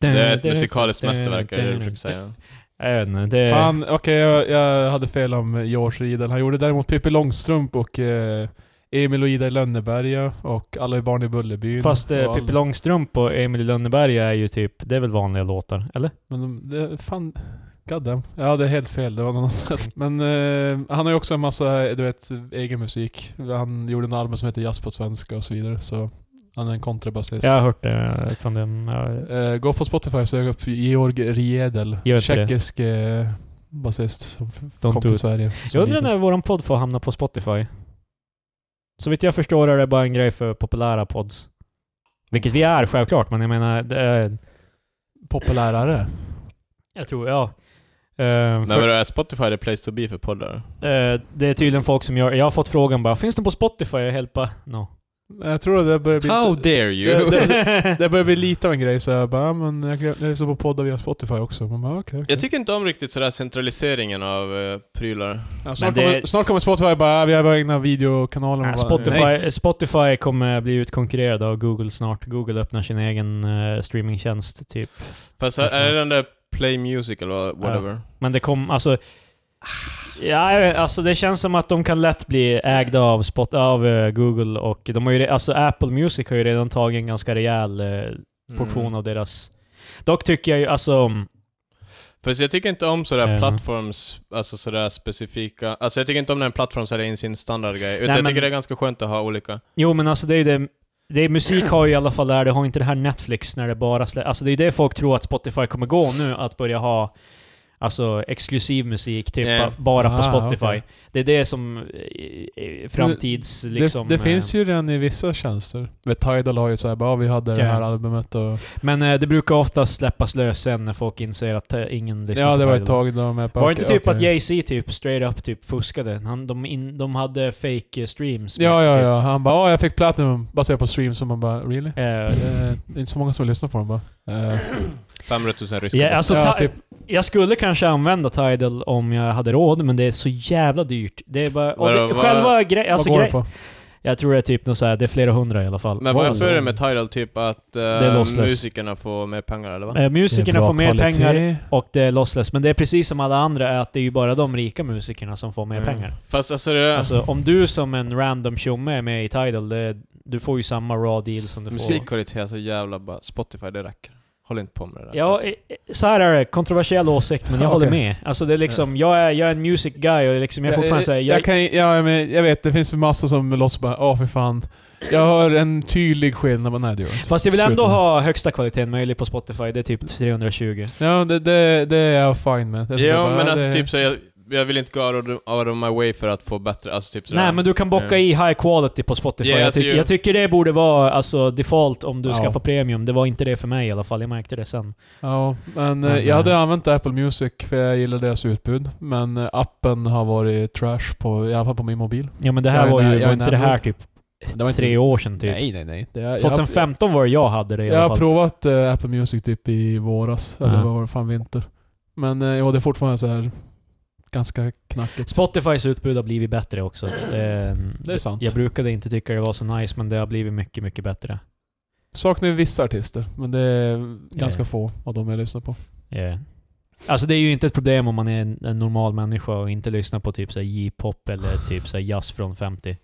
S2: Det
S3: ett musikaliskt mästerverk, är det du försöker säga.
S2: Jag vet inte, det...
S1: Fan, okej jag, jag hade fel om George Riedel. Han gjorde däremot Pippi Långstrump och eh, Emil och Ida i Lönneberga och Alla är barn i Bullerbyn.
S2: Fast
S1: och
S2: eh,
S1: all-
S2: Pippi Långstrump och Emil i Lönneberga är ju typ, det är väl vanliga låtar? Eller?
S1: Men de- det, fan, god damn. Jag hade helt fel, det var något annat.
S2: Mm.
S1: Men eh, han har ju också en massa, du vet, egen musik. Han gjorde en album som heter Jazz på svenska och så vidare, så han är en kontrabasist.
S2: Jag har hört det från den... ja.
S1: Eh, gå på Spotify och sök upp Georg Riedel,
S2: Gör inte det.
S1: tjeckisk eh, basist som
S2: Don't
S1: kom
S2: do
S1: till
S2: it.
S1: Sverige.
S2: Jag undrar när våran podd får hamna på Spotify. Så vitt jag förstår är det bara en grej för populära pods. Vilket vi är självklart, men jag menar... Det är,
S1: Populärare.
S2: jag tror, ja. Eh,
S3: Men
S2: för,
S3: vadå, är Spotify the place to be för poddar?
S2: eh, det är tydligen folk som gör... Jag har fått frågan bara, finns den på Spotify? Jag helt bara, no.
S1: Jag tror att det börjar bli...
S3: How dare you!
S1: Det- Det börjar bli lite av en grej så jag bara, ja, men jag, kan- jag så på poddar via Spotify också. Man bara, okej. okej.
S3: Jag tycker inte om riktigt sådär centraliseringen av eh, prylar.
S1: ja, snart,
S2: Men det-
S1: kommer, snart kommer Spotify bara, ja, vi har våra egna videokanaler.
S2: Nej,
S1: Man bara, nej.
S2: Spotify, Spotify kommer bli utkonkurrerad av Google snart. Google öppnar sin egen eh, streamingtjänst, typ.
S3: Fast är- är det den där Play Music eller vad- whatever?
S2: Men det kom, alltså... Ja, jag vet, alltså det känns som att de kan lätt bli ägda av, spot, av eh, Google och de har ju, re- alltså Apple Music har ju redan tagit en ganska rejäl eh, portion
S3: Mm.
S2: av deras... Dock tycker jag ju, alltså...
S3: Fast jag tycker inte om sådär
S2: Ja.
S3: plattforms, alltså sådär specifika, alltså jag tycker inte om när en plattform säljer in sin standardgrej, utan
S2: Nej,
S3: jag
S2: men-
S3: tycker det är ganska skönt att ha olika.
S2: Jo men alltså det är ju det... Det är, musik har ju i alla fall där, det har inte det här Netflix när det bara slä, Alltså det är ju det folk tror att Spotify kommer gå nu, att börja ha... Alltså exklusiv musik, typ
S3: Ja.
S2: ba- bara på
S1: Ah,
S2: Spotify.
S1: okej.
S2: Det är det som eh, eh, framtids... liksom,
S1: det det
S2: eh,
S1: finns ju redan i vissa tjänster. Vet, Tidal har ju såhär bara, "Ja, vi hade det
S2: Ja.
S1: här albumet och...
S2: Men eh, det brukar oftast släppas lös sen när folk inser att eh, ingen lyssnar
S1: Ja,
S2: på
S1: det var ett
S2: Tidal.
S1: tag då med
S2: Var det inte typ att Jay-Z typ straight up typ fuskade? Han, de, in, de hade fake eh, streams. med,
S1: Ja, ja,
S2: typ.
S1: ja. Han bara, "Ja, jag fick platinum baserat på stream, så man bara, really?
S2: Eh,
S1: Det är inte så många som lyssnar på den bara. Eh,
S3: 500 000 ryska
S2: ja, alltså,
S1: ja,
S2: Ti-
S1: typ.
S2: Jag skulle kanske använda Tidal om jag hade råd, men det är så jävla dyrt. Det är bara... Och
S3: Vadå,
S2: det,
S3: vad-
S2: själva grejen... Alltså,
S1: vad går
S2: grej,
S1: det på?
S2: jag tror det är typ något så här, det är flera hundra i alla fall.
S3: Men vad jag
S1: Wow.
S3: såg det med Tidal, typ att eh,
S2: är lossless.
S3: musikerna får mer pengar eller vad?
S2: Eh, musikerna får mer pengar
S1: pengar.
S2: och det är lossless. Men det är precis som alla andra, är att det är ju bara de rika musikerna som får mer
S3: Mm.
S2: pengar.
S3: Fast alltså det...
S2: Alltså om du som en random tjomme är med i Tidal, det, du får ju samma raw deal som du får...
S3: Musikkvalitet är så jävla bara, Spotify det räcker. Håll inte på med det där. Typ.
S2: Ja, eh, eh, så här är det. Kontroversiell åsikt, men jag
S1: Ah, Okej.
S2: håller med. Alltså det är liksom, jag är, jag är en music guy och liksom jag är fortfarande säger
S1: eh, jag, kan, ja, men jag vet, det finns massor som låtsas bara åh för fan. Jag har en tydlig skillnad, men nej det gör jag inte.
S2: Fast jag vill ändå
S1: Sluta.
S2: ha högsta kvaliteten möjlig på Spotify, det är typ 320.
S1: Ja, det, det, det är jag fine med. Det är så
S3: Ja,
S1: bara,
S3: men
S1: ja,
S3: alltså
S1: det-
S3: typ så jag, jag vill inte gå out of, out of my way för att få bättre, alltså typ sådär.
S2: Nej, men du kan bocka
S3: Mm.
S2: i high quality på Spotify.
S3: Ja,
S2: jag,
S3: alltså
S2: tycker-
S3: ju-
S2: jag tycker det borde vara alltså, default om du
S1: Ja.
S2: skaffar premium. Det var inte det för mig i alla fall, jag märkte det sen.
S1: Ja, men eh,
S2: Men,
S1: jag hade
S2: eh,
S1: använt Apple Music för jag gillar deras utbud. Men eh, appen har varit trash på, i alla fall på min mobil.
S2: Ja men det här
S1: Jag är
S2: var
S1: nä-
S2: ju,
S1: jag
S2: var
S1: är
S2: inte det här
S1: Android.
S2: typ
S1: Det var inte-
S2: tre år sedan typ?
S1: nej, nej. Det, jag-
S2: 2015 var det jag hade det i
S1: Jag, jag
S2: alla
S1: har
S2: fall.
S1: provat eh, Apple Music typ i våras, eller
S2: Ja.
S1: vad var det, fan vinter. Men eh, ja, det är fortfarande så här ganska knackigt.
S2: Spotifys utbud har blivit bättre också. Eh,
S1: det är sant.
S2: Jag brukade inte tycka det var så nice, men det har blivit mycket, mycket bättre.
S1: Saknar ju vissa artister, men det är ganska få av dem jag lyssnar på.
S2: Yeah. Alltså det är ju inte ett problem om man är en, en normal människa och inte lyssnar på typ så här J-pop eller typ så här jazz från 50.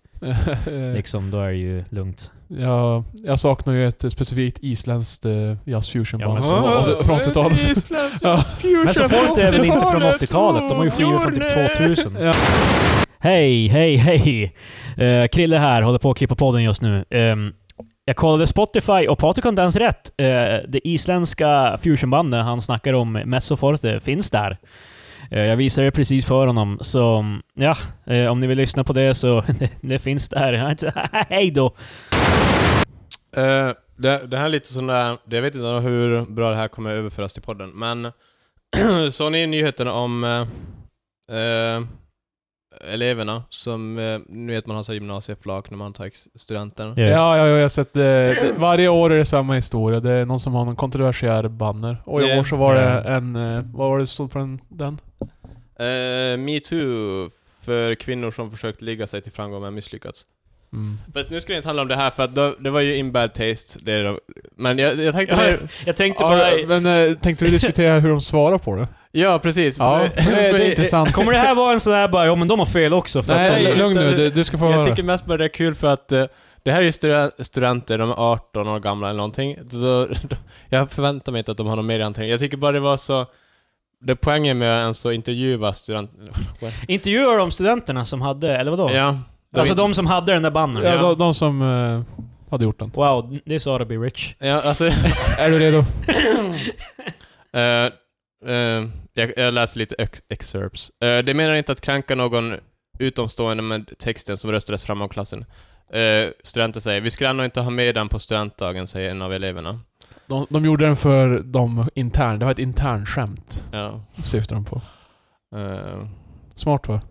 S2: Liksom, då är det ju lugnt.
S1: jag, jag saknar ju ett specifikt isländskt eh, jazzfusionband
S2: Ja, men så-
S1: från- från 80-talet. Ja.
S2: Men så folk är väl inte från 80-talet? De har ju skivor från typ 2000.
S1: Ja.
S2: Hej, hej, hej! Eh, Krille här, håller på att klippa podden just nu. Ehm, jag kollade Spotify och Patrik har inte ens rätt. Eh, det isländska fusionbandet han snackar om, Messoforte, finns där. Eh, jag visade det precis för honom, så ja, eh, om ni vill lyssna på det så det, finns där. Alltså, hej då!
S3: Eh, det, det här är lite sån där, jag vet inte hur bra det här kommer överföras till podden, men såg ni nyheterna om eh, eh, eleverna som, eh, nu vet man har så här gymnasieflak när man tar ex- studenten.
S1: Ja, ja, ja, jag har sett det. det. Varje år är det samma historia. Det är någon som har någon kontroversiell banner. Och i
S3: Ja.
S1: år så var det
S2: Ja.
S1: en... eh, Vad var det stod på den? den?
S3: Eh, Me too för kvinnor som försökt ligga sig till framgång men misslyckats.
S1: Mm.
S3: Fast nu ska det inte handla om det här för att då, det var ju in bad taste, det är det, men jag, jag tänkte mer...
S2: Jag tänkte bara...
S1: Ja, men eh, tänkte du diskutera hur de svarar på det?
S3: Ja, precis.
S1: Ja, för det, det är intressant.
S2: Kommer det här vara en sån här bara, ja men de har fel också för att
S1: Nej,
S2: de...
S3: utan-
S1: lugn nu. Du, du ska få höra.
S3: Jag tycker mest bara det är kul för att eh, det här är ju stud- studenter, de är 18 år gamla eller någonting. Så, jag förväntar mig inte att de har någon mer antingen. Jag tycker bara det var så... Det poängen med att ens att intervjua studenter...
S2: Intervjuar de studenterna som hade, eller vadå?
S3: Ja.
S2: alltså de som hade den där bannern?
S1: ja, de, de som eh, hade gjort den.
S2: Wow, this ought to be rich.
S3: Ja, alltså...
S1: Är du redo?
S3: eh, eh, jag, jag läser lite ex excerpts. Eh, det menar inte att kränka någon utomstående med texten som röstades fram av klassen. Eh, studenter säger, vi skulle ändå inte ha med den på studentdagen, säger en av eleverna.
S1: De, de gjorde den för de intern. Det var ett internskämt,
S3: Ja.
S1: syftar de på.
S3: Eh,
S1: Smart va?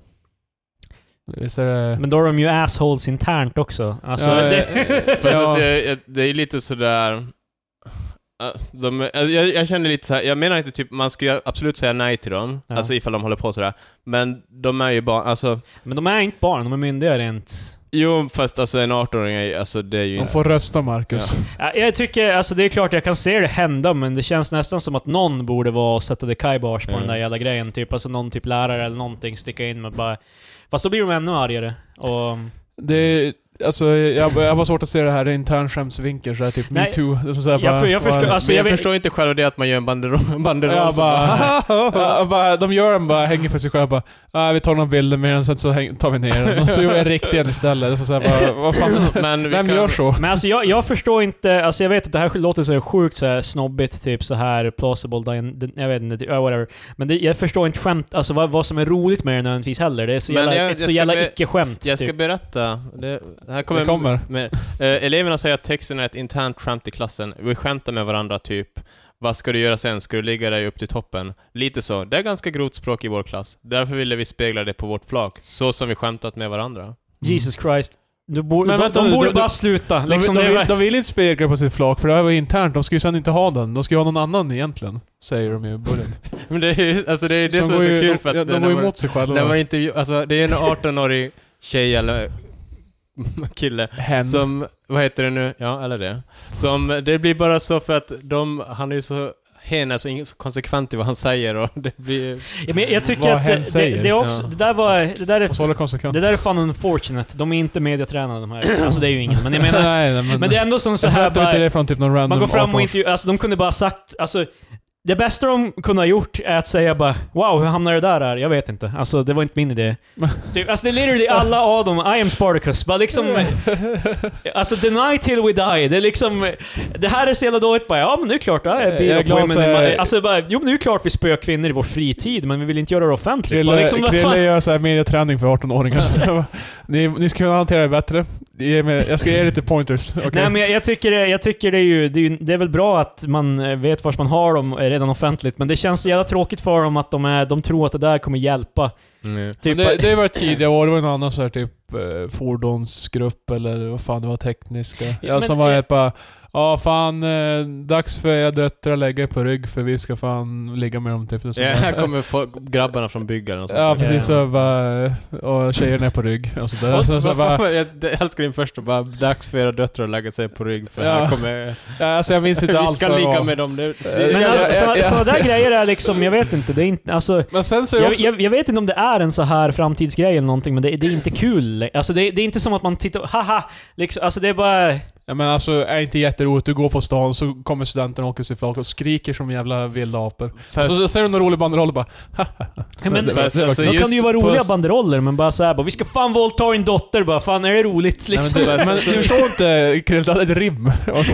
S1: Visst är det...
S2: Men då är de ju assholes internt också. Alltså,
S1: Ja,
S2: det...
S3: Fast alltså, jag, jag, det är lite sådär... Äh, De, alltså, jag, jag känner lite så här. jag menar inte typ, man ska ju absolut säga nej till dem,
S2: Ja.
S3: alltså ifall de håller på sådär. Men de är ju bara, alltså,
S2: men de är inte barn, de är myndiga rent...
S3: jo fast alltså en 18-åring, är ju- alltså det är ju...
S1: De får rösta Marcus.
S2: Ja, Jag tycker, alltså det är klart jag kan se det hända, men det känns nästan som att någon borde vara och sätta the kibosh på
S3: Mm.
S2: den där jävla grejen. Typ, alltså någon typ lärare eller någonting sticka in med bara... Fast då blir de ännu argare. Och,
S1: Det, Alltså jag, jag var svårt att se det här i internskämsvinkel såhär typ
S2: Nej,
S1: metoo. Det är som så här
S2: jag
S1: bara-
S2: för- jag
S1: bara-
S2: förstår- alltså,
S3: Men jag,
S2: jag vet-
S3: förstår inte själv det att man gör en banderoll, banderoll
S1: Ja,
S3: som
S1: bara- Ja, bara, de gör den bara, hänger för sig själva bara ah, vi tar några bilder med den, sen så häng, tar vi ner den. Och så gjorde jag riktigt en istället. Det är som Så här, bara, vad fan,
S3: Men vi
S1: vem
S3: kan, Mm.
S1: gör så?
S2: Men alltså jag, jag förstår inte, alltså jag vet att det här låter så här sjukt så här snobbigt, typ så här plausible, din, jag vet inte, typ, ja, whatever. Men det, jag förstår inte skämt, alltså vad, vad som är roligt med det nödvändigtvis heller. Det är så
S3: Men
S2: jävla,
S3: jag-
S2: ett
S3: jag
S2: så
S3: ska
S2: jävla
S3: be-
S2: icke-skämt.
S3: Jag ska
S2: typ.
S3: berätta. Det, det här kommer...
S1: Det kommer.
S3: Men, eh, eleverna säger att texten är ett internt skämt i klassen. Vi skämtar med varandra, typ. Vad ska du göra sen? Ska du ligga dig upp till toppen? Lite så. Det är ganska grovt språk i vår klass. Därför ville vi spegla det på vårt flak, så som vi skämtat med varandra.
S2: Jesus Christ. Du bor,
S1: Mm. Men
S2: de,
S1: vänta
S2: de
S1: nu,
S2: borde
S1: de-
S2: bara
S1: de-
S2: sluta.
S1: De,
S2: Liksom,
S1: de,
S2: det
S1: vill,
S2: är-
S1: de vill inte spegla på sitt flak, för det här var internt. De ska ju sen inte ha den. De ska ju ha någon annan egentligen. Säger de ju i början.
S3: Men det är ju alltså det, är det
S1: Så
S3: som är
S1: de
S3: så
S1: går ju-
S3: kul för att...
S1: de, de
S3: när
S1: går ju
S3: man-
S1: emot sig själva.
S3: när man intervju, alltså, det är en 18-årig tjej eller kille
S1: Hen.
S3: Som, vad heter det nu? Ja, eller det. Som, det blir bara så för att de, han är ju så, hen är så, in, så konsekvent i vad han säger och det blir...
S2: Ja, men jag tycker
S1: Vad
S2: att
S1: hen
S2: det, det,
S1: säger.
S2: det, är också,
S3: Ja.
S2: det där var... Det där är,
S1: Och så håller konsekvent.
S2: det där är fan unfortunate. De är inte mediatränade de här. Alltså det är ju ingen, men jag menar...
S1: nej, nej, men,
S2: Men det är ändå som så
S1: jag
S2: här
S1: hämtar
S2: bara,
S1: inte det från typ någon random
S2: Man går fram och
S1: 18-års-
S2: intervjuar, alltså de kunde bara sagt, alltså det bästa de kunde ha gjort är att säga bara Wow, hur hamnade det där här? Jag vet inte. Alltså det var inte min idé. typ, alltså det är literally alla av dem, I am Spartacus. Bara liksom... alltså deny till we die. Det är liksom... Det här är så jävla dåligt. Bara, ja men det är klart, det här är
S1: Jag är
S2: bild
S1: glad
S2: of women.
S1: så här-
S2: in my-" Alltså bara, jo men det är ju klart vi spöar kvinnor i vår fritid, men vi vill inte göra det offentligt. Bara,
S1: Krille,
S2: liksom, vad
S1: Krille
S2: fan?
S1: gör såhär mediaträning för 18-åringar. Så ni, ni ska kunna hantera det bättre. Ge mig, jag ska ge er lite pointers. okej?
S2: Nej men jag, jag tycker, det, jag tycker det, är ju, det är ju... Det är väl bra att man eh, vet vart man har dem eh, redan offentligt, men det känns så jävla tråkigt för dem att de, är, de tror att det där kommer hjälpa. Typ,
S1: Men det, det var tidiga år, det var en annan så här typ eh, fordonsgrupp eller vad fan det var, tekniska.
S2: Ja,
S1: Ja,
S2: men-
S1: som var helt bara Ja fan, eh, dags för era döttrar att lägga er på rygg för vi ska fan ligga med dem typ. Det är så
S3: Ja,
S1: här.
S3: här kommer folk, grabbarna från byggaren och sånt.
S1: Ja
S3: där.
S1: precis,
S2: Ja.
S1: så bara, eh, och tjejerna är på rygg och sådär.
S3: Och,
S1: Och så, så
S3: vad fan,
S1: bara,
S3: jag jag älskar din första bara, dags för era döttrar att lägga sig på rygg för
S1: Ja.
S3: här kommer...
S1: ja, alltså jag minns inte
S3: Vi
S1: alls
S3: ska
S1: vad det
S3: ligga
S1: var.
S3: med dem. Det,
S2: Men
S1: Ja,
S2: alltså,
S1: ja,
S2: så,
S1: ja.
S2: sådana där grejer är liksom, jag vet inte, det är inte, alltså...
S1: Men sen så är det
S2: Jag,
S1: också...
S2: jag, jag vet inte om det är en så här framtidsgrej eller någonting, men det, det är inte kul. Alltså det, det är inte som att man tittar, haha! Liksom, alltså det är bara...
S1: Ja, men alltså, är inte jätteroligt. Du går på stan så kommer studenterna och åker sig flak och skriker som jävla vilda apor.
S3: Fast-
S1: Så, så ser du någon rolig banderoll och bara
S2: Men,
S1: det var-
S3: Fast, alltså,
S2: då kan
S3: just
S2: det ju vara
S3: på-
S2: roliga banderoller, men bara så här, bara, vi ska fan våldta din dotter bara, fan är det roligt liksom?
S1: Nej,
S3: Liksom.
S1: men, du, men du förstår inte Krille, det hade ett rim. Och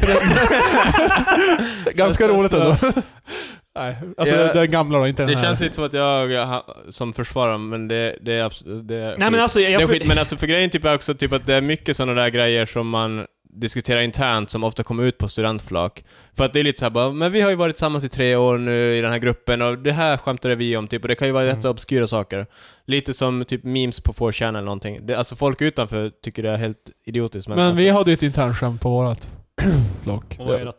S1: det- Ganska
S3: Fast
S1: roligt ändå. Nej, alltså
S3: Ja.
S1: den gamla då, inte den
S3: Det
S1: här.
S3: känns lite som att jag, jag ha- som försvarar, men det, det är absolut... Det är
S2: Nej men
S3: skit.
S2: alltså, jag...
S3: det är
S2: jag
S3: skit, men alltså för grejen typ är också typ att det är mycket sådana där grejer som man diskuterar internt som ofta kommer ut på studentflak. För att det är lite såhär bara, men vi har ju varit tillsammans i tre år nu i den här gruppen och det här skämtade vi om typ och det kan ju vara rätt
S2: Mm.
S3: så obskyra saker. Lite som typ memes på 4chan eller någonting. Det, alltså folk utanför tycker det är helt idiotiskt men,
S1: Men
S3: alltså,
S1: vi hade ju ett internskämt på vårat flock.
S2: Vad är det?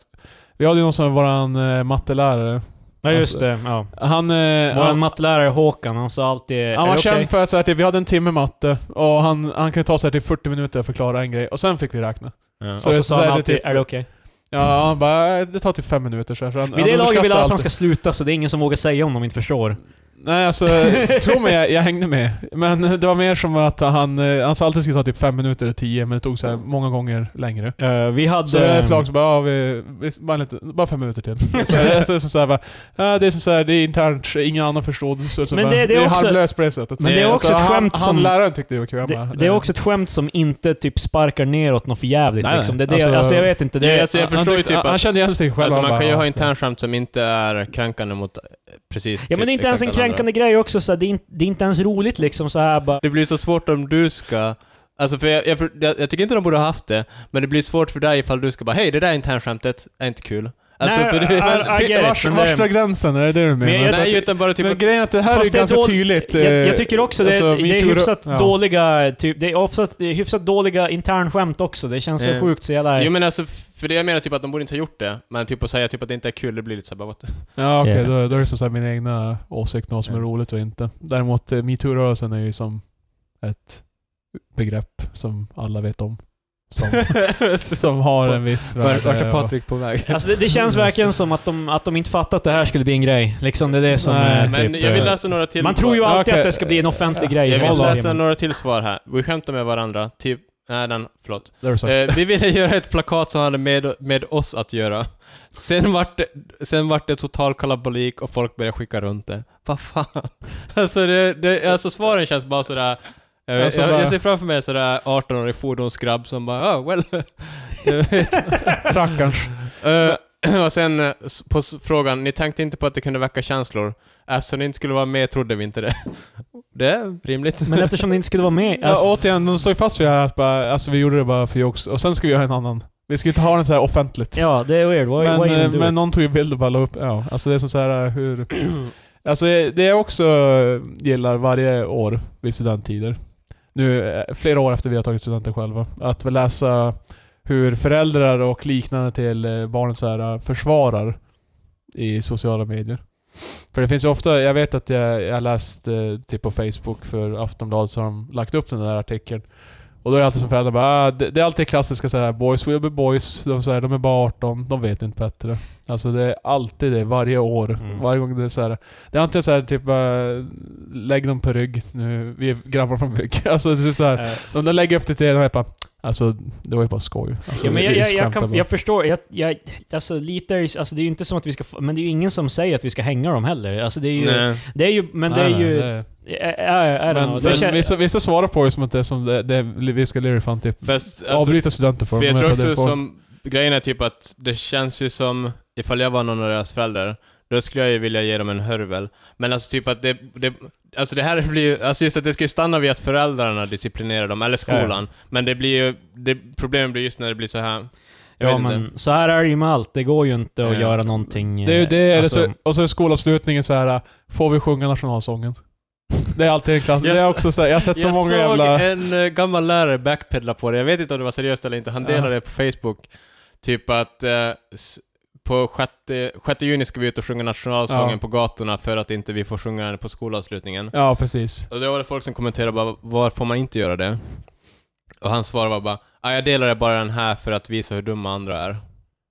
S1: Vi hade ju någon som var våran eh, mattelärare.
S2: Ja just
S1: Alltså,
S2: det, ja.
S1: Han, eh,
S2: Våran
S1: han,
S2: mattelärare Håkan, han sa alltid... "Är
S1: han
S2: det
S1: var
S2: okej?"
S1: känd för att säga att vi hade en timme matte och han, han kunde ta sig till 40 minuter att förklara en grej och sen fick vi räkna.
S3: ja.
S1: så
S2: Och
S1: det
S2: så
S1: är så
S2: sa han
S1: här, det
S2: alltid,
S1: typ-
S2: är det okej?
S1: Ja, han bara, "Eh, det tar typ fem minuter så här. Så han,
S2: Vid det laget vill
S1: underskattar
S2: alla att han
S1: alltid.
S2: ska sluta, så det är ingen som vågar säga om de inte förstår.
S1: Nej, alltså tro mig, jag, jag hängde med. Men det var mer som att han, eh, han sa alltid skulle ta typ fem minuter eller tio, men det tog så här många gånger längre.
S2: Eh, vi hade...
S1: Så jag är flak så bara, ja, vi, vi, bara, lite, bara fem minuter till. Så, jag- så, är det som så här, bara, ja, det är som så här, det är internt, så ingen annan förstår. Så, så
S2: Men
S1: bara,
S2: det- det är också-
S1: harmlöst på det sättet.
S2: men det är
S1: Så
S2: också ett
S1: han,
S2: skämt
S1: han,
S2: som-
S1: läraren tyckte det var kul. Jag bara,
S2: det, det är också ett skämt som inte typ sparkar neråt något för jävligt
S1: Nej, nej.
S2: liksom. Det är det, alltså,
S1: Alltså-
S2: jag vet inte. Det,
S3: Ja, alltså, jag
S1: Han- han
S3: förstår ju
S1: tyckte-
S3: typ
S1: han, han
S3: att-
S1: kände igen sig själv.
S3: Alltså
S1: Han
S3: man
S1: bara,
S3: kan ju
S1: ja.
S3: ha internskämt som inte är kränkande mot eh, precis typ,
S2: ja men det är inte ens en
S3: exakt alla andra.
S2: kränkande grej också, så här, det, är inte, det är inte ens roligt liksom så här bara.
S3: Det blir så svårt om du ska... Alltså för jag, jag, för- jag, jag tycker inte de borde ha haft det, men det blir svårt för dig ifall du ska bara hej det där internskämtet är inte kul. Alltså
S2: Nej,
S3: för det,
S2: I- I
S1: Men,
S2: get it,
S1: vars,
S2: men det-
S1: värsta gränsen, är det det du menar?
S2: Men jag-
S3: nej utan bara typ
S1: men
S3: att-
S1: grejen är att det här är ju
S2: Fast det är
S1: ganska
S2: då-
S1: tydligt. eh,
S2: Jag, jag tycker också det,
S1: alltså,
S2: det är
S1: metoo-
S2: hyfsat
S1: ja.
S2: dåliga, typ, det är ofta, det är hyfsat dåliga internskämt också. Det känns så
S3: Eh.
S2: sjukt så jävla...
S3: Jo men alltså, för det jag menar typ att de borde inte ha gjort det, men typ att säga typ att det inte är kul, det blir lite såhär bara what the-
S1: Ja okej,
S2: Yeah.
S1: då, då är det som sagt min egna åsikt om vad som är
S3: Ja.
S1: roligt och inte. Däremot eh, metoo-rörelsen är ju som ett begrepp som alla vet om. Som, som har en viss
S3: Vart vart är
S1: och-
S3: Patrik på väg?
S2: Alltså det, det känns verkligen som att de, att de inte fattat att det här skulle bli en grej. Liksom det är det som
S1: Nej,
S2: är,
S3: Men
S2: typ,
S3: jag vill
S2: eh,
S3: läsa några till
S2: Man tror ju
S3: svar.
S2: alltid
S1: Okej.
S2: att det ska bli en offentlig grej.
S3: Jag
S2: hela
S3: vill
S2: dagen.
S3: läsa några till svar här. Vi skämtar med varandra, typ Nej, den, förlåt.
S1: Det har du sagt.
S3: Eh, vi ville göra ett plakat som hade med, med oss att göra. Sen vart, det, sen vart det total kalabalik och folk började skicka runt det. Vad fan? Alltså, det, det, alltså svaren känns bara sådär... Jag, vet-
S1: Alltså
S3: jag,
S1: bara-
S3: jag ser framför mig en sådär 18-årig fordonsgrabb som bara oh well. Du vet.
S1: alltså, Rackarns.
S3: Eh, och sen eh, s- på s- frågan, ni tänkte inte på att det kunde väcka känslor? Eftersom ni inte skulle vara med trodde vi inte det. Det är rimligt.
S2: Men eftersom det inte skulle vara med... Alltså,
S1: ja, återigen, de står ju fast vid det här att bara, alltså, vi gjorde det bara för jox och sen ska vi göra en annan. Vi ska ju inte ha den så här offentligt.
S2: ja, det är weird. Why,
S1: men
S2: why
S1: eh,
S2: even do
S1: men
S2: it?
S1: någon tog ju bild och bara la upp. Ja, alltså det är som så här eh, hur... Alltså eh, det jag också eh, gillar varje år vid studenttider, nu eh, flera år efter vi har tagit studenten själva, att vi läsa hur föräldrar och liknande till eh, barnen så här eh, försvarar i sociala medier. För det finns ju ofta, jag vet att jag, jag läst eh, typ på Facebook för Aftonbladet så har de lagt upp den där artikeln. Och då är det alltid som föräldrar bara, ah, det, det är alltid klassiska så här boys will be boys, de, så här, de är bara 18, de vet inte bättre. Alltså det är alltid det, varje år.
S2: Mm.
S1: Varje gång det är så här. Det är antingen så här typ bara, lägg dem på rygg nu, vi är grabbar från bygg. Alltså det är typ så här.
S2: Eh,
S1: De där lägger upp det till en och jag bara, alltså det var ju bara skoj. Alltså,
S2: Ja, men
S1: vi-
S2: jag,
S1: vi
S2: jag, jag,
S1: skämtar
S2: kan,
S1: bara.
S2: jag förstår, jag, jag, alltså lite är det- alltså det är ju inte som att vi ska, få- men det är ju ingen som säger att vi ska hänga dem heller. Alltså det är ju,
S3: Nej.
S2: det är ju, men det
S1: Nej,
S2: är
S1: nej,
S2: ju,
S1: nej.
S2: I, I, I don't
S1: Men
S2: know. Det
S1: men
S2: kän-
S1: vissa, vissa svarar på det som att det är som det, det vi ska lira fan typ.
S3: Fast, alltså,
S1: Avbryta studenter för.
S3: För jag
S1: de är
S3: tror
S1: på det
S3: också
S1: folk.
S3: som, grejen är typ att det känns ju som, ifall jag var någon av deras föräldrar, då skulle jag ju vilja ge dem en hörvel. Men alltså typ att det, det alltså det här blir ju, alltså just att det ska ju stanna vid att föräldrarna disciplinerar dem, eller skolan.
S2: Ja,
S3: Men det blir ju, det, problemet blir just när det blir så här. Jag
S2: ja,
S3: vet inte.
S2: men så här är det ju med allt. Det går ju inte att
S3: Ja.
S2: göra någonting... eh,
S1: Det är ju det,
S2: alltså,
S1: eller så, och så är skolavslutningen så här äh, får vi sjunga nationalsången? Det är alltid en klass.
S3: Jag
S1: det är
S3: så-
S1: också så här, jag har sett så
S3: jag
S1: många
S3: såg
S1: jävla...
S3: en eh, gammal lärare backpedla på det, jag vet inte om det var seriöst eller inte, han
S1: Ja.
S3: delade det på Facebook. Typ att eh, s- på 6 juni ska vi ut och sjunga nationalsången
S1: Ja.
S3: på gatorna för att inte vi får sjunga den på skolavslutningen.
S1: Ja, precis.
S3: Och då var det folk som kommenterade bara, var får man inte göra det? Och hans svar var bara, ah, jag delar det bara den här för att visa hur dumma andra är.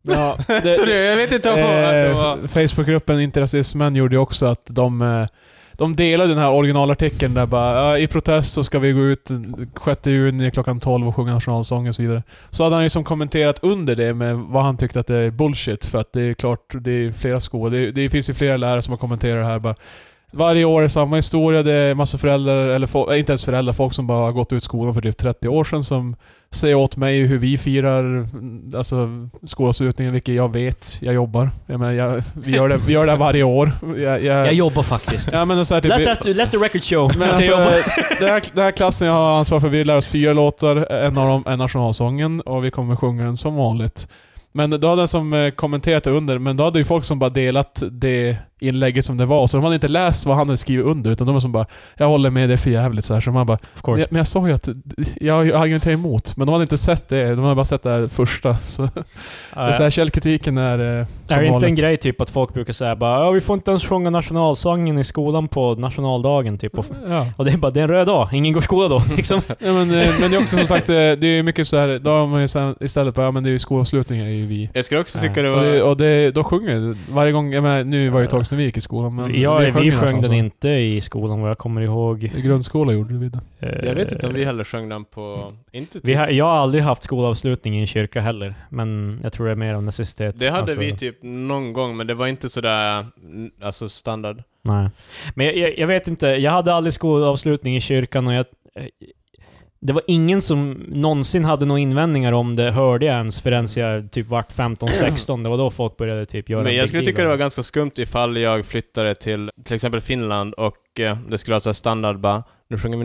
S1: Ja,
S3: så det, jag vet inte om det var...
S1: Eh, Facebookgruppen Inte rasismen gjorde ju också att de, eh, de delade den här originalartikeln där bara "Ja, i protest så ska vi gå ut den 6 juni klockan 12 och sjunga nationalsången och så vidare. Så hade han ju som kommenterat under det med vad han tyckte att det är bullshit för att det är klart, det är flera skolor, det, det finns ju flera lärare som har kommenterat det här bara varje år är samma historia, det är massa föräldrar, eller fo- eh, inte ens föräldrar, folk som bara har gått ut skolan för typ 30 år sedan som säger åt mig hur vi firar mm, alltså, skolavslutningen, vilket jag vet, jag jobbar. Jag menar, jag, vi, gör det, vi gör det här varje år. Jag, jag,
S2: Jag jobbar faktiskt.
S1: ja, men så här, typ,
S2: let, that, let the record show.
S1: men
S2: att
S1: alltså,
S2: jag jobbar.
S1: den, här, den här klassen jag har ansvar för, vi lär oss fyra låtar, en av dem är nationalsången och vi kommer sjunga den som vanligt. Men då hade den som eh, kommenterat det under, men då hade ju folk som bara delat det inlägget som det var, så de hade inte läst vad han hade skrivit under, utan de var som bara ”Jag håller med, det är för jävligt” så här, så man bara
S2: Of course.
S1: "Ja, Men jag sa ju att jag argumenterar emot, men de hade inte sett det, de hade bara sett det här första. Så, det är så här, källkritiken är eh, som
S2: är det inte en
S1: vanligt.
S2: grej typ att folk brukar säga bara "Ja, vi får inte ens sjunga nationalsången i skolan på nationaldagen typ. Och,
S1: Ja.
S2: och det är bara, det är en röd dag, ingen går i skolan då. Liksom.
S1: Ja, men, eh, men det är också som sagt, eh, det är mycket så här, då har man ju sen istället bara, ja men det är ju skolavslutningar är ju vi.
S3: Jag skulle också
S2: Nej.
S3: tycka det
S1: Och, det,
S3: var...
S1: och det, då sjunger varje gång, jag menar, nu var det ju ett tag sedan vi gick i skolan men
S2: ja, vi,
S1: ju
S2: sjöng
S1: nästan
S2: den
S1: så.
S2: inte i skolan vad jag kommer ihåg. Eh,
S1: I grundskola gjorde vi det.
S3: Jag vet inte om vi heller sjöng den på... Inte typ.
S2: Vi har, jag har aldrig haft skolavslutning i en kyrka heller, men jag tror det är mer av necessitet.
S3: Det hade
S2: Alltså,
S3: vi typ någon gång, men det var inte sådär, mm, alltså standard.
S2: Nej. Men jag- jag, jag vet inte, jag hade aldrig skolavslutning i kyrkan och jag... eh, Det var ingen som någonsin hade några invändningar om det, hörde jag ens, förrän jag typ vart 15-16. Det var då folk började typ göra
S3: Men
S2: en
S3: jag
S2: big
S3: skulle
S2: deal
S3: tycka det var
S2: av
S3: ganska skumt ifall jag flyttade till till exempel Finland och eh, det skulle vara så här standard bara, nu sjunger vi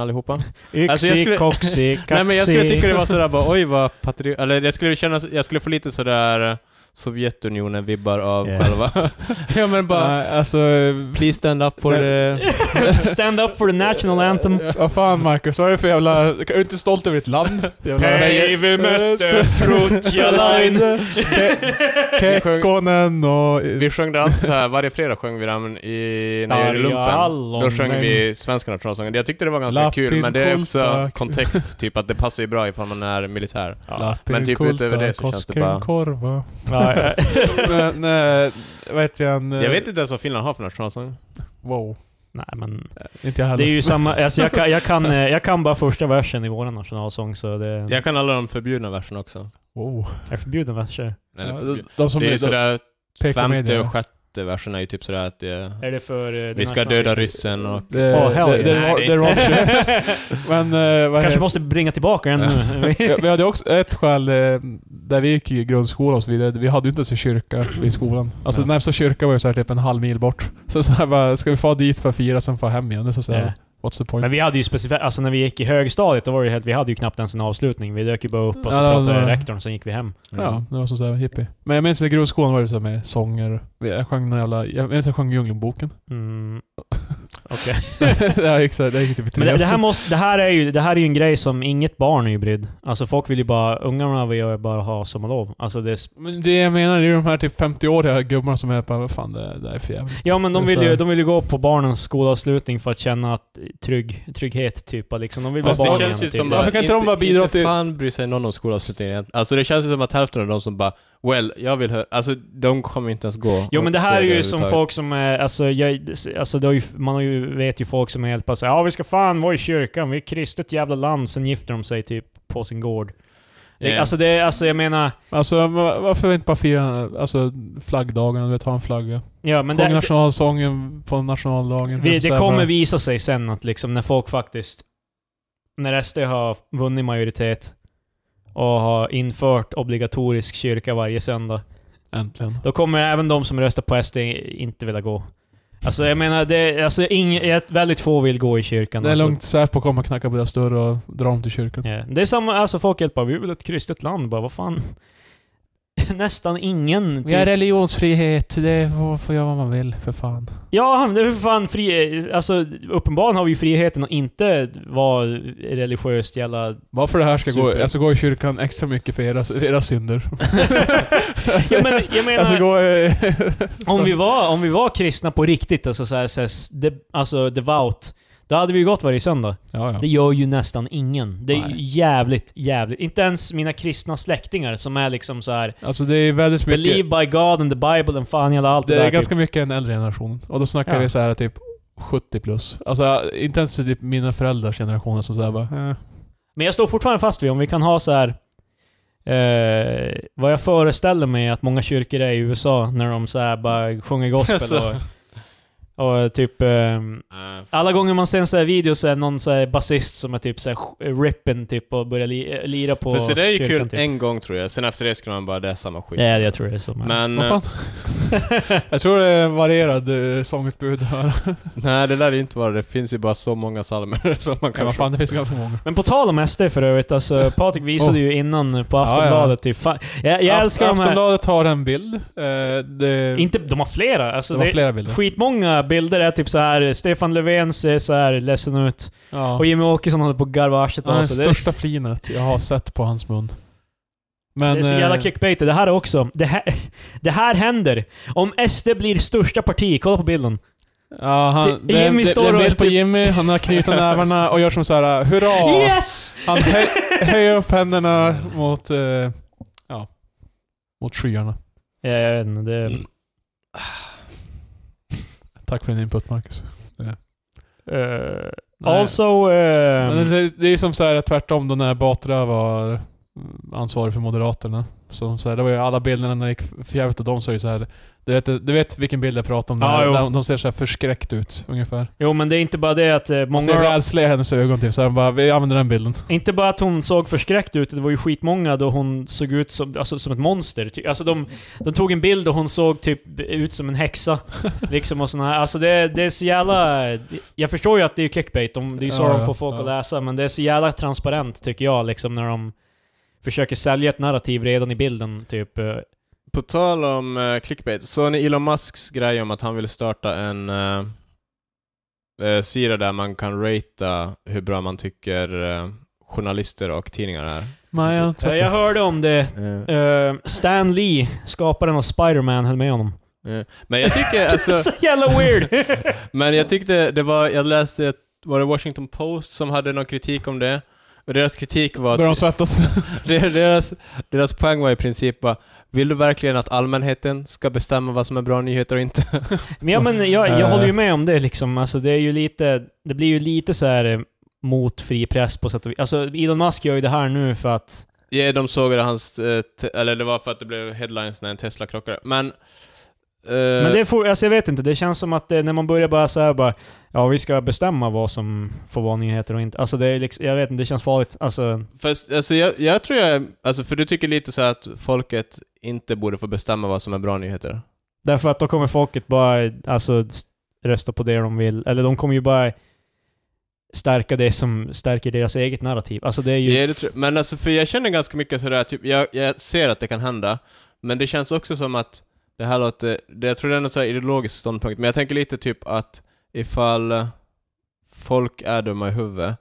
S3: allihopa.
S2: Yxi,
S3: Alltså, jag skulle-
S2: koxi, kaxi...
S3: Nej men jag skulle tycka det var sådär bara, oj vad patri... Eller jag skulle känna, jag skulle få lite sådär eh, Sovjetunionen-vibbar av
S2: Ja.
S3: själva... ja men bara,
S1: Nej, alltså...
S2: Mm.
S1: eh,
S3: please stand up for
S1: Nej.
S3: the...
S2: Stand up for the national anthem.
S1: Vad fan Marcus, vad är det för jävla... Är du inte stolt över ditt land?
S2: Nej, vi mötte Frutja Line.
S1: Ke- Kekkonen och...
S3: Vi sjöng det alltid såhär, varje fredag sjöng vi den i, när jag gjorde lumpen.
S2: Arjaalon,
S3: Då sjöng
S2: men-
S3: vi svenska nationalsången. Jag tyckte det var ganska
S1: Lapin
S3: kul, men det är också
S1: kulta.
S3: kontext, typ att det passar ju bra ifall man är militär. men typ
S1: Latinkulta,
S3: utöver det så känns det bara-
S1: Koskenkorva.
S2: Ja, ja.
S1: men, eh, vad heter den? eh,
S3: Jag vet inte ens vad Finland har för nationalsång.
S1: Wow.
S2: Nej men,
S1: Inte jag heller.
S2: det är ju samma... Alltså jag, kan, jag, kan, eh, jag kan bara första versen i vår nationalsång, så det...
S3: Jag kan alla de förbjudna verserna också.
S1: Wow.
S2: Är förbjuden verser?
S3: Eller
S1: Ja,
S3: förbjudna.
S1: de, de som
S3: det är
S1: är, de,
S3: sådär,
S1: PK
S3: femte
S1: media.
S3: och sjätte versen är ju typ sådär att det,
S2: Är det för... eh,
S3: vi
S2: den
S3: ska
S2: nationalistiska-
S3: döda ryssen och...
S1: det,
S2: Åh, hell
S1: det, det,
S3: yeah.
S1: är det
S3: Nej, det
S1: är
S3: är
S1: wrong shit. Men eh, vad
S2: Kanske
S1: heter-
S2: måste bringa tillbaka den nu.
S1: Ja, vi hade också ett skäl eh, där vi gick i grundskola och så vidare. Vi hade ju inte ens en kyrka i skolan. Alltså
S2: Nej.
S1: närmsta kyrka var ju så här typ en halv mil bort. Så, så här bara, ska vi få dit för att fira sen få hem igen? Det är så, så här,
S2: Ja.
S1: what's the point?
S2: Men vi hade ju specifikt, alltså när vi gick i högstadiet, då var det ju helt, vi hade ju knappt ens en avslutning. Vi dök ju bara upp och så
S1: Ja,
S2: pratade
S1: det var-
S2: rektorn, sen gick vi hem.
S1: Ja, det var som såhär hippie. Men jag minns i grundskolan var det så här med sånger. Jag sjöng någon jävla... Jag minns jag sjöng Djungelboken.
S2: Mm. Okej.
S1: det gick så det gick typ i tre
S2: Men det, det, här
S1: veckor.
S2: måste, det, här är ju, det här är ju en grej som inget barn är ju brydd. Alltså folk vill ju bara, ungarna vill ju bara ha sommarlov. Alltså det, är sp-
S1: Men det jag menar, det är ju de här typ 50-åriga gubbarna som är bara vad fan det, det är för jävligt.
S2: ja men de
S1: Det är
S2: vill,
S1: så här-
S2: ju, de vill ju gå på barnens skolavslutning för att känna att trygg, trygghet typ. att Liksom. De vill vara
S3: Fast det
S2: barn
S3: känns ju
S2: igen,
S3: som
S2: typ.
S3: bara...
S1: Varför kan inte de bara bidra till-
S3: Inte fan bryr sig någon om skolavslutningen Alltså det känns ju som att hälften av de som bara Well, jag vill höra... Alltså de kommer inte ens gå
S2: Jo men
S3: och
S2: det
S3: se
S2: här är ju som
S3: överhuvudtaget.
S2: folk som är, alltså, jag, alltså det har ju, man har ju, vet ju folk som är helt bara så här, ja vi ska fan vara i kyrkan, vi är ett kristet jävla land, sen gifter de sig typ på sin gård. Det,
S3: Ja.
S2: Alltså det, är- alltså jag menar,
S1: Alltså va- varför inte bara fira alltså, flaggdagen, du vet, ha en flagga.
S2: ja men
S1: Sjung
S2: det,
S1: nationalsången på nationaldagen.
S2: vi,
S1: Alltså, så
S2: det
S1: här
S2: kommer
S1: bara-
S2: visa sig sen att liksom när folk faktiskt, när SD har vunnit majoritet och har infört obligatorisk kyrka varje söndag,
S1: Äntligen.
S2: Då kommer även de som röstar på SD inte vilja gå. Alltså jag menar, det, alltså, ing, ett- väldigt få vill gå i kyrkan.
S1: Det är
S2: alltså.
S1: lugnt, Säpo kommer knacka på deras dörr och dra dem till kyrkan.
S2: Ja. Det är samma, alltså folk helt bara, vi är väl ett kristet land, bara vad fan. Nästan ingen.
S1: Vi har
S2: Typ.
S1: religionsfrihet, det får- får göra vad man vill för fan.
S2: Ja, det är för fan fri... Alltså uppenbarligen har vi friheten att inte vara religiöst jävla...
S1: Varför det här ska
S2: Super.
S1: gå, jag ska gå i kyrkan extra mycket för era, era synder.
S2: ja, men, jag menar,
S1: Jag ska gå... eh,
S2: om, vi var, om vi var kristna på riktigt, alltså såhär, så här, de, alltså devout, då hade vi ju gått varje söndag.
S1: ja, ja.
S2: Det gör ju nästan ingen. Det är ju
S1: Nej.
S2: jävligt, jävligt. Inte ens mina kristna släktingar som är liksom så här.
S1: Alltså det är väldigt mycket...
S2: Believe by God and the Bible and fan jävla allt det,
S1: det är
S2: där.
S1: ganska
S2: typ.
S1: mycket den äldre generationen. Och då snackar
S2: Ja.
S1: vi så här typ 70 plus. Alltså inte ens typ mina föräldrars generationer som såhär bara... Eh.
S2: Men jag står fortfarande fast vid om vi kan ha så här. Eh, vad jag föreställer mig att många kyrkor är i USA när de så här bara sjunger gospel
S3: Alltså.
S2: och, och typ... Eh,
S3: Eh,
S2: alla gånger man ser en sån här video så är det någon så här basist som är typ så här sh- ripping typ och börjar li, lira på
S3: För så det är ju
S2: kyrkan,
S3: kul
S2: typ.
S3: en gång tror jag, sen efter det skulle man bara, det är samma skit.
S2: Ja, jag tror det är så.
S3: Men, eh,
S1: Vad fan? jag tror det är en varierad eh, sångutbud här.
S3: eh, nej det lär det inte vara, det finns ju bara så många psalmer som man
S1: Ja,
S3: kan...
S1: vad fan, det finns ganska många.
S2: Men på tal om SD för övrigt,
S3: Oh.
S2: alltså Patrik visade ju innan på Aftonbladet typ, fan, jag, jag
S1: Aft-
S2: älskar de här,
S1: Aftonbladet har en bild. Eh, det,
S2: inte, de har flera, alltså
S1: de har
S2: det,
S1: flera bilder.
S2: skitmånga bilder är typ så här Stefan Löfven ser så här ledsen ut,
S1: Ja.
S2: och Jimmy Åkesson håller på att garva arslet
S1: det är
S2: av
S1: det
S2: sig. Det,
S1: största flinet jag har sett på hans mun. Men,
S2: det är så
S1: eh,
S2: jävla clickbait, det här är också, det här, det här händer. Om SD blir största parti, kolla på bilden.
S1: Ja, han,
S2: Till-
S1: det,
S2: Jimmy
S1: Jimmy det,
S2: står
S1: det är en
S2: och
S1: bild på
S2: typ-
S1: Jimmy, han har knutit nävarna och gör som såhär ”Hurra!”
S2: Yes!
S1: Han hö, höjer upp händerna mot, eh, ja, mot skyarna.
S2: Ja, jag vet inte, det,
S1: Tack för din input Marcus.
S2: eh,
S1: Nej.
S2: also... ehm,
S1: Men det, det är som så här tvärtom då när Batra var ansvarig för Moderaterna. Som så här, det var ju alla bilderna när det gick förjävligt och de så är det så här. Du vet, du vet vilken bild jag pratar om?
S2: Ja,
S1: där,
S2: jo.
S1: de, de ser så här förskräckt ut ungefär.
S2: jo men det är inte bara det att eh,
S1: Man ser
S2: många...
S1: rädsla i hennes ögon typ. Så här, bara, vi använder den bilden.
S2: Inte bara att hon såg förskräckt ut, det var ju skitmånga då hon såg ut som, alltså, som ett monster. Ty- Alltså de, de tog en bild och hon såg typ ut som en häxa. liksom och såna här. Alltså det, det är så jävla... Jag förstår ju att det är ju clickbait, de, det är ju så
S1: Ja,
S2: de
S1: ja,
S2: får folk
S1: ja.
S2: att läsa, men det är så jävla transparent tycker jag liksom när de försöker sälja ett narrativ redan i bilden typ. eh.
S3: På tal om eh, clickbait, såg ni Elon Musks grej om att han ville starta en eh, eh, sida där man kan ratea hur bra man tycker eh, journalister och tidningar är?
S1: Nej, jag har inte
S2: Eh, Jag
S1: sett
S2: hörde om det.
S3: Eh,
S2: Eh, Stan Lee, skaparen av Spider-Man, höll med honom.
S3: eh, Men jag tycker alltså...
S2: så jävla weird!
S3: Men jag tyckte det var, jag läste, ett- var det Washington Post som hade någon kritik om det? Och deras kritik var
S1: Börjar de
S3: att
S1: svettas?
S3: deras, deras poäng var i princip bara, vill du verkligen att allmänheten ska bestämma vad som är bra nyheter och inte?
S2: Men, ja, men jag, jag
S1: Eh.
S2: håller ju med om det liksom. Alltså, det, är ju lite, det blir ju lite så här eh, mot fri press på sätt och vis. Alltså, Elon Musk gör ju det här nu för att...
S3: Ja, de sågade hans... eh, te- Eller det var för att det blev headlines när en Tesla krockade. Men... eh,
S2: Men det får, alltså jag vet inte, det känns som att det, när man börjar bara så här bara Ja, vi ska bestämma vad som får vara nyheter och inte. Alltså det är liksom, jag vet inte, det känns farligt. Alltså,
S3: Fast alltså, jag, jag tror jag... Alltså, för du tycker lite så här att folket inte borde få bestämma vad som är bra nyheter.
S2: därför att då kommer folket bara alltså, s- rösta på det de vill. Eller de kommer ju bara stärka det som stärker deras eget narrativ. Alltså det är ju...
S3: Ja, det tror, men alltså, för jag känner ganska mycket sådär, typ, jag, jag ser att det kan hända, men det känns också som att det här låter... Det, jag tror det är en så här ideologisk ståndpunkt, men jag tänker lite typ att ifall folk är dumma i huvudet,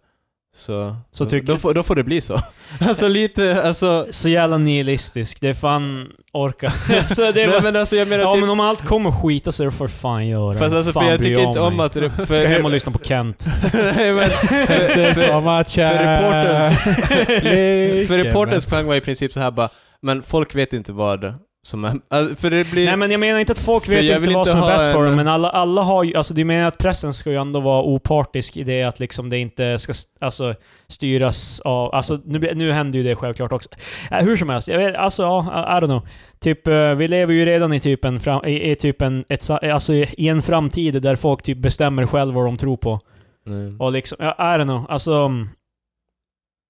S3: så...
S2: Så tycker-
S3: då, får, då får det bli så. alltså lite, alltså...
S2: Så jävla nihilistisk. Det är fan orka. alltså det är
S3: Nej
S2: bara,
S3: men alltså jag menar
S2: ja
S3: typ...
S2: men om allt kommer skita så är det för fan göra.
S3: Fast alltså
S2: fan
S3: för jag
S2: bryr
S3: tycker inte om
S2: mig.
S3: att... det- För,
S2: Ska hem och lyssna på Kent.
S3: Nej, men, för,
S1: Precis
S3: för,
S1: som att
S3: för reporterns- för
S1: För
S3: reporterns poäng var i princip så här bara, men folk vet inte vad som är... Alltså, för det blir...
S2: Nej men jag menar inte att folk
S3: För
S2: vet
S3: jag
S2: inte
S3: vill
S2: vad
S3: inte
S2: som är
S3: ha
S2: bäst för
S3: en-
S2: dem, men alla, alla har ju... Alltså du menar att pressen ska ju ändå vara opartisk i det att liksom det inte ska st- alltså, styras av... Alltså nu, blir- nu händer ju det självklart också. Äh, hur som helst, jag vet, alltså ja, I I don't know. Typ, eh, vi lever ju redan i typ en, fram, i, i typ en ett, sa- alltså, i en framtid där folk typ bestämmer själva vad de tror på.
S3: Mm.
S2: Och liksom, ja, I don't know. Alltså,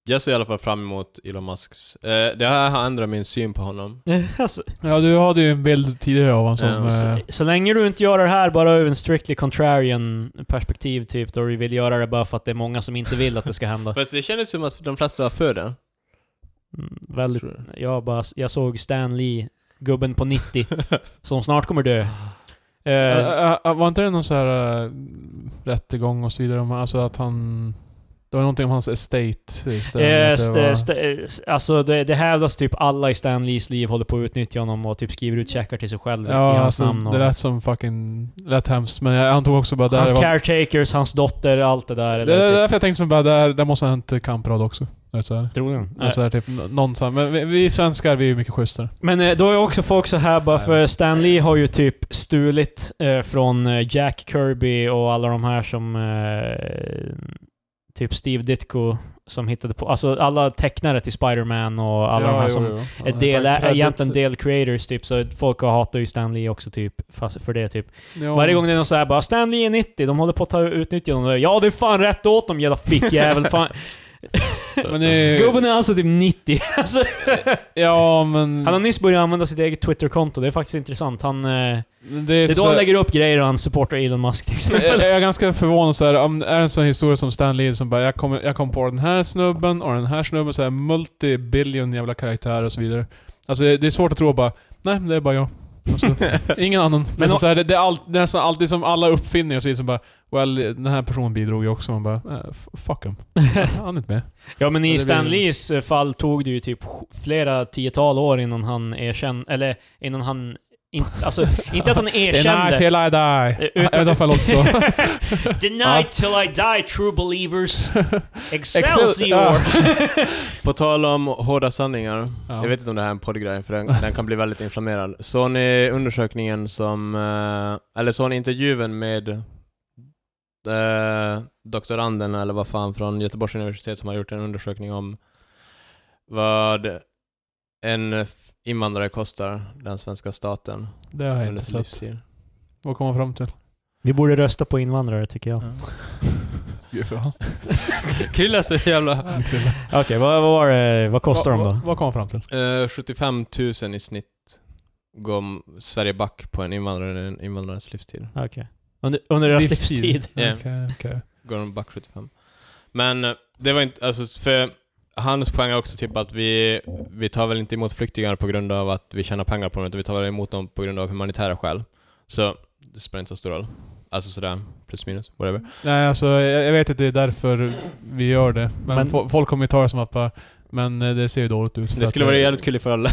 S3: Jag ser i alla fall fram emot Elon Musks... Eh, det här har ändrat min syn på honom.
S2: alltså
S1: Ja, du hade ju en bild tidigare av honom som...
S3: Ja.
S1: eh,
S2: Så, så länge du inte gör det här bara ur en strictly contrarian perspektiv typ, då du vill göra det bara för att det är många som inte vill att det ska hända.
S3: Fast det kändes som att de flesta var för den.
S2: Mm, väldigt,
S3: tror jag.
S2: jag, bara, jag såg Stan Lee, gubben på 90, som snart kommer dö. Eh,
S1: Ä- ä- var inte det någon så här äh, rättegång och så vidare? om- Alltså att han... Det var någonting om hans estate. Just det,
S2: eh,
S1: att det
S2: st-
S1: var-
S2: st- eh, alltså det, det hävdas typ alla i Stan Lees liv håller på att utnyttja honom och typ skriver ut checkar till sig själv i
S1: ja,
S2: hans
S1: alltså,
S2: namn. Och,
S1: det lät som fucking... Lät hemskt. Men jag antog också bara... Där
S2: hans
S1: var,
S2: caretakers, hans dotter, allt det där.
S1: det
S2: Eller
S1: är
S2: typ,
S1: därför jag tänkte som bara, där, där måste ha hänt kamprad också. Eller Så här.
S2: troligen.
S1: Eller Så här, typ, n- någon sån- Men vi, vi svenskar, vi är ju mycket schysstare.
S2: Men eh, då är också folk så här bara för Stan Lee har ju typ stulit eh, från eh, Jack Kirby och alla de här som eh, typ Steve Ditko som hittade på, alltså alla tecknare till Spider-Man och alla
S1: ja,
S2: de här
S1: jo,
S2: som
S1: jo.
S2: är del, är egentligen del creators typ, så folk hatar ju Stan Lee också typ, fast för det typ.
S1: Ja.
S2: Varje gång det är någon så här bara Stan Lee är 90, de håller på att ta, utnyttja honom. Ja, det är fan rätt åt dem jävla fickjävel. Fan.
S1: Men det är,
S2: Gubben är alltså typ 90. Alltså.
S1: Ja, men...
S2: Han har nyss börjat använda sitt eget Twitter-konto, det är faktiskt intressant. Han, eh, det
S1: det är
S2: är
S1: så
S2: då han
S1: här-
S2: lägger upp grejer och han supportar Elon Musk till
S1: Jag
S2: exempel.
S1: jag är ganska förvånad så här, om det är en sån historia som Stan Lee som bara jag kom, jag kom på den här snubben och den här snubben, så här multi-billion jävla karaktärer och så vidare. Alltså det det är svårt att tro bara, nej det är bara jag. Och så, ingen annan. Men
S2: Men
S1: så,
S2: om-
S1: så här, det, det är all, det är nästan alltid som alla uppfinningar och så vidare som bara, well den här personen bidrog ju också. Man bara, eh, f- fuck him. Han är inte med.
S2: ja men
S1: Ja,
S2: i
S1: det
S2: Stan
S1: blir-
S2: Lees eh, fall tog det ju typ sj- flera tiotal år innan han erkände, eller innan han... In, alltså, inte att han
S1: Det är
S2: erkände.
S1: night till I die.
S2: Eh, utan-
S1: Utan... Äh, förlåt, så.
S2: The
S1: Ja.
S2: night till I die, true believers.
S1: Ja.
S2: Excelsior!
S3: På tal om hårda sanningar.
S1: Ja.
S3: Jag vet inte om det här är en poddgrej, för den, den kan bli väldigt inflammerad. Såg ni undersökningen som... Eh, eller såg ni intervjun med eh, doktoranden, eller vad fan, från Göteborgs universitet som har gjort en undersökning om vad en invandrare kostar den svenska staten
S1: Det har jag
S3: under
S1: inte
S3: sin
S1: sett.
S3: livstid?
S1: Vad kommer man fram till?
S2: Vi borde rösta på invandrare tycker jag.
S1: Gud, fan.
S3: Krilla så jävla...
S2: Okej, vad, vad var det? Vad kostar de
S1: Vad-
S2: då?
S1: vad- Vad kommer man fram till?
S3: Eh, 75 000 i snitt går Sverige back på en invandrare under en invandrares livstid.
S2: Under, under deras
S1: Livstid.
S2: livstid.
S3: Ja.
S1: Okej, okej.
S3: går de back 75. Men eh, det var inte, alltså för hans poäng är också typ att vi, vi tar väl inte emot flyktingar på grund av att vi tjänar pengar på dem, utan vi tar väl emot dem på grund av humanitära skäl. Så det spelar inte så stor roll. Alltså sådär, plus minus, whatever.
S1: Nej, alltså jag, jag vet att det är därför vi gör det. Men,
S2: Men-
S1: fo- folk kommer ju ta det som att bara, men eh, det ser ju dåligt ut. för
S3: Det
S1: att
S3: skulle vara jävligt kul ifall alla...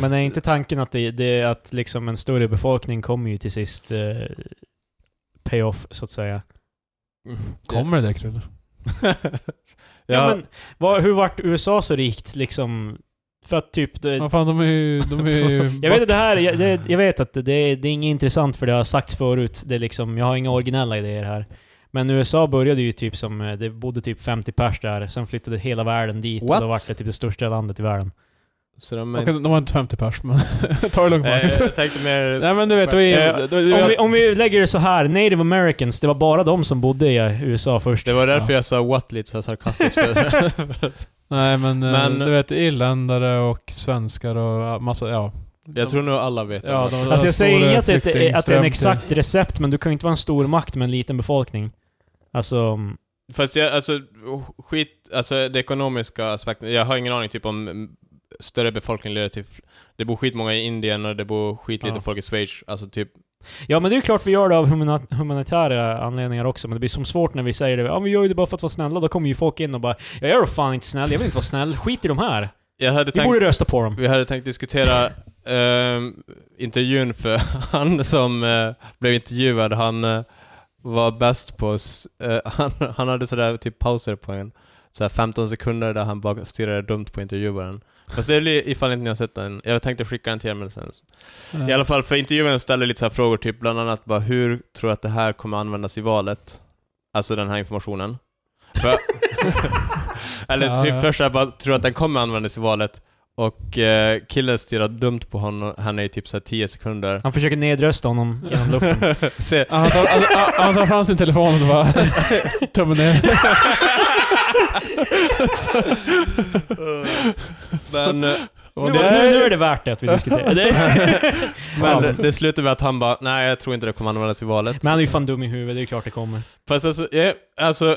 S2: Men är inte tanken att, det, det, att liksom en större befolkning kommer ju till sist eh, pay off, så att säga?
S1: Kommer det Krille?
S2: Ja. men, vad, hur vart USA så rikt liksom? För att typ... Det,
S1: Vad fan, de är ju... De är ju
S2: jag vet att det här, jag, det, jag vet att det, det är inget intressant för det har sagts förut. Det är liksom, jag har inga originella idéer här. Men USA började ju typ som, eh, det bodde typ 50 pers där, sen flyttade hela världen dit och
S3: What?
S2: då vart det typ det största landet i världen.
S3: så de är,
S1: Okej, de har inte 50 pers, men ta det lugnt
S3: eh,
S1: Marcus.
S3: jag tänkte mer...
S1: Nej men du vet, då
S2: Eh,
S1: är då- då-
S2: Om vi, om vi lägger det så här, native americans, det var bara de som bodde i eh, USA först.
S3: Det var därför
S2: ja.
S3: jag sa what lite så här sarkastiskt. för- för att-
S1: Nej men, eh,
S3: Men-
S1: du vet, irländare och svenskar och ja, massa, ja.
S3: jag tror nog alla vet.
S1: Ja,
S3: Ja,
S1: de-
S2: Alltså jag säger
S1: stora
S2: inget att det, är- att det
S1: flyktingström
S2: är en
S1: till-
S2: exakt recept, men du kan ju inte vara en stor makt med en liten befolkning. Alltså,
S3: Fast jag, alltså, skit, alltså det ekonomiska aspekten, jag har ingen aning typ om mm, större befolkning leder till... Det bor skitmånga i Indien och det bor skitlite
S2: Ja.
S3: folk i Schweiz. Alltså typ...
S2: Ja men det är ju klart vi gör det av humana- humanitära anledningar också, men det blir som svårt när vi säger det. Ja vi gör ju det bara för att vara snälla, då kommer ju folk in och bara Jag är då fan inte snäll, jag vill inte vara snäll, skit i de här.
S3: Jag hade
S2: Vi
S3: tänkt...
S2: borde rösta på dem.
S3: Vi hade tänkt diskutera ehm, intervjun för han som eh, blev intervjuad, han eh, var bäst på... s- eh, han, han hade sådär typ pauser på en, sådär 15 sekunder där han bara stirrade dumt på intervjuaren. Fast det är li- ifall inte ni har sett den. Jag tänkte skicka den till er men sen. I alla fall, för intervjuaren ställde lite så här frågor, typ bland annat bara hur tror du att det här kommer användas i valet? Alltså den här informationen. För, eller
S1: Ja,
S3: typ
S1: ja.
S3: först så här bara, tror du att den kommer användas i valet? Och eh, killen stirrar dumt på honom, han är i typ så här 10 sekunder.
S2: Han försöker nedrösta honom genom luften.
S3: Se,
S1: Han tar, han, han- han tar fram sin telefon och så bara... Tummen ner.
S3: men eh,
S2: Nu, nu, nu är det värt det att vi diskuterar. Det-
S3: men
S2: Ja.
S3: det slutar med att han bara, nej jag tror inte det kommer användas i valet.
S2: Men han är ju fan dum i huvudet, det är ju klart det kommer.
S3: Fast alltså, ja, alltså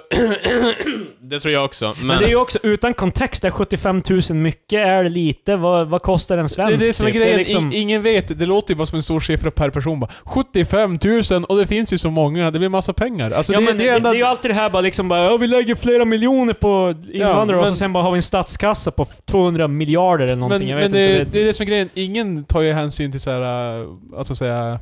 S3: det tror jag också. Men,
S2: Men, det är ju också utan kontext, är 75 000 mycket? Är det lite? Vad, vad kostar en
S1: Det är
S2: svensk?
S1: det som är
S2: typ?
S1: grejen.
S2: liksom-
S1: I- Ingen vet. Det låter ju bara som en stor siffra per person. Bara, 75 000 och det finns ju så många. Det blir massa pengar. Alltså,
S2: ja,
S1: det,
S2: men
S1: det,
S2: det,
S1: är
S2: det,
S1: enda,
S2: är ju alltid det här bara liksom bara, "Ja, vi lägger flera miljoner på invandrare och så
S1: men-
S2: sen bara har vi en statskassa på 200 miljarder eller
S1: men,
S2: någonting. jag
S1: men
S2: vet
S1: det,
S2: inte.
S1: det är det som är grejen. Ingen tar ju hänsyn till så här, äh, alltså säga...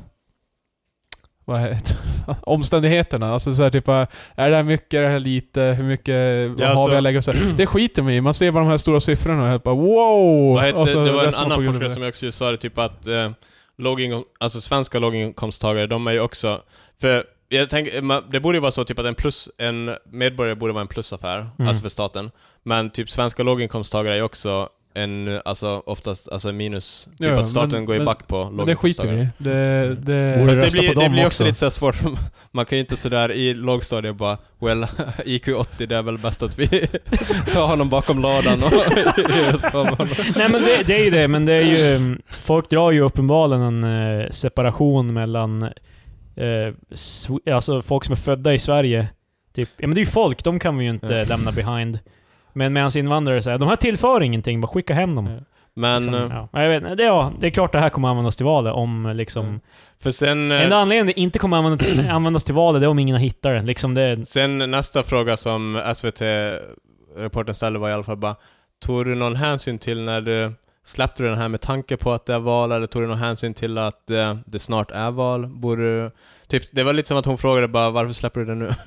S1: Vad heter Omständigheterna. Alltså så här, typ, äh, är det här mycket, är det här lite, hur mycket, vad
S3: Ja,
S1: har
S3: så-
S1: vi att lägga och så här. Det skiter man i. Man ser bara de här stora siffrorna och helt bara wow!
S3: Vad hette,
S1: och så
S3: det var en
S1: ledsen man på
S3: annan
S1: grund av
S3: forskare
S1: det.
S3: som jag också sa det, typ att eh, låginkom, alltså svenska låginkomsttagare, de är ju också... För jag tänker, man- det borde ju vara så typ att en, plus, en medborgare borde vara en plusaffär,
S2: Mm.
S3: alltså för staten. Men typ svenska låginkomsttagare är ju också en, alltså oftast, alltså en minus. Typ
S1: Ja, ja,
S3: att staten
S1: men-
S3: går ju
S1: men-
S3: back på
S1: Men det skiter vi i.
S3: låginkomsttagare.
S1: Det, det,
S2: Borde
S3: Fast det
S2: rösta
S3: blir,
S2: på
S3: det
S2: dem
S3: blir också
S2: också.
S3: lite så här svårt, man kan ju inte sådär i lågstadiet bara Well, IQ 80 det är väl bäst att vi tar honom bakom ladan och ger oss på honom.
S2: Nej men det, det är ju det, men det är ju... mm, Folk drar ju uppenbarligen en eh, separation mellan eh, sw- alltså folk som är födda i Sverige. Typ, ja men det är ju folk, de kan vi ju inte
S3: Ja.
S2: lämna behind. Men medan invandrare säger de här tillför ingenting, bara skicka hem dem.
S3: Ja. Men...
S2: Liksom,
S3: eh,
S2: ja. Jag vet, inte, det, ja, det är klart det här kommer användas till valet om liksom...
S3: Mm. För sen, eh,
S2: Enda anledningen det inte kommer användas till, användas till valet det är om ingen hittar den. Liksom det, är-
S3: sen nästa fråga som SVT-reportern ställde var i alla fall bara Tog du någon hänsyn till när du släppte du den här med tanke på att det är val eller tog du någon hänsyn till att eh, det snart är val? Borde du... Typ, det var lite som att hon frågade bara varför släpper du den nu?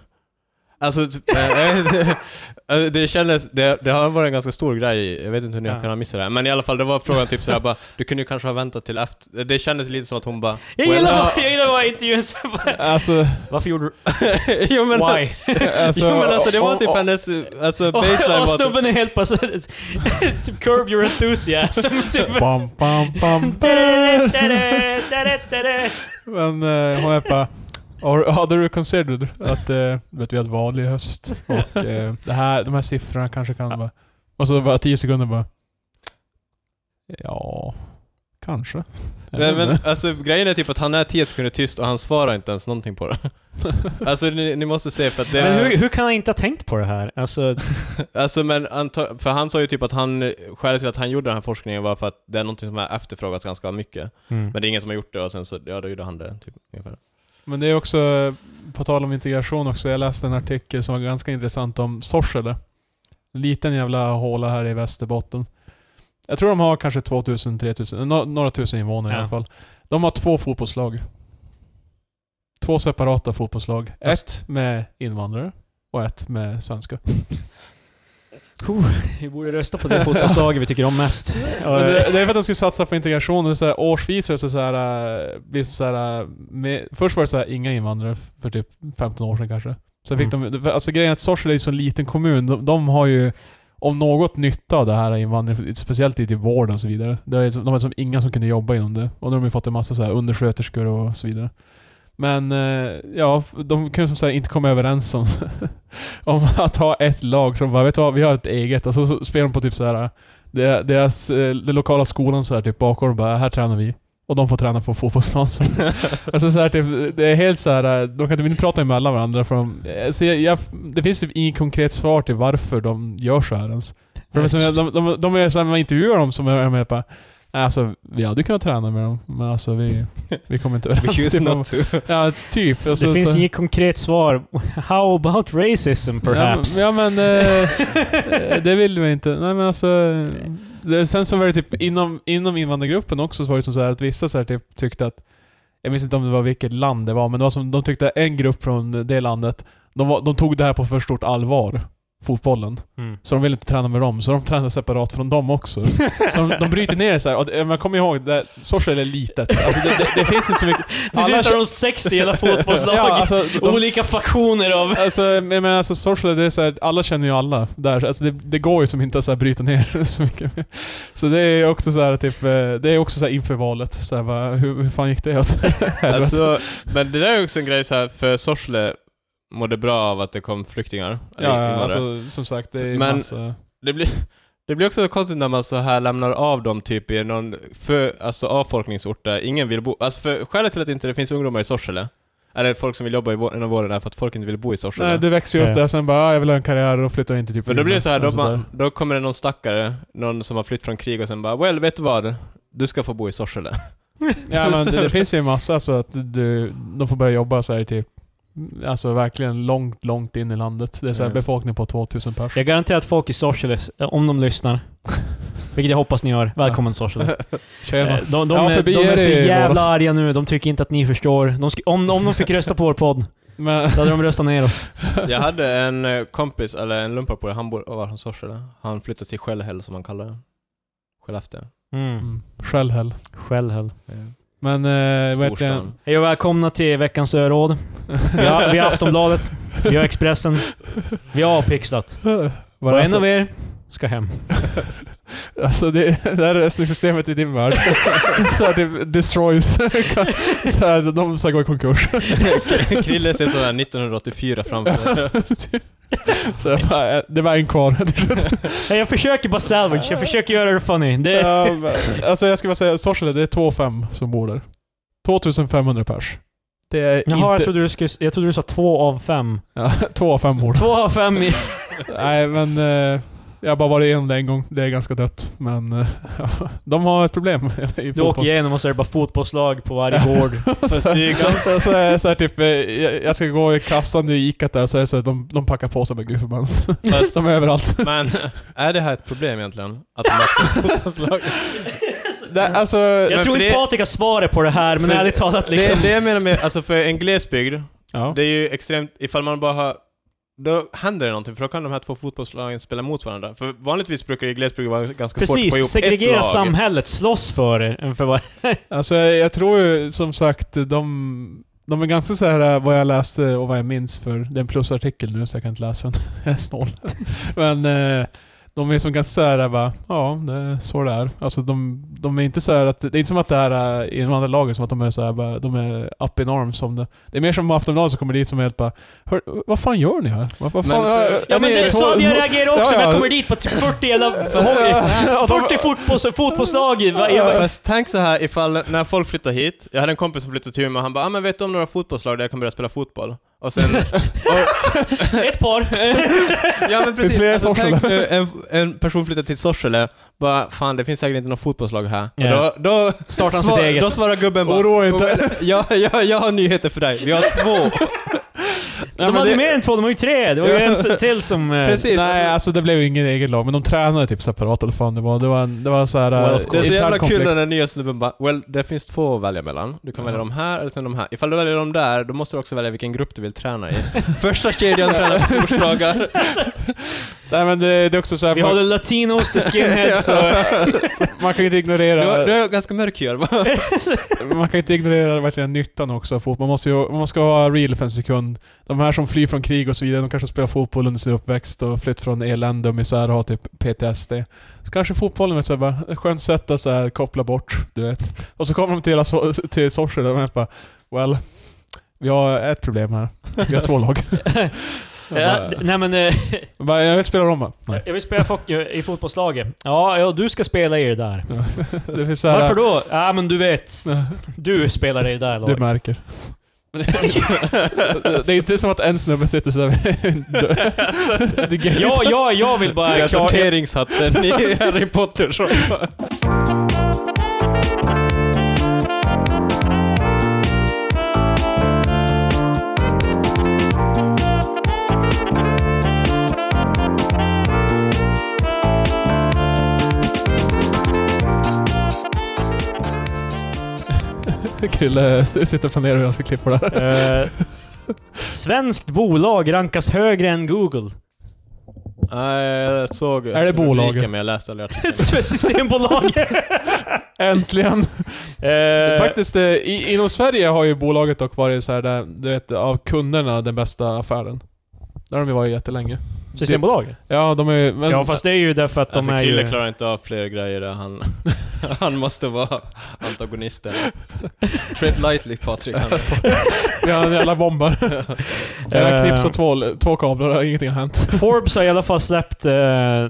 S3: Alltså, typ, eh, jag vet inte. Alltså, det kändes, det, det har varit en ganska stor grej, jag vet inte hur ni
S2: Ja.
S3: kan ha missat det här, men i alla fall det var frågan typ såhär bara, du kunde ju kanske ha väntat till efter, det kändes lite som att hon bara...
S2: jag,
S3: "Well,
S2: gillar
S3: ja."
S2: bara, jag gillar bara intervjun så bara,
S1: Alltså,
S2: Varför gjorde du...
S3: jo, men,
S2: Why?
S1: alltså,
S3: jo, men alltså det var
S1: och-
S3: typ
S1: och-
S3: hennes, alltså
S2: Och,
S3: baseline
S2: och
S3: var typ,
S2: snubben är helt bara så... typ Curb your enthusiasm. Typ.
S1: Bam, bam, bam. Men eh, hon är bara... "Or- Hade du considered att eh, vet, vi hade val i höst och eh, det här, de här siffrorna kanske kan vara... Och så bara tio sekunder bara... Ja... Kanske.
S3: men, men alltså grejen är typ att han är 10 sekunder tyst och han svarar inte ens någonting på det. alltså ni, ni måste se för att det...
S2: Men hur, hur kan han inte ha tänkt på det här? Alltså,
S3: Alltså men anta, för han sa ju typ att han, skälet till att han gjorde den här forskningen var för att det är någonting som har efterfrågats ganska mycket.
S2: mm.
S3: Men det är ingen som har gjort det och sen så, ja då gjorde han det. Typ, ungefär.
S1: Men det är också, eh, på tal om integration också, jag läste en artikel som var ganska intressant om Sorsele. En liten jävla håla här i Västerbotten. Jag tror de har kanske 2000, 3000, nå- några tusen invånare i
S2: Ja.
S1: alla fall. De har två fotbollslag. Två separata fotbollslag.
S2: Alltså-
S1: Ett med invandrare och ett med svenska.
S2: Vi borde rösta på det fotbollslaget vi tycker om mest.
S1: Men det, det är för att de skulle satsa på integration och så här, årsvis är det så så här, äh, blir det så här, äh, med, Först var det så här, inga invandrare för typ 15 år sedan kanske. Sen fick de, för- alltså grejen är att Sorsele är ju så en liten kommun. De, de har ju om något nytta av det här invandringen, speciellt i typ vården och så vidare. Det är som, de har som inga som kunde jobba inom det. Och nu har de ju fått en massa så här undersköterskor och så vidare. Men eh, ja, de kunde som sagt inte komma överens om, om att ha ett lag. Så de bara, vet du vad, vi har ett eget. Och så, så spelar de på typ så här det- deras, eh, den lokala skolan så här typ bakom och bara här tränar vi. Och de får träna på fotbollsplan sen. alltså så här, typ, det är helt så här, eh, de kan typ inte prata emellan varandra för de, eh, så jag, jag, det finns typ inget konkret svar till varför de gör så här ens. För de, är som- de, de, de är såhär, när man intervjuar dem som är med bara "Nej, Alltså, vi hade ju kunnat träna med dem, men alltså vi, vi kommer inte
S3: We
S1: överens.
S3: choose
S1: Typ,
S3: not to.
S1: ja, typ. Alltså,
S2: det finns
S1: så-
S2: inget konkret svar. How about racism perhaps?
S1: Ja, men- ja men... Eh, det vill vi inte. Nej men alltså... eh, Det, sen så var det typ inom, inom invandrargruppen också så var det som så här att vissa så här typ tyckte att... Jag minns inte om det var vilket land det var, men det var som de tyckte en grupp från det landet, de, var, de tog det här på för stort allvar. Fotbollen.
S2: Mm.
S1: Så de vill inte träna med dem, så de tränar separat från dem också. Så de, de bryter ner det så här. Och det- men kom ihåg, det- Sorsele är litet. Alltså det, det, det finns inte så mycket...
S2: Till
S1: Alla
S2: sist har
S1: kö-
S2: de 60 hela fotbollslag.
S1: Ja, alltså, de,
S2: Olika faktioner av...
S1: Alltså, men jag menar, alltså Sorsele, det är så här, alla känner ju alla där. Alltså, det, det går ju som inte att så här, bryta ner så mycket. mer. Så det är också så här, typ, eh, det är också så här, inför valet. Så här, bara, hur, hur fan gick det åt helvete?
S3: Alltså, men det där är också en grej så här, för Sorsele mådde bra av att det kom flyktingar.
S1: ja,
S3: eller
S1: ja,
S3: invandrare.
S1: alltså som sagt, det är
S3: Men-
S1: massa...
S3: Det blir, det blir också konstigt när man så här lämnar av dem typ i någon för, alltså, avfolkningsort där ingen vill bo. Alltså för skälet till att inte det finns ungdomar i Sorsele, eller folk som vill jobba i vår, inom vården, är för att folk inte vill bo i Sorsele.
S1: Nej, du växer ju
S2: Ja.
S1: upp där, sen bara ah, jag vill ha en karriär, och då flyttar jag inte typ
S3: Men då blir det
S1: Umeå.
S3: så här, då,
S1: Alltså, där.
S3: man, då kommer det någon stackare, någon som har flytt från krig och sen bara ”Well, vet du vad? Du ska få bo i Sorsele”.
S1: Ja men det, det finns ju en massa så att du, de får börja jobba så här typ, alltså verkligen långt, långt in i landet. Det är så här
S3: Ja.
S1: befolkning på 2000 pers.
S2: Jag garanterar att folk i Sorsele, om de lyssnar, vilket jag hoppas ni gör. Välkommen Sorsele. Eh,
S1: Tjena.
S2: De, de,
S1: Ja,
S2: är,
S1: förbi
S2: de
S1: er
S2: är så
S1: i
S2: jävla
S1: våras.
S2: arga nu. De tycker inte att ni förstår. De sk- om, om de fick rösta på vår podd,
S1: Men,
S2: då hade de röstat ner oss.
S3: Jag hade en eh, kompis, eller en lumpapolare, han bor, var från Sorsele. Han flyttade till Skällhäll som han kallar det. Skellefteå.
S2: Mm.
S1: mm, Skällhäll.
S2: Självhäll.
S1: Men eh, vad heter det?
S3: Storstan.
S2: Hej och välkomna till veckans öråd. Vi har, vi har Aftonbladet, vi har Expressen, vi har Avpixlat.
S1: Var
S2: Och
S1: det
S2: en
S1: alltså-
S2: av er ska hem.
S1: Alltså det, det här röstningssystemet i din värld. så här, typ destroys. så här, de ska gå i konkurs.
S3: Krille ser sådär 1984 framför sig.
S1: så jag bara, eh, det var en kvar.
S2: Nej, Jag försöker bara salvage, jag försöker göra det funny. Det,
S1: Ja, men, alltså jag ska bara säga, Sorsele, det är 2 5 som bor där. 2500 pers. Det är
S2: Jaha, jag
S1: inte...
S2: trodde, du skulle, jag trodde du sa två av fem.
S1: Ja, 2 av 5 bor där.
S2: Två av fem i...
S1: Nej men... Eh, jag har bara varit igenom det en gång. Det är ganska dött. Men eh, de har ett problem i
S2: Du åker
S1: fotboll.
S2: igenom och så är det bara fotbollslag på varje gård.
S3: Fast det är ju
S1: Så,
S3: ganska-
S1: så, så, är- så här, typ, eh, jag- jag ska gå i kassan i Ica där, så är det så här, de, de packar på sig med gudförbannat.
S3: Fast-
S1: De är överallt.
S3: Men är det här ett problem egentligen? Att de har fotbollslag?
S1: Det, alltså,
S2: Jag
S3: Men
S2: tror
S3: för
S2: inte
S3: det-
S2: Patrik har svaret på det här, men
S3: För-
S2: ärligt talat liksom...
S3: Det, det jag menar med, alltså för en glesbygd,
S1: ja.
S3: det är ju extremt, ifall man bara har då händer det någonting, för då kan de här två fotbollslagen spela mot varandra. För vanligtvis brukar det i glesbygd vara ganska svårt att få ihop
S2: Precis,
S3: ett
S2: segregera
S3: lag.
S2: samhället, slåss för det. För vad-
S1: alltså, jag, jag tror ju som sagt de... De är ganska så här eh, vad jag läste och vad jag minns för det är en plusartikel nu så jag kan inte läsa den. Jag är snål. Men eh, de är som ganska så här eh, bara, ja det är så det är. Alltså de, de är inte så här att, det är inte som att det här eh, i de andra lagen som att de är så här bara, de är up in arms om det. Det är mer som Aftonbladet som kommer dit som är helt bara, "Hör, vad fan gör ni här? Vad, vad
S3: Men
S1: fan,
S3: för-
S1: eh,
S2: Ja men
S1: ni
S2: det är
S1: två-
S2: så jag reagerar också,
S1: Ja,
S2: men jag
S1: ja.
S2: kommer dit på typ 40 jävla
S3: Fast-
S2: hockey. 40 fotbolls, fotbollslag i varje...
S3: Fast tänk så här ifall, när folk flyttar hit, jag hade en kompis som flyttade till Umeå, han bara ah, men vet du om några fotbollslag där jag kan börja spela fotboll?” Och sen... och,
S2: Ett par.
S3: ja
S1: Finns
S3: men precis,
S1: fler i
S3: alltså,
S1: Sorsele?
S3: tänk nu en, en person flyttar till Sorsele, bara “Fan, det finns säkert inte något fotbollslag här”.
S2: Ja.
S3: Och då, då,
S2: Startar han
S3: svar-
S2: sitt eget.
S3: Då svarar gubben bara
S1: Oroa er inte.
S3: "Oh, men, ja, ja, “Jag har nyheter för dig, vi har två”.
S2: de hade ju mer än två, de har ju tre! Det var ju en s- till som... eh,
S3: Precis.
S1: Nej, alltså det blev ju ingen eget lag, men de tränade typ separat eller vad fan det var. Det var, en- det var så här,
S2: Well, of
S1: eh,
S3: Det är så
S1: intern
S3: jävla kul
S1: konflikt.
S3: när den nya snubben bara “Well, det finns två att välja mellan. Du kan
S1: Ja.
S3: välja de här eller sen de här. Ifall du väljer de där, då måste du också välja vilken grupp du vill träna i. Första kedjan tränar på torsdagar.
S1: Nej men det, det är också så här,
S2: Vi
S1: man,
S2: hade latinos, the skinheads och...
S1: man kan ju inte
S3: Du,
S1: ignorera...
S3: du är ganska mörk Jörgen.
S1: Man kan inte ignorera verkligen nyttan också av fotboll. Man måste ju man ska ha real fem sekund. De här som flyr från krig och så vidare, de kanske spelar fotboll under sin uppväxt och flytt från elände och misär och har typ PTSD. Så kanske fotbollen är ett så här bara, ett skönt sätt att så här koppla bort, du vet. Och så kommer de till, hela so till Sorsele och de bara Well, vi har ett problem här. Vi har två lag.
S2: ja, d- nej men... eh,
S1: Jag bara, jag vill spela dem va? Nej.
S2: Jag vill spela folk i fotbollslaget. Ja, ja, du ska spela i det där.
S1: Det finns så här,
S2: Varför då? Ja, men du vet. Du spelar i det där
S1: Du
S2: laget.
S1: märker. det är inte som att en snubbe sitter såhär vid en dörr. Det är gay.
S2: Ja, ja, jag vill bara...
S3: Jag är
S2: klar-
S3: sorteringshatten i Harry Potter. Så.
S1: Krille sitter och planerar hur han ska klippa det här.
S2: Eh, svenskt bolag rankas högre än Google.
S3: Nej, jag såg
S1: Är det bolaget?
S3: rubriken, men jag läste aldrig artikeln.
S2: Systembolaget!
S1: Äntligen!
S2: Eh,
S1: Faktiskt, eh, i, inom Sverige har ju bolaget dock varit så här där, du vet, av kunderna den bästa affären. Där har de ju varit jättelänge.
S2: Systembolaget?
S1: Ja, de är ju... men-
S2: Ja, fast det är ju därför att de
S3: Alltså
S2: är
S3: Krille
S2: ju...
S3: klarar inte av fler grejer där han... han måste vara antagonisten. Tread lightly Patrik. Han
S2: Alltså,
S3: är
S1: Vi har en jävla bombar. Jävla
S2: Eh.
S1: knips och två, två kablar och ingenting har hänt.
S2: Forbes har i alla fall släppt eh,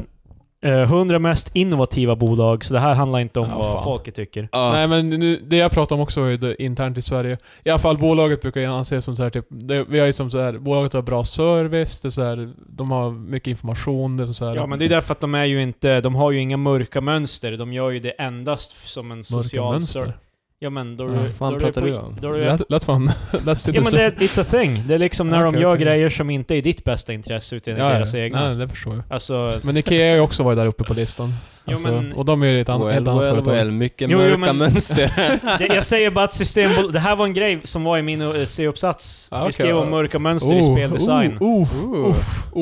S2: eh, 100 mest innovativa bolag, så det här handlar inte om
S1: Ja,
S2: vad
S1: fan.
S2: folket tycker.
S3: Ja.
S1: Nej men nu, det jag pratar om också är det internt i Sverige. I alla fall bolaget brukar jag anses som så här typ, det, vi har ju som så här, bolaget har bra service, det är så här, de har mycket information, det är så här,
S2: Ja, men det är därför att de är ju inte... De har ju inga mörka mönster. De gör ju det endast f- som en
S1: mörka
S2: social...
S1: mönster.
S2: ser- Ja, men då...
S3: Vad
S2: du-
S3: fan
S2: då du
S3: pratar
S2: på-
S3: du om?
S2: Då du är
S1: Lät, lät fan... Lät
S2: Ja men det, it's a thing. Det är liksom när de
S1: Okej,
S2: gör
S1: okej.
S2: grejer som inte är i ditt bästa intresse utan i deras egna.
S1: Nej, det förstår jag.
S2: Alltså,
S1: Men Ikea har ju också varit där uppe på listan.
S2: Jo,
S1: Alltså,
S2: men-
S1: Och de är ju ett an,
S3: Well,
S1: helt annat
S3: well,
S1: företag.
S3: well. Mycket
S2: Jo, jo,
S3: mörka
S2: men-
S3: mönster.
S2: det, jag säger bara att Systembolag... Det här var en grej som var i min eh, C-uppsats.
S1: Ah,
S2: Vi
S1: okej,
S2: skrev om
S1: ja.
S2: mörka mönster i
S1: Oh,
S2: speldesign.
S1: Oh, oh,
S3: Ooh.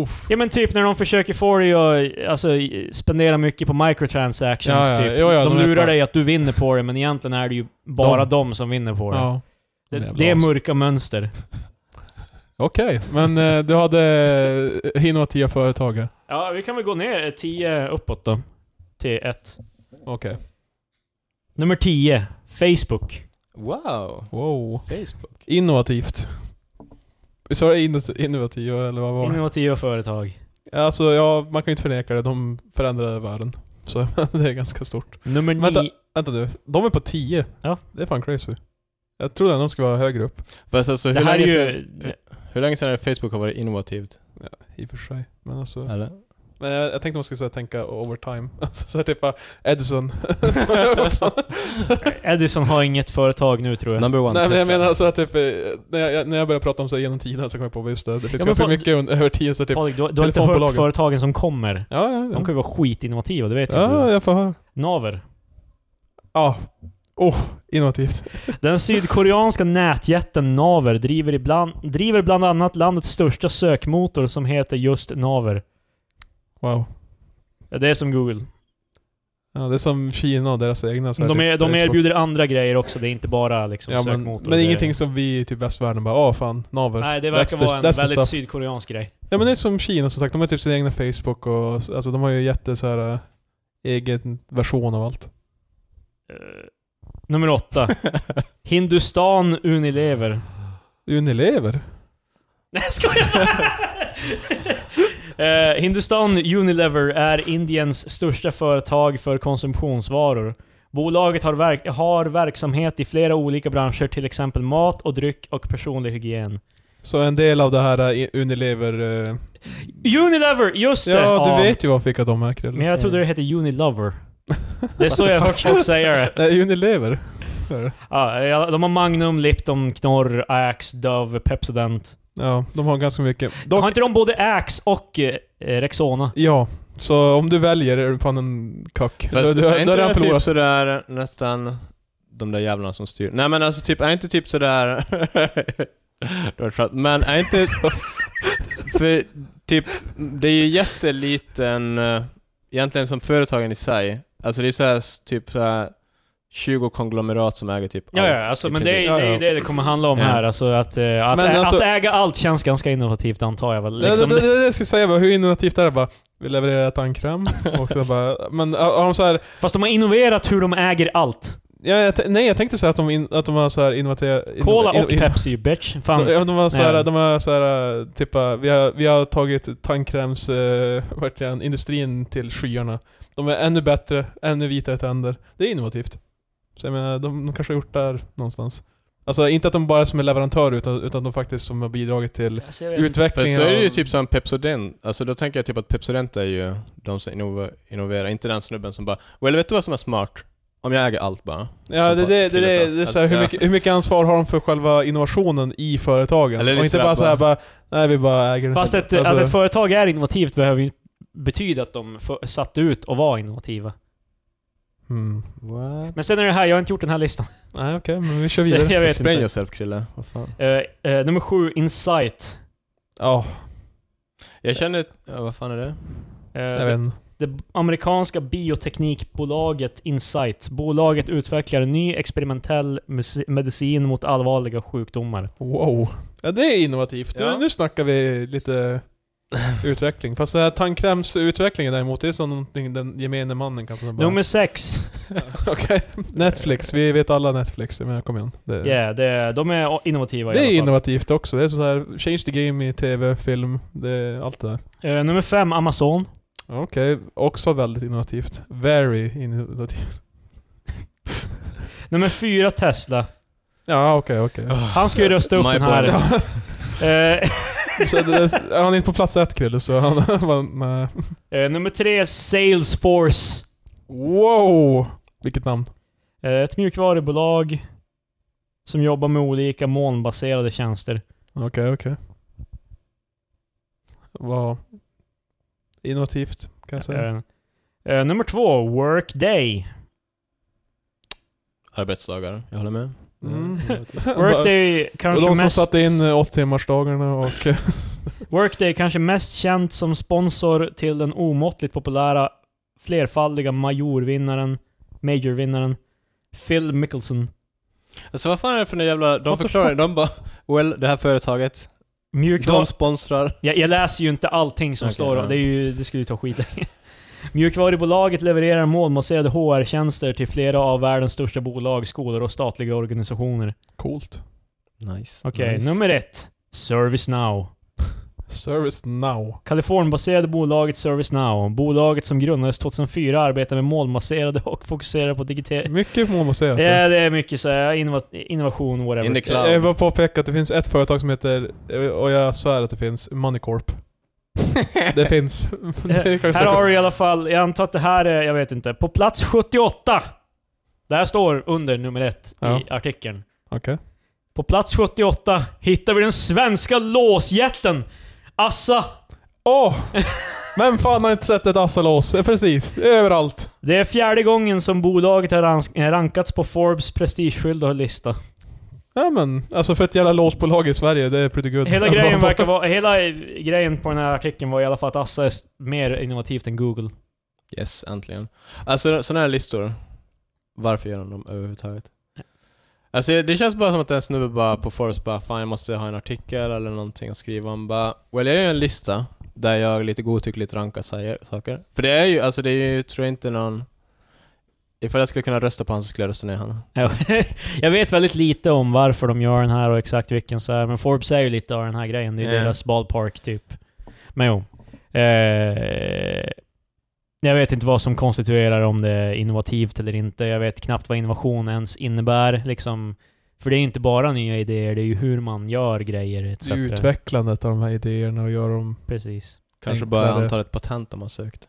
S1: uff.
S2: Ja men typ när de försöker få dig att alltså, i- spendera mycket på microtransactions
S1: Ja, ja.
S2: typ.
S1: Jo, ja,
S2: de
S1: de är
S2: lurar
S1: bra.
S2: dig att du vinner på det, men egentligen är det ju bara de, som vinner på det.
S1: Ja.
S2: det,
S1: jävla
S2: det är
S1: as.
S2: mörka mönster.
S1: Okej, men eh, du hade eh, innovativa företagare.
S2: Ja, vi kan väl gå ner 10 uppåt då. Till 1.
S1: Okej.
S2: Nummer 10. Facebook.
S3: Wow.
S1: Wow.
S3: Facebook.
S1: Innovativt. Visst var det inno- innovativa, eller vad var det?
S2: Innovativa företag.
S1: Alltså, ja, man kan ju inte förneka det. De förändrade världen. Så det är ganska stort.
S2: Nummer
S1: Vänta.
S2: nio...
S1: Vänta du, de är på 10.
S2: Ja.
S1: Det är fan crazy. Jag trodde att de skulle vara högre upp,
S3: Fast alltså, hur,
S2: Det här är
S3: länge
S2: ju...
S3: sedan, hur länge sedan är det Facebook har varit innovativt?
S1: i och för sig. Men alltså...
S2: Mm.
S3: Eller?
S1: Men jag, jag tänkte man skulle så här tänka overtime. Alltså så här typ bara Edison.
S2: Edison har inget företag nu tror jag.
S3: Number one
S1: Nej men
S3: Tesla.
S1: jag menar alltså att typ, eh, när jag, när jag började prata om så här genom tiden så kom jag på just det. Det finns
S2: men
S1: ganska
S2: på-
S1: mycket un- över tiden så typ...
S2: Patrik, du, har- du har inte hört
S1: Telefonbolagen.
S2: företagen som kommer.
S1: Ja, ja,
S2: De
S1: ja.
S2: kan ju vara skitinnovativa, det vet jag.
S1: Ja,
S2: inte.
S1: jag får höra.
S2: Naver.
S1: Ja. Oh, innovativt.
S2: Den sydkoreanska nätjätten Naver driver, ibland, driver bland annat landets största sökmotor som heter just Naver.
S1: Wow.
S2: Ja, Det är som Google.
S1: Ja, det är som Kina och deras egna så här,
S2: De,
S1: typ,
S2: är, de
S1: Facebook.
S2: erbjuder andra grejer också, det är inte bara liksom
S1: ja, men,
S2: sökmotor.
S1: men
S2: Det-
S1: ingenting som vi i typ västvärlden bara åh fan, naver.
S2: Nej, det
S1: That's
S2: verkar
S1: the-
S2: vara en
S1: that's the
S2: väldigt
S1: stuff.
S2: sydkoreansk grej.
S1: Ja men det är som Kina som sagt, de har typ sin egna Facebook och alltså de har ju jätte så här eh, egen version av allt.
S2: Eh, nummer åtta. Hindustan Unilever.
S1: Unilever?
S2: Nej, jag skojar! Eh, Hindustan Unilever är Indiens största företag för konsumtionsvaror. Bolaget har, verk har verksamhet i flera olika branscher, till exempel mat och dryck och personlig hygien.
S1: Så en del av det här är Unilever... eh,
S2: Unilever! Just det!
S1: Ja, du vet ju vad fick av de här Krille.
S2: Men jag trodde det hette Unilover. Det är så jag har hört folk säga det.
S1: Nej, Eh, Unilever. Är det?
S2: Ja, ja, de har Magnum, Lipton, Knorr, Ajax, Dove, Pepsodent.
S1: Ja, de har ganska mycket.
S2: Har
S1: Dock,
S2: inte de både Axe och eh, Rexona?
S1: ja, så om du väljer är du fan en kack.
S3: Fast
S1: du, du,
S3: är
S1: har- du
S3: inte
S1: har redan
S3: det typ
S1: förlorat.
S3: sådär nästan de där jävlarna som styr? Nej men alltså typ, är inte typ sådär... det var skönt. men är inte... för typ, det är ju jätteliten... eh, Egentligen som företagen i sig. Alltså det är såhär typ såhär 20 konglomerat som äger typ
S2: Ja, ja
S3: allt,
S2: alltså,
S3: i
S2: men det
S3: princip.
S2: är, det är ju
S1: Ja,
S2: det det kommer handla om
S3: Ja.
S2: här. Alltså, att, eh, att,
S1: Men
S2: ä-
S1: alltså-
S2: att äga allt känns ganska innovativt antar jag väl. Liksom,
S1: det, det, det, det jag skulle säga bara, hur innovativt är det bara? Vi levererar tandkräm och så bara... Men har de så här,
S2: Fast de har innoverat hur de äger allt.
S1: ja, jag, t- nej jag tänkte säga att de, in, att de har så här innovativa...
S2: Cola
S1: inno-
S2: och
S1: inno-
S2: Pepsi ju bitch. Fan.
S1: Ja, de har så här,
S2: Nej.
S1: de har så här, typ, eh, vi har, vi har tagit tandkräms, eh, verkligen, industrin till skyarna. De är ännu bättre, ännu vitare tänder. Det är innovativt. Så jag menar, de, de kanske har gjort det här någonstans. Alltså inte att de bara är som är leverantör utan, utan de faktiskt som har bidragit till
S2: Alltså, jag vet inte.
S3: För
S1: utvecklingen
S3: så är det ju
S1: av-
S3: typ som Pepsodent, alltså då tänker jag typ att Pepsodent är ju de som innova- innoverar, inte den snubben som bara ”Well, vet du vad som är smart? Om jag äger allt bara”.
S1: Ja,
S3: Som
S1: det, det, det,
S3: killen
S1: det,
S3: sa.
S1: det är så här, hur,
S3: Ja.
S1: mycket, hur mycket ansvar har de för själva innovationen i företagen?
S3: Eller
S1: och
S3: liksom
S1: inte bara
S3: att
S1: så här, bara, nej vi bara äger den.
S2: Fast ett,
S1: Alltså,
S2: att ett företag är innovativt behöver ju inte betyda att de f- satte ut och var innovativa.
S1: mm.
S3: What?
S2: Men sen är det här, jag har inte gjort den här listan.
S1: Nej okej, men vi kör
S2: Så
S1: vidare.
S2: jag vet
S3: Explain
S2: inte.
S3: yourself Krille, vad fan.
S2: Eh, eh, nummer sju, Insight.
S1: Ja,
S3: Jag känner, ja, vad fan är det?
S2: Eh,
S1: jag vet inte.
S2: Det amerikanska bioteknikbolaget Insight. Bolaget utvecklar en ny experimentell mus- medicin mot allvarliga sjukdomar.
S1: Wow. Ja, det är innovativt. Nu-
S3: Ja.
S1: Nu snackar vi lite utveckling. Fast den här tandkrämsutvecklingen däremot, det är som någonting den gemene mannen kanske bara...
S2: Nummer sex.
S1: Okej. Netflix, vi vet alla Netflix. Men kom igen. Det,
S2: Yeah, det, är- de är o- innovativa
S1: Eh. det är
S2: i alla fall.
S1: innovativt också. Det är så här, change the game i tv, film, det, är allt det där.
S2: Eh, nummer fem, Amazon.
S1: Okej, också väldigt innovativt. Very innovativt.
S2: Nummer fyra, Tesla.
S1: Ja, okej, okej.
S2: Han
S1: Eh,
S2: ska ju rösta upp
S3: My
S2: den här.
S3: brain.
S2: Eh,
S1: Så det- Han är inte på plats ett Krille, så han... han nej.
S2: eh, nummer tre, Salesforce.
S1: wow! Vilket namn.
S2: Eh, ett mjukvarubolag som jobbar med olika molnbaserade tjänster.
S1: Okej, okej. Vad innovativt kan jag säga.
S2: Eh, eh, nummer två, Workday.
S3: Arbetsdagar, jag håller med.
S1: Mm.
S2: Workday
S1: Och
S2: kanske
S1: de som
S2: mest...
S1: satte in eh, 8-timmarsdagarna och...
S2: Workday kanske mest känt som sponsor till den omåttligt populära flerfaldiga majorvinnaren, majorvinnaren Phil Mickelson.
S3: Alltså vad fan är det för en jävla, de
S1: What the
S3: förklarar, de bara ”Well, det här företaget,
S2: Mjukvaru...
S3: de sponsrar”.
S2: Jag, jag läser ju inte allting som
S3: Okej,
S2: står,
S3: ja.
S2: det, är ju, det skulle ju ta skit länge. Mjukvarubolaget levererar molnbaserade HR-tjänster till flera av världens största bolag, skolor och statliga organisationer.
S1: Coolt.
S3: Nice.
S2: Okej, nummer ett. ServiceNow.
S1: Service now.
S2: Kalifornienbaserade bolaget ServiceNow. Bolaget som grundades 2004 arbetar med molnbaserade och fokuserar på digitala...
S1: Mycket må man säga. att det-
S2: Ja, det är mycket så här innova- innovation, whatever.
S3: In the
S1: Jag vill
S2: Eh,
S3: cloud.
S1: bara påpeka att det finns ett företag som heter, och jag svär att det finns, Moneycorp. Det finns. Det kan vi
S2: här
S1: söka.
S2: har du i alla fall, jag antar att det här är, jag vet inte, på plats 78. Det här står under nummer ett
S1: Ja.
S2: i artikeln.
S1: Okej.
S2: På plats 78 hittar vi den svenska låsjätten Assa.
S1: Åh! Vem fan har inte sett ett Assalås? Eh, Precis, det är överallt.
S2: Det är fjärde gången som bolaget har rank- rankats på Forbes prestigefyllda lista.
S1: Ja men, alltså för ett jävla låsbolag i Sverige, det är pretty good.
S2: Hela
S1: Att
S2: grejen,
S1: man får-
S2: verkar vara, hela grejen på den här artikeln var i alla fall att Assa är s- mer innovativt än Google.
S3: Yes, äntligen. Alltså sådana här listor, varför gör de dem överhuvudtaget? Alltså det känns bara som att en snubbe bara på Forrest bara fan jag måste ha en artikel eller någonting att skriva om. Bara, well jag gör en lista där jag lite godtyckligt rankar säger- saker. För det är ju, alltså det är ju, tror jag inte någon... Ifall jag skulle kunna rösta på honom så skulle jag rösta ner honom.
S2: Ja, jag vet väldigt lite om varför de gör den här och exakt vilken så här, men Forbes är ju lite av den här grejen. Det är ju
S3: Ja.
S2: deras ballpark typ. Men jo. Eh, jag vet inte vad som konstituerar om det är innovativt eller inte. Jag vet knappt vad innovation ens innebär. Liksom. För det är ju inte bara nya idéer, det är ju hur man gör grejer etc.
S1: Det är utvecklandet av de här idéerna och gör dem...
S2: Precis.
S3: Kanske
S1: Enklare.
S3: bara antalet patent de har sökt.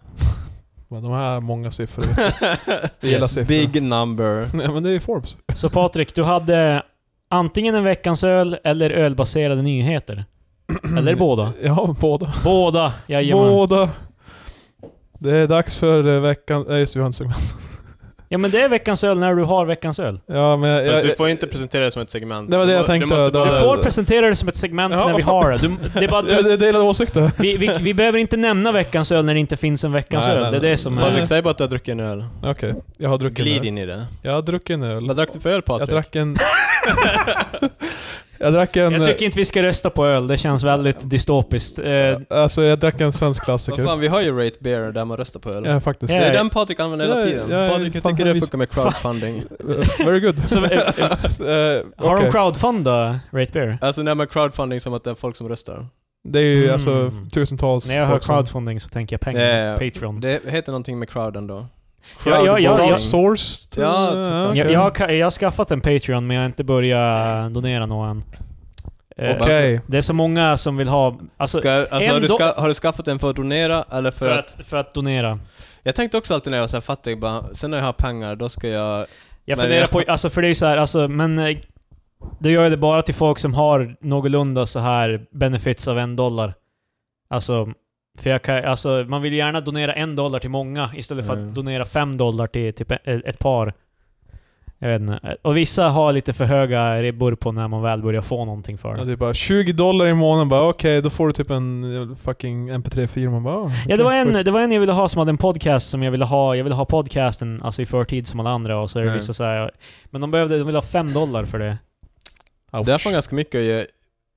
S1: vad, De här många siffror. Jag gillar siffror.
S3: Big number.
S1: Nej men det är ju Forbes.
S2: Så Patrik, du hade antingen en veckans öl eller ölbaserade nyheter. Eller båda?
S1: Ja, båda.
S2: Båda! Jajamän.
S1: Båda. Det är dags för eh, veckan... Nej, just det, vi har inte segment.
S2: Ja men det är veckans öl när du har veckans öl.
S1: Ja, men jag,
S3: Fast du
S1: jag,
S3: får ju inte presentera det som ett segment.
S1: Det var det jag
S3: Du må-
S1: tänkte,
S3: Du måste
S1: då-
S2: Du
S3: bara...
S1: Ja,
S2: får
S1: det-
S2: presentera det som ett segment
S1: Ja.
S2: när vi har det. Du, det är bara,
S1: jag,
S2: du,
S1: det är delade åsikter.
S2: vi, vi, vi behöver inte nämna veckans öl när det inte finns en veckans
S1: Nej,
S2: öl.
S1: nej,
S2: det är
S1: nej.
S2: det som är...
S1: Nej.
S3: Patrik, säg bara att du har druckit en öl.
S1: Okej, jag har druckit
S3: Glid
S1: en öl.
S3: in i det.
S1: Jag har druckit en öl.
S3: Vad drack du för öl
S1: Jag
S3: Patrik?
S1: drack en... jag drack en... eh,
S2: Jag tycker inte vi ska rösta på öl, det känns väldigt dystopiskt. Eh,
S1: Alltså jag drack en svensk
S3: Vad
S1: klassiker.
S3: fan, vi har ju Rate Beer där man röstar på öl.
S1: Ja, faktiskt.
S3: Det är
S2: Ja, ja.
S3: den Patrik använder hela
S1: Ja,
S3: tiden.
S1: ja,
S3: Patrik, hur
S1: fan,
S3: tycker du det
S1: visst.
S3: funkar med crowdfunding?
S1: Eh, Very good.
S2: så, eh, eh,
S1: Eh,
S2: har
S1: okej.
S2: de crowdfundat Rate Beer?
S3: Alltså när man crowdfunding som att det är folk som röstar.
S1: Det är ju
S2: Mm.
S1: alltså tusentals
S2: När jag hör
S1: folk som-
S2: crowdfunding så tänker jag pengar.
S3: Ja, ja, ja.
S2: Patreon.
S3: Det heter någonting med crowden då.
S2: Ja, ja, ja,
S1: Crowdsourced. Sourced?
S2: ja.
S3: Ja, typ.
S1: eh,
S3: såklart.
S1: okej.
S2: Jag, jag, har ka- jag har skaffat en Patreon men jag har inte börjat donera någon. Eh,
S3: Och-
S1: Okej.
S2: Det är så många som vill ha... Alltså,
S3: Ska, alltså, har, du
S2: en do-
S3: ska, har du skaffat den för att donera eller för,
S2: för,
S3: att...
S2: att, för att donera.
S3: Jag tänkte också alltid när jag var så här fattig, bara, sen när jag har pengar då ska jag...
S2: Jag
S3: Men
S2: funderar
S3: jag-
S2: på... Alltså för det är ju så här, alltså, men... eh, Då gör jag det bara till folk som har någorlunda så här benefits av en dollar. Alltså... För jag kan, alltså, man vill ju gärna donera en dollar till många istället för
S3: Mm.
S2: att donera fem dollar till typ ett, ett par. Jag vet inte. Och vissa har lite för höga ribbor på när man väl börjar få någonting för
S1: Ja,
S2: det.
S1: det är bara 20 dollar i månaden, bara okej, då får du typ en eh, fucking mp3-fil. Man bara ah,
S2: Ja,
S1: okej,
S2: det var, en, eh,
S1: schysst.
S2: det var en jag ville ha som hade en podcast som jag ville ha. Jag ville ha podcasten alltså i förtid som alla andra och så är det
S3: Mm.
S2: vissa så här, Men de behövde, de ville ha fem dollar för det.
S1: Ouch.
S3: Det är fan ganska mycket att ge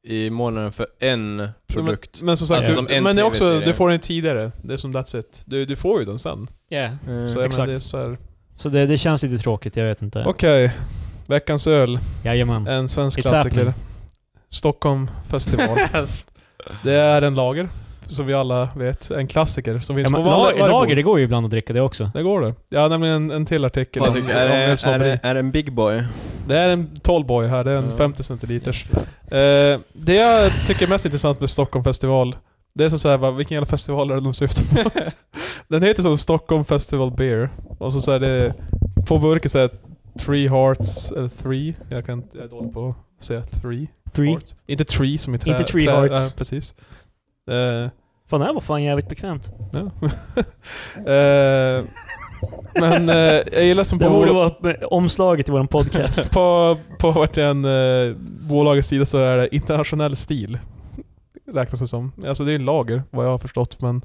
S3: i månaden för en produkt.
S1: Men, men som sagt,
S2: Alltså,
S1: du,
S3: som en
S1: men det är också,
S3: TV-serie.
S1: du får den tidigare. Det är som that's it. Du, du får ju den
S3: Mm.
S1: sen.
S2: Yeah.
S1: Så, jag menar,
S2: exakt.
S1: det är så här.
S2: Så det, det känns lite tråkigt, jag vet inte.
S1: Okej, veckans öl.
S2: Jajamän.
S1: En svensk
S2: It's
S1: klassiker.
S2: happening.
S1: Stockholm festival. Det är en lager, som vi alla vet. En klassiker som finns
S2: Ja, men,
S1: på varje,
S2: la,
S1: varje
S2: lager, det
S1: bord.
S2: går ju ibland att dricka det också.
S1: Det går det. Jag har nämligen en, en till artikel
S3: Patrik, är, det-
S1: en
S3: är,
S1: snobberi.
S3: det- är det en big boy?
S1: Det är en tallboy här, det är en
S3: Ja.
S1: 50 centiliters. Eh, det jag tycker är mest intressant med Stockholm festival, det är så såhär, bara, vilken jävla festival är det de syftar på? Den heter som Stockholm festival beer. Och så såhär, det på burken såhär, three hearts, eh, three. Jag, kan, jag är dålig på att säga three.
S2: Three.
S1: Hearts. Inte tree som i trä.
S2: Inte tree
S1: trä,
S2: hearts.
S1: ja, precis. Eh,
S2: Fan, det här var fan jävligt bekvämt.
S1: ja. Eh, men eh, jag gillar som
S2: Det
S1: på...
S2: borde vara eh, omslaget i våran podcast.
S1: på, på verkligen eh, bolagets sida så är det internationell stil. Räknas det som. Alltså det är en lager, vad jag har förstått, men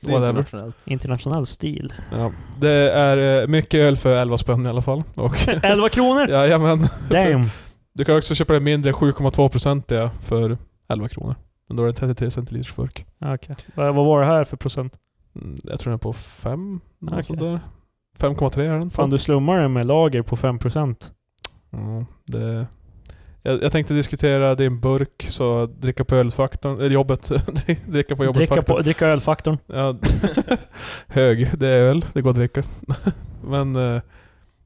S3: Det är
S1: whatever.
S3: internationellt.
S2: Internationell stil.
S1: Ja. Det är eh, mycket öl för 11 spänn i alla fall. Och,
S2: 11 kronor!
S1: ja, men
S2: Damn!
S1: Du kan också köpa det mindre, 7,2% för 11 kronor. Men då är det en 33 centiliters burk.
S2: Vad vad var det här för procent?
S1: Mm, Jag tror den är på 5,
S2: Okej.
S1: okay. sådär. 5,3 är den.
S2: Fan, du slummar den med lager på 5%.
S1: Ja, det... Jag, jag tänkte diskutera din burk, så dricka på ölfaktorn, eller jobbet, dricka på jobbet
S2: Dricka, på, dricka ölfaktorn.
S1: Ja, hög, det är öl, det går att dricka. Men eh,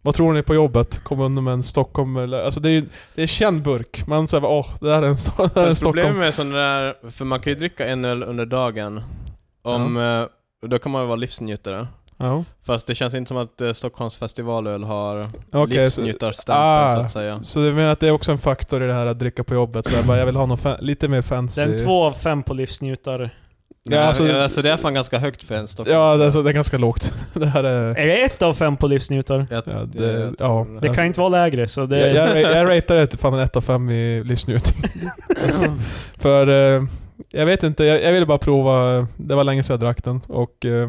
S1: vad tror ni på jobbet? Kom under med en Stockholm eller, Alltså det är ju- det är känd burk. Man säger bara, åh, det här är en, sto- det här är en
S3: Fast problemet
S1: Stockholm.
S3: med sådana där, för man kan ju dricka en öl under dagen. Om, eh, Då kan man ju vara livsnjutare.
S1: Ja.
S3: Fast det känns inte som att eh, Stockholms festivalöl har
S1: Okej, så,
S3: livsnjutarstämpeln
S1: Ah.
S3: så att säga.
S1: så du menar att det är också en faktor i det här att dricka på jobbet? Så jag, bara, jag vill ha något fa- lite mer fancy.
S2: Den två av fem på livsnjutare.
S1: Ja,
S3: Ja,
S1: alltså-
S3: alltså, det är fan ganska högt för en Stockholm.
S1: Ja, det, är så- det är ganska lågt. Det här är...
S2: Är det ett av fem på livsnjutare?
S3: Jag,
S1: Ja, det-
S3: jag
S1: ja.
S3: tror
S1: Det
S2: Det kan inte vara lägre, så det...
S1: Jag, jag, ra- jag ratear det till fan en 1 av 5 i livsnjutning. För eh, jag vet inte, jag, jag ville bara prova. Det var länge sedan jag drack den och eh,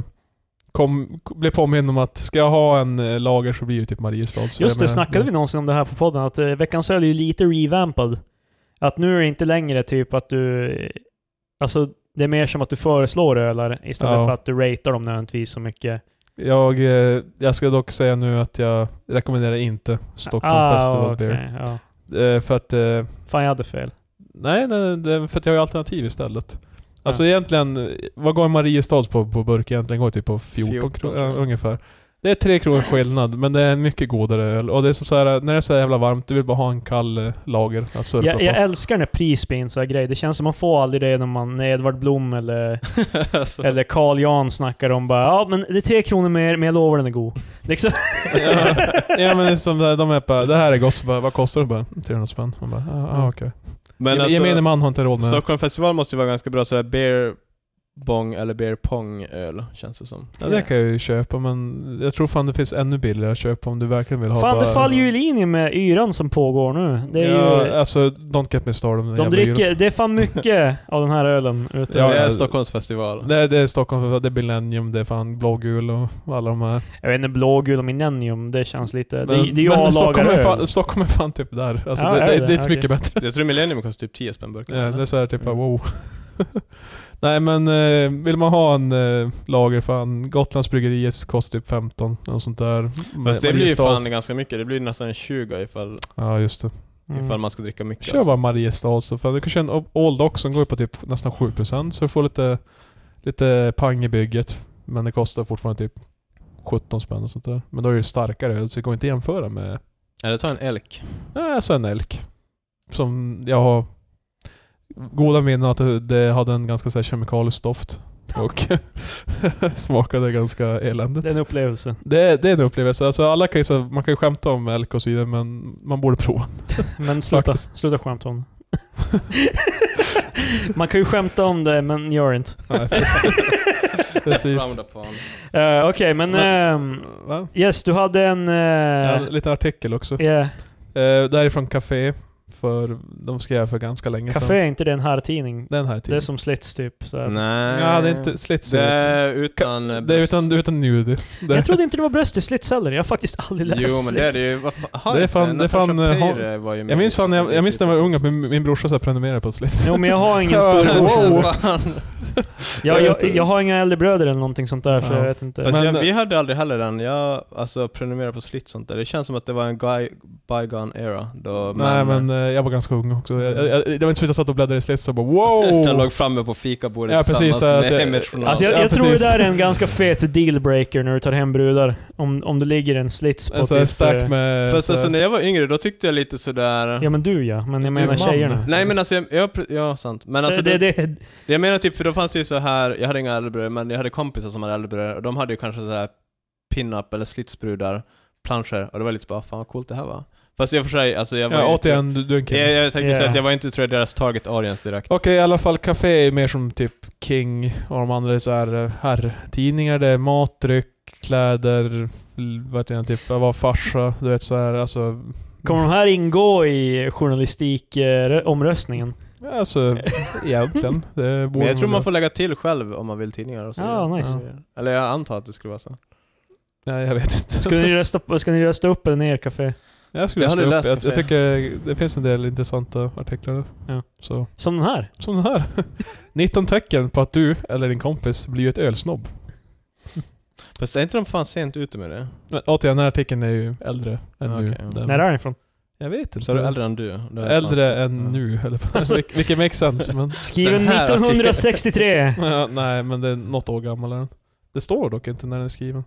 S1: kom, k- blev påmind om att ska jag ha en eh, lager så blir det typ Mariestad. Så mm.
S2: Just det, snackade vi någonsin om det här på podden? Att eh, veckans öl är ju lite revampad. Att nu är det inte längre typ att du... eh, Alltså, det är mer som att du föreslår ölar istället
S1: Ja.
S2: för att du ratear dem nödvändigtvis så mycket.
S1: Jag, eh, jag ska dock säga nu att jag rekommenderar inte Stockholm Festival
S2: Ah, okej,
S1: Beer.
S2: ja.
S1: Eh, för att... Eh,
S2: Fan, jag hade fel.
S1: nej, nej, det är för att jag har ju alternativ istället. Alltså egentligen, eh, vad går en Mariestads på, på burk egentligen? Går typ på 14,
S3: 14
S1: kronor
S3: tror
S1: ja,
S3: jag.
S1: ungefär. Det är tre kronor skillnad, men det är en mycket godare öl. Och det är som så här, när det är så här jävla varmt, du vill bara ha en kall eh, lager att surfa
S2: Jag,
S1: på.
S2: jag älskar när pris blir en sån här grej. Det känns som man får aldrig det när man när Edvard Blom eller,
S3: alltså,
S2: eller Carl Jan snackar om bara ja men det är tre kronor mer, men jag lovar den är god. Liksom.
S1: ja, ja men det är som där, de är bara, det här är gott, så bara, vad kostar det? Bara, 300 spänn. Man bara, ah, ah, okej. Men
S3: Men alltså,
S1: Gemene man har inte råd med det.
S3: Stockholm festival måste ju vara ganska bra så här beer bong eller beer pong öl känns det som.
S1: Ja, det kan jag ju köpa men jag tror fan det finns ännu billigare att köpa om du verkligen vill ha
S2: Fan,
S1: bara...
S2: det faller ju i linje med yran som pågår nu. Det är
S1: ja,
S2: ju,
S1: alltså don't get me started om den
S2: de
S1: jävla
S2: dricker,
S1: euron.
S2: det är fan mycket av den här ölen ute.
S1: Ja,
S3: det är
S1: ja.
S3: Stockholms festival.
S1: Det, det är Stockholm, det är Millennium, det är fan blågul och alla de här.
S2: Jag vet inte, blågul och millennium, det känns lite... det,
S1: Men-
S2: det är ju
S1: men
S2: A-lagaröl.
S1: Stockholm, är fan, Stockholm är fan typ där. Alltså
S2: Ja,
S1: det,
S2: är
S1: det, det,
S2: det?
S1: är inte
S2: Okej.
S1: mycket bättre.
S3: Jag tror Millennium kostar typ 10 spänn burken.
S1: Ja, det är såhär typ
S3: Mm.
S1: wow. Nej men eh, vill man ha en eh, lager fan, Gotlands bryggeriets kostar typ 15 och sånt där.
S3: Fast det
S1: Ma-
S3: blir ju
S1: Mariestads-
S3: fan ganska mycket, det blir nästan 20 ifall,
S1: Ja just det.
S3: ifall
S2: Mm.
S3: man ska dricka mycket. alltså.
S1: Kör bara Mariestad så fan. Du kan köra en Old Ox som går på typ nästan 7% så du får lite, lite pang i bygget. Men det kostar fortfarande typ 17 spänn och sånt där. Men då är det ju starkare öl så det går inte att jämföra med,
S3: Nej, det tar en elk.
S1: nej alltså en elk. Som jag har goda minnen att det- det hade en ganska så här kemikalisk doft. Och smakade ganska eländigt.
S2: Det är en upplevelse.
S1: Det, det är en upplevelse. Alltså alla kan ju, så- man kan ju skämta om elk och så vidare men man borde prova.
S2: Men sluta,
S1: Faktiskt.
S2: sluta skämta om det. Man kan ju skämta om det, men gör inte.
S1: Nej, precis.
S3: Fram
S1: precis.
S3: där på han.
S2: Eh, Okej, men... ehm,
S1: Va?
S2: yes, du hade en... eh,
S1: Ja, en liten artikel också.
S2: yeah.
S1: Eh, det här är från Café. För, de skrev för ganska länge sedan.
S2: Café är inte den här tidning.
S1: Den här
S2: Det är
S1: tiden.
S2: som Slits typ. Så här.
S3: Nej.
S1: Ja, det är inte slits.
S3: Det är utan... eh,
S1: det är utan, utan nudie. Det,
S2: Jag trodde inte det var bröst i Slits heller. Jag har faktiskt aldrig läst
S3: Jo men det är det
S2: Slits.
S3: ju, vad fan, har
S1: Det är
S3: inte
S1: fan- det är fan,
S3: Natasha
S1: eh, har-
S3: Peire var ju med
S1: jag minns fan när jag, jag minns när jag var ung att
S3: men...
S1: min, min brorsa så här prenumererade på slits.
S2: Jo, men jag har ingen
S1: Ja,
S2: storebror.
S1: wow.
S2: Jag, jag, jag har inga äldre bröder eller någonting sånt där, så
S1: typ. Ja.
S2: jag vet inte.
S3: Fast
S1: Men-
S3: jag, vi hade aldrig heller den, jag alltså prenumererade på slitt sånt där. Det känns som att det var en guy, bygone era då
S1: Nej men eh, jag var ganska ung också. Jag, jag, det var inte så att jag satt och bläddrade i slits och bara wow! Alltså,
S3: Den låg framme på fikabordet
S1: Oh! Ja, precis,
S3: tillsammans
S1: så att eh,
S3: med
S1: det-
S3: Emmett Journal.
S2: Alltså jag,
S1: Ja,
S2: jag tror det
S1: precis.
S2: där är en ganska fet dealbreaker när du tar hem brudar. Om, om det ligger en slits på
S1: En sån här
S2: eh,
S1: stack med...
S3: Fast
S1: så-
S3: alltså när jag var yngre, då tyckte jag lite sådär...
S2: Ja men du ja, men jag
S1: Du är
S2: menar
S1: man.
S2: tjejerna.
S3: Nej men alltså, jag, jag, ja sant. Men alltså,
S2: det,
S3: det,
S2: det, det,
S3: jag menar typ, för då fanns det ju så här jag hade inga äldre bröder, men jag hade kompisar som hade äldre bröder, och de hade ju kanske så här pin-up eller slitsbrudar, planscher, och det var lite så bara, fan vad coolt det här var. Fast i och för sig, alltså jag var
S1: ja,
S3: ju inte-
S1: återigen, du, du är en king.
S3: Jag, jag tänkte säga
S2: Yeah.
S3: att jag var inte tror jag deras target audience direkt.
S1: Okej, i alla fall Café är mer som typ King och de andra är så här eh, herrtidningar. Det är mat, dryck, kläder, l- vad heter det, typ, jag var farsa, du vet så här, alltså...
S2: kommer de här ingå i eh, journalistikomröstningen?
S1: Ja, Alltså, egentligen. Det borde
S3: Men jag tror
S1: väl
S3: man
S1: göra.
S3: får lägga till själv om man vill tidningar och så
S2: Ja,
S3: vidare.
S2: nice.
S3: Ja. Eller jag antar att det skulle vara så.
S1: Nej, jag vet inte.
S2: Ska ni rösta, på- ska ni rösta upp eller ner Café?
S1: jag skulle
S3: Jag har
S1: slå
S3: aldrig
S1: upp.
S3: läst
S1: Jag, jag
S3: Café.
S1: tycker det finns en del intressanta artiklar där.
S2: Ja.
S1: Så,
S2: Som den här?
S1: som den här. 19 tecken på att du, eller din kompis, blir ett ölsnobb.
S3: Fast är inte de fan sent ute med det?
S1: Men återigen, den här artikeln är ju äldre än
S3: Ja,
S1: nu.
S3: okej, ja.
S1: Den-
S2: När är den ifrån?
S1: Jag vet inte.
S3: Så är du äldre än du? Det är fan
S1: Äldre
S3: sant.
S1: än
S3: Ja.
S1: nu, eller alltså, vil- vilket makes sense men...
S2: Skriven
S3: Den här artikeln.
S2: 1963!
S1: Ja, nej, men det är något år gammal är den. Det står dock inte när den är skriven.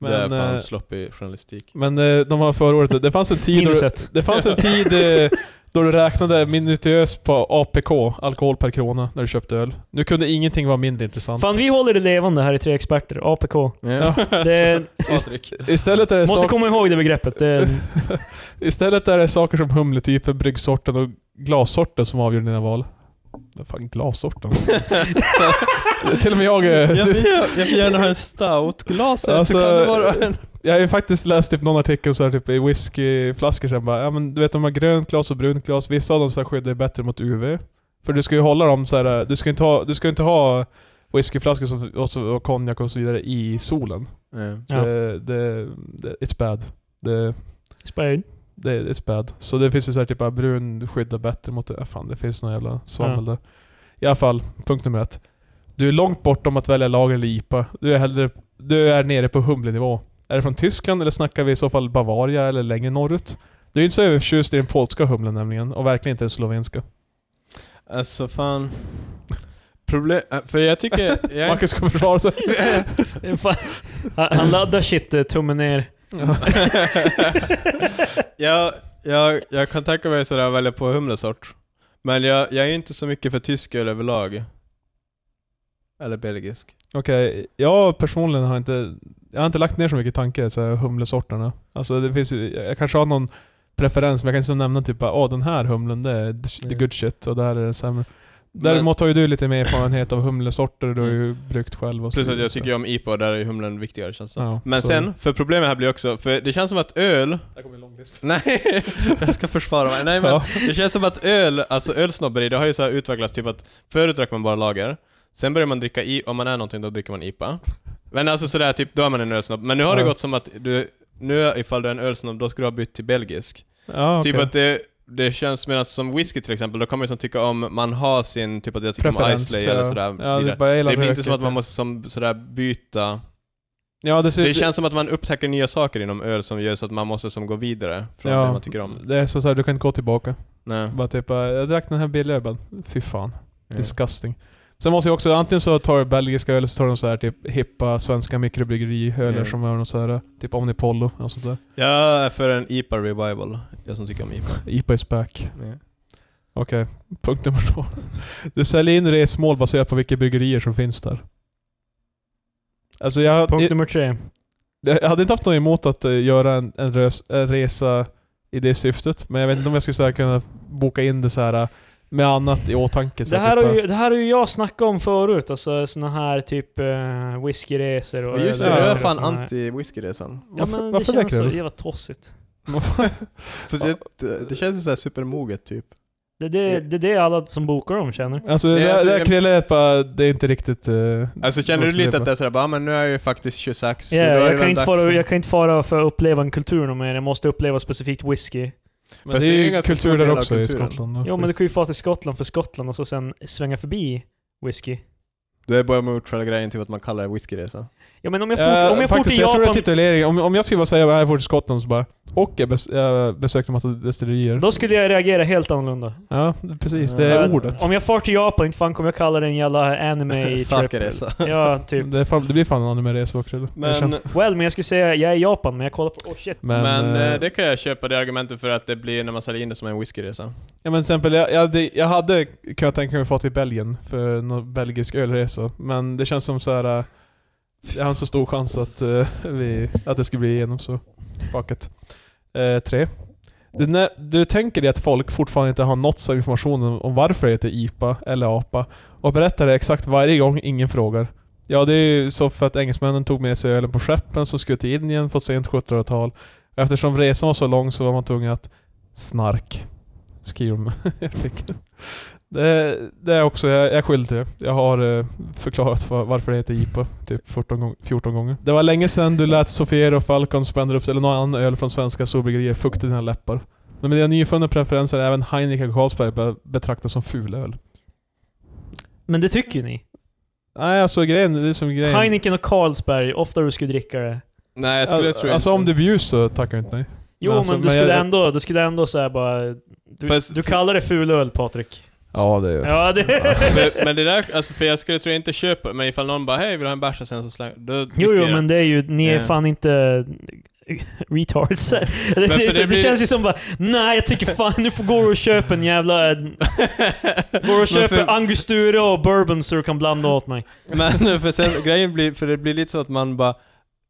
S3: det är
S1: Men,
S3: fan
S1: eh,
S3: sloppy journalistik.
S1: men eh, de har förordat det. fanns en tid då,
S2: Minus
S1: du-
S2: ett.
S1: det fanns en tid eh, då du räknade minutiöst på APK, alkohol per krona, när du köpte öl. Nu kunde ingenting vara mindre intressant.
S2: Fan vi håller det levande här i Tre Experter, APK.
S3: Ja.
S2: Det,
S3: Patrik.
S1: Istället är, det
S2: måste
S1: Alltså, sak-
S2: komma ihåg det begreppet. Det,
S1: istället är det saker som humletypen, bryggsorten och glassorten som avgör dina val. Vad Fan, glassorten? Till och med jag... eh,
S3: jag, vill, jag vill gärna ha en stoutglas.
S1: Alltså,
S3: Alltså, kan det vara en...
S1: Jag har ju faktiskt läst typ någon artikel så här, typ i whiskyflaskor sen bara, ja men du vet de har grönt glas och brunt glas, vissa av dem så här skyddar ju bättre mot UV. För du ska ju hålla dem så här, du ska ju inte ha, du ska ju inte ha whiskyflaskor som, och, så, och konjak och så vidare i solen.
S2: Ja.
S1: Det, det, det, it's bad. Det,
S2: Spain.
S1: det, it's bad. Så det finns ju så här typ bara brun skyddar bättre mot, ja, fan det finns någon jävla svammel där. I alla fall, punkt nummer ett. Du är långt bortom att välja lager eller IPA. Du är hellre, du är nere på humlenivå. Är det från Tyskland eller snackar vi i så fall Bavaria eller längre norrut? Du är ju inte så överförtjust i den polska humlen nämligen, och verkligen inte den slovenska.
S3: Alltså fan... Problem... äh, För jag tycker... Jag...
S1: Marcus ska försvara sig.
S2: Fan, Han han laddar shit, eh, tummen ner.
S3: jag, jag, jag kan tänka mig sådär välja på humlesort. Men jag, jag är inte så mycket för tysk öl överlag. Eller belgisk.
S1: Okej, jag personligen har inte, jag har inte lagt ner så mycket tanke i så här humlesorterna. Alltså det finns ju, jag kanske har någon preferens, men jag kan inte så nämna typ bara, åh den här humlen det är the good shit och där är det sämre. Däremot har ju du lite mer erfarenhet av humlesorter du har ju brukt själv och så
S3: Plus att
S1: vidare,
S3: Mm. jag
S1: så.
S3: tycker ju om IPA och där är ju humlen viktigare känns det som.
S1: Ja,
S3: Men
S1: så-
S3: sen, för problemet här blir också, för det känns som att öl...
S1: Där kommer en lång lista.
S3: Nej, jag ska försvara mig. Nej men,
S1: Ja.
S3: det känns som att öl, alltså ölsnobberi, det har ju så här utvecklats typ att förut drack man bara lager, sen börjar man dricka i, om man är någonting då dricker man IPA. Men alltså sådär typ, då är man en ölsnobb. Men nu har det
S1: Ja.
S3: gått som att du, nu ifall du är en ölsnobb, då ska du ha bytt till belgisk.
S1: Ja,
S3: Typ
S1: okej.
S3: att det, det känns medan som whisky till exempel, då kommer man som tycka om, man har sin, typ att jag tycker om
S1: Preferens,
S3: Islay
S1: ja.
S3: eller sådär.
S1: Ja, det, är
S3: vidare.
S1: bara, jag gillar
S3: det blir inte
S1: rökigt.
S3: som att man måste som, sådär byta.
S1: Ja, Typ det, ser,
S3: Det känns som att man upptäcker nya saker inom öl som gör så att man måste som gå vidare från det man tycker om.
S1: Det är så, så här, du kan inte gå tillbaka.
S3: Nej.
S1: Bara typ, eh, jag drack den här billiga ölen. Fy fan. Disgusting. Sen måste jag också, antingen så tar du belgiska öl, eller så tar de så här typ hippa svenska mikrobryggeriöler
S3: Mm.
S1: som är något så här, typ Omnipollo och sånt där.
S3: Jag är för en IPA revival, jag som tycker om IPA.
S1: IPA is back.
S3: Ja.
S1: Okej, punkt nummer två. Du säljer in resmål baserat på vilka bryggerier som finns där. Alltså jag,
S2: Punkt
S1: jag,
S2: nummer tre.
S1: jag hade inte haft något emot att eh, göra en, en, rös, en resa i det syftet, men jag vet inte om jag skulle så här kunna boka in det så här eh, med annat i åtanke. Så
S2: Det
S1: här
S2: här,
S1: typ,
S2: har
S1: eh,
S2: ju, det här har ju jag snackat om förut, alltså såna här typ uh, whiskyresor och
S3: Just det,
S1: det
S2: ölresor
S3: jag är
S2: och
S3: fan
S2: såna här.
S3: anti-whiskyresan.
S2: Ja
S1: Varför-
S2: men det
S1: varför
S2: känns
S1: det,
S2: så
S1: Cleo?
S2: jävla tossigt.
S3: Fast det, det känns ju såhär supermoget typ.
S2: Det är det, det, är det alla som bokar dem känner.
S1: Alltså
S3: Nej,
S1: det,
S3: alltså,
S1: det
S3: jag-
S1: där krillet bara, det är inte riktigt... eh,
S3: Alltså känner du
S1: vuxen
S3: lite
S1: på.
S3: att det är sådär bara, "Ah, men nu är jag ju faktiskt 26,
S2: Ja,
S3: då är det
S2: jag,
S3: väl
S2: kan inte
S3: dags
S2: fara,
S3: att-
S2: jag kan inte fara för att uppleva en kultur någon mer, jag måste uppleva specifikt whisky.
S1: Men
S3: Fast
S1: det är
S3: det är ju
S1: ju
S3: ganska stor
S1: kultur
S3: del
S1: där
S3: av
S1: också i
S3: kulturen.
S1: Skottland. och
S2: Jo men du
S1: skit.
S2: kan ju fara till Skottland för Skottland och så sen svänga förbi whisky.
S3: Det är bara neutral grejen typ att man kallar det whiskyresa.
S2: Ja men om jag
S1: Eh,
S2: får, om jag får
S1: faktiskt,
S2: till
S1: jag tror det är
S2: Japan,
S1: titulering. Om, om jag skulle bara säga att jag var i Skottland så bara... Och jag, bes, jag besökte en massa destillerier.
S2: då skulle jag reagera helt annorlunda.
S1: Ja, precis. Det är
S2: Eh,
S1: ordet.
S2: Om jag far till Japan, inte fan kommer jag kalla det en jävla anime-trip.
S3: Sakeresa.
S2: ja, typ.
S1: Det, är fan, det blir fan en anime-resa också. eller? Det
S3: Men,
S1: känns-
S3: men,
S2: Well, men jag skulle säga jag är i Japan, men jag kollar på... Oh shit.
S1: men,
S3: eh,
S1: eh,
S3: det kan jag köpa det argumentet för att det blir när man säljer in det som en whiskyresa.
S1: Ja men till exempel, jag, jag, hade, jag hade kunnat tänka mig att få till Belgien för någon belgisk ölresa. Men det känns som så här. eh, Jag har inte så stor chans att, eh, vi, att det ska bli igenom så. Fuck it. Eh, tre. Du, när, du tänker dig att folk fortfarande inte har nåtts av informationen om varför det heter IPA eller APA och berättar det exakt varje gång ingen frågar. Ja, det är ju så för att engelsmännen tog med sig ölen på skeppen som skulle till Indien på sent 1700-tal. Eftersom resan var så lång så var man tvungen att snark skriver om artikeln. Det, det är också, jag, jag är skyldig till det. Jag har eh, förklarat var, varför det heter IPA typ 14, gång- 14 gånger. Det var länge sedan du lät Sofiero Falcon Spendrups eller någon annan öl från svenska solbryggerier fukta dina läppar. Men med dina nyfunna preferenser är även Heineken Carlsberg be- betraktas som fulöl.
S2: Men det tycker ju ni.
S1: Nej, alltså grejen, det är som grejen.
S2: Heineken och Carlsberg, ofta du skulle dricka det.
S3: Nej, jag skulle
S1: Al-
S3: tro
S1: Alltså
S3: inte.
S1: om det bjuds så tackar jag inte nej.
S2: Jo,
S1: Men alltså,
S2: men du
S1: men
S2: skulle
S1: jag-
S2: ändå, du skulle ändå säga bara... Du,
S3: Fast-
S2: du kallar det fulöl, Patrik.
S1: Ja, det är
S2: Ja, det...
S3: men, men det där, alltså för jag skulle tro jag inte köpa, men ifall någon bara hej vill du ha en bärs och sen så slänger då dricker
S2: Jo, jo,
S3: jag den.
S2: men det är ju... Ni är
S3: Ja.
S2: fan inte... Retards. Det, det,
S3: för det
S2: det,
S3: blir-
S2: känns ju som bara, nej jag tycker fan nu får gå och köpa en jävla... Går och köper
S3: Men för-
S2: angostura och bourbon så du kan blanda åt mig.
S3: Men för sen, grejen blir, för det blir lite så att man bara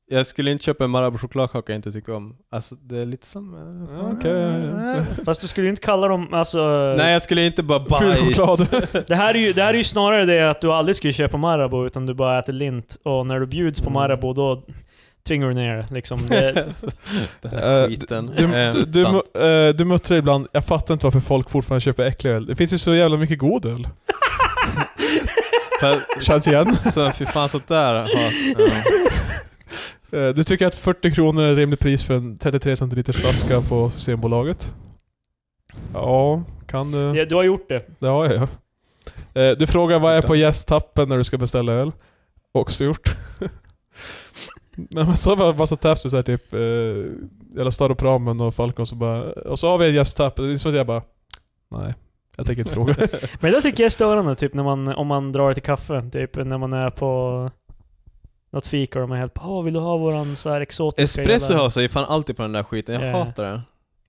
S3: jag skulle inte köpa en Marabou-chokladkaka jag inte tycker om. Alltså det är lite som... eh,
S1: Ja, okej, ja, ja.
S2: Fast du skulle ju inte kalla dem, alltså...
S3: Nej jag skulle inte bara
S1: Ful
S3: bajs.
S1: choklad.
S2: Det här, är ju, det här är ju snarare det att du aldrig skulle köpa Marabou, utan du bara äter lint. Och när du bjuds på
S3: Mm.
S2: Marabou, då tvingar du ner det, liksom. det.
S3: Den här
S1: Eh,
S3: skiten.
S1: Du,
S3: Eh,
S1: du, du,
S3: sant.
S1: mu- eh, du muttrar ibland, jag fattar inte varför folk fortfarande köper äcklig öl. Det finns ju så jävla mycket god öl.
S3: För-
S1: Känns igen.
S3: Så fy fan sånt där. har- ja.
S1: Eh, Du tycker att 40 kronor är rimligt pris för en 33 centiliters flaska på Systembolaget? Ja, kan du?
S2: Ja, Du har gjort det.
S1: Det har jag ja. Eh, Du frågar vad är på gästtappen när du ska beställa öl? Också gjort. Men man sa bara en massa tabs med såhär typ, eh, jävla Staropramen och Falcon så bara, och så har vi en gästtapp. Det är som att jag bara, nej, jag tänker inte fråga.
S2: Men det där tycker jag är störande, typ när man, om man drar till kaffe, typ när man är på något fika och de är helt bara, "Åh, vill du ha våran så här exotiska
S3: Espresso
S2: jävla-"
S3: House är ju fan alltid på den där skiten, jag
S2: Ja.
S3: hatar det.
S1: Men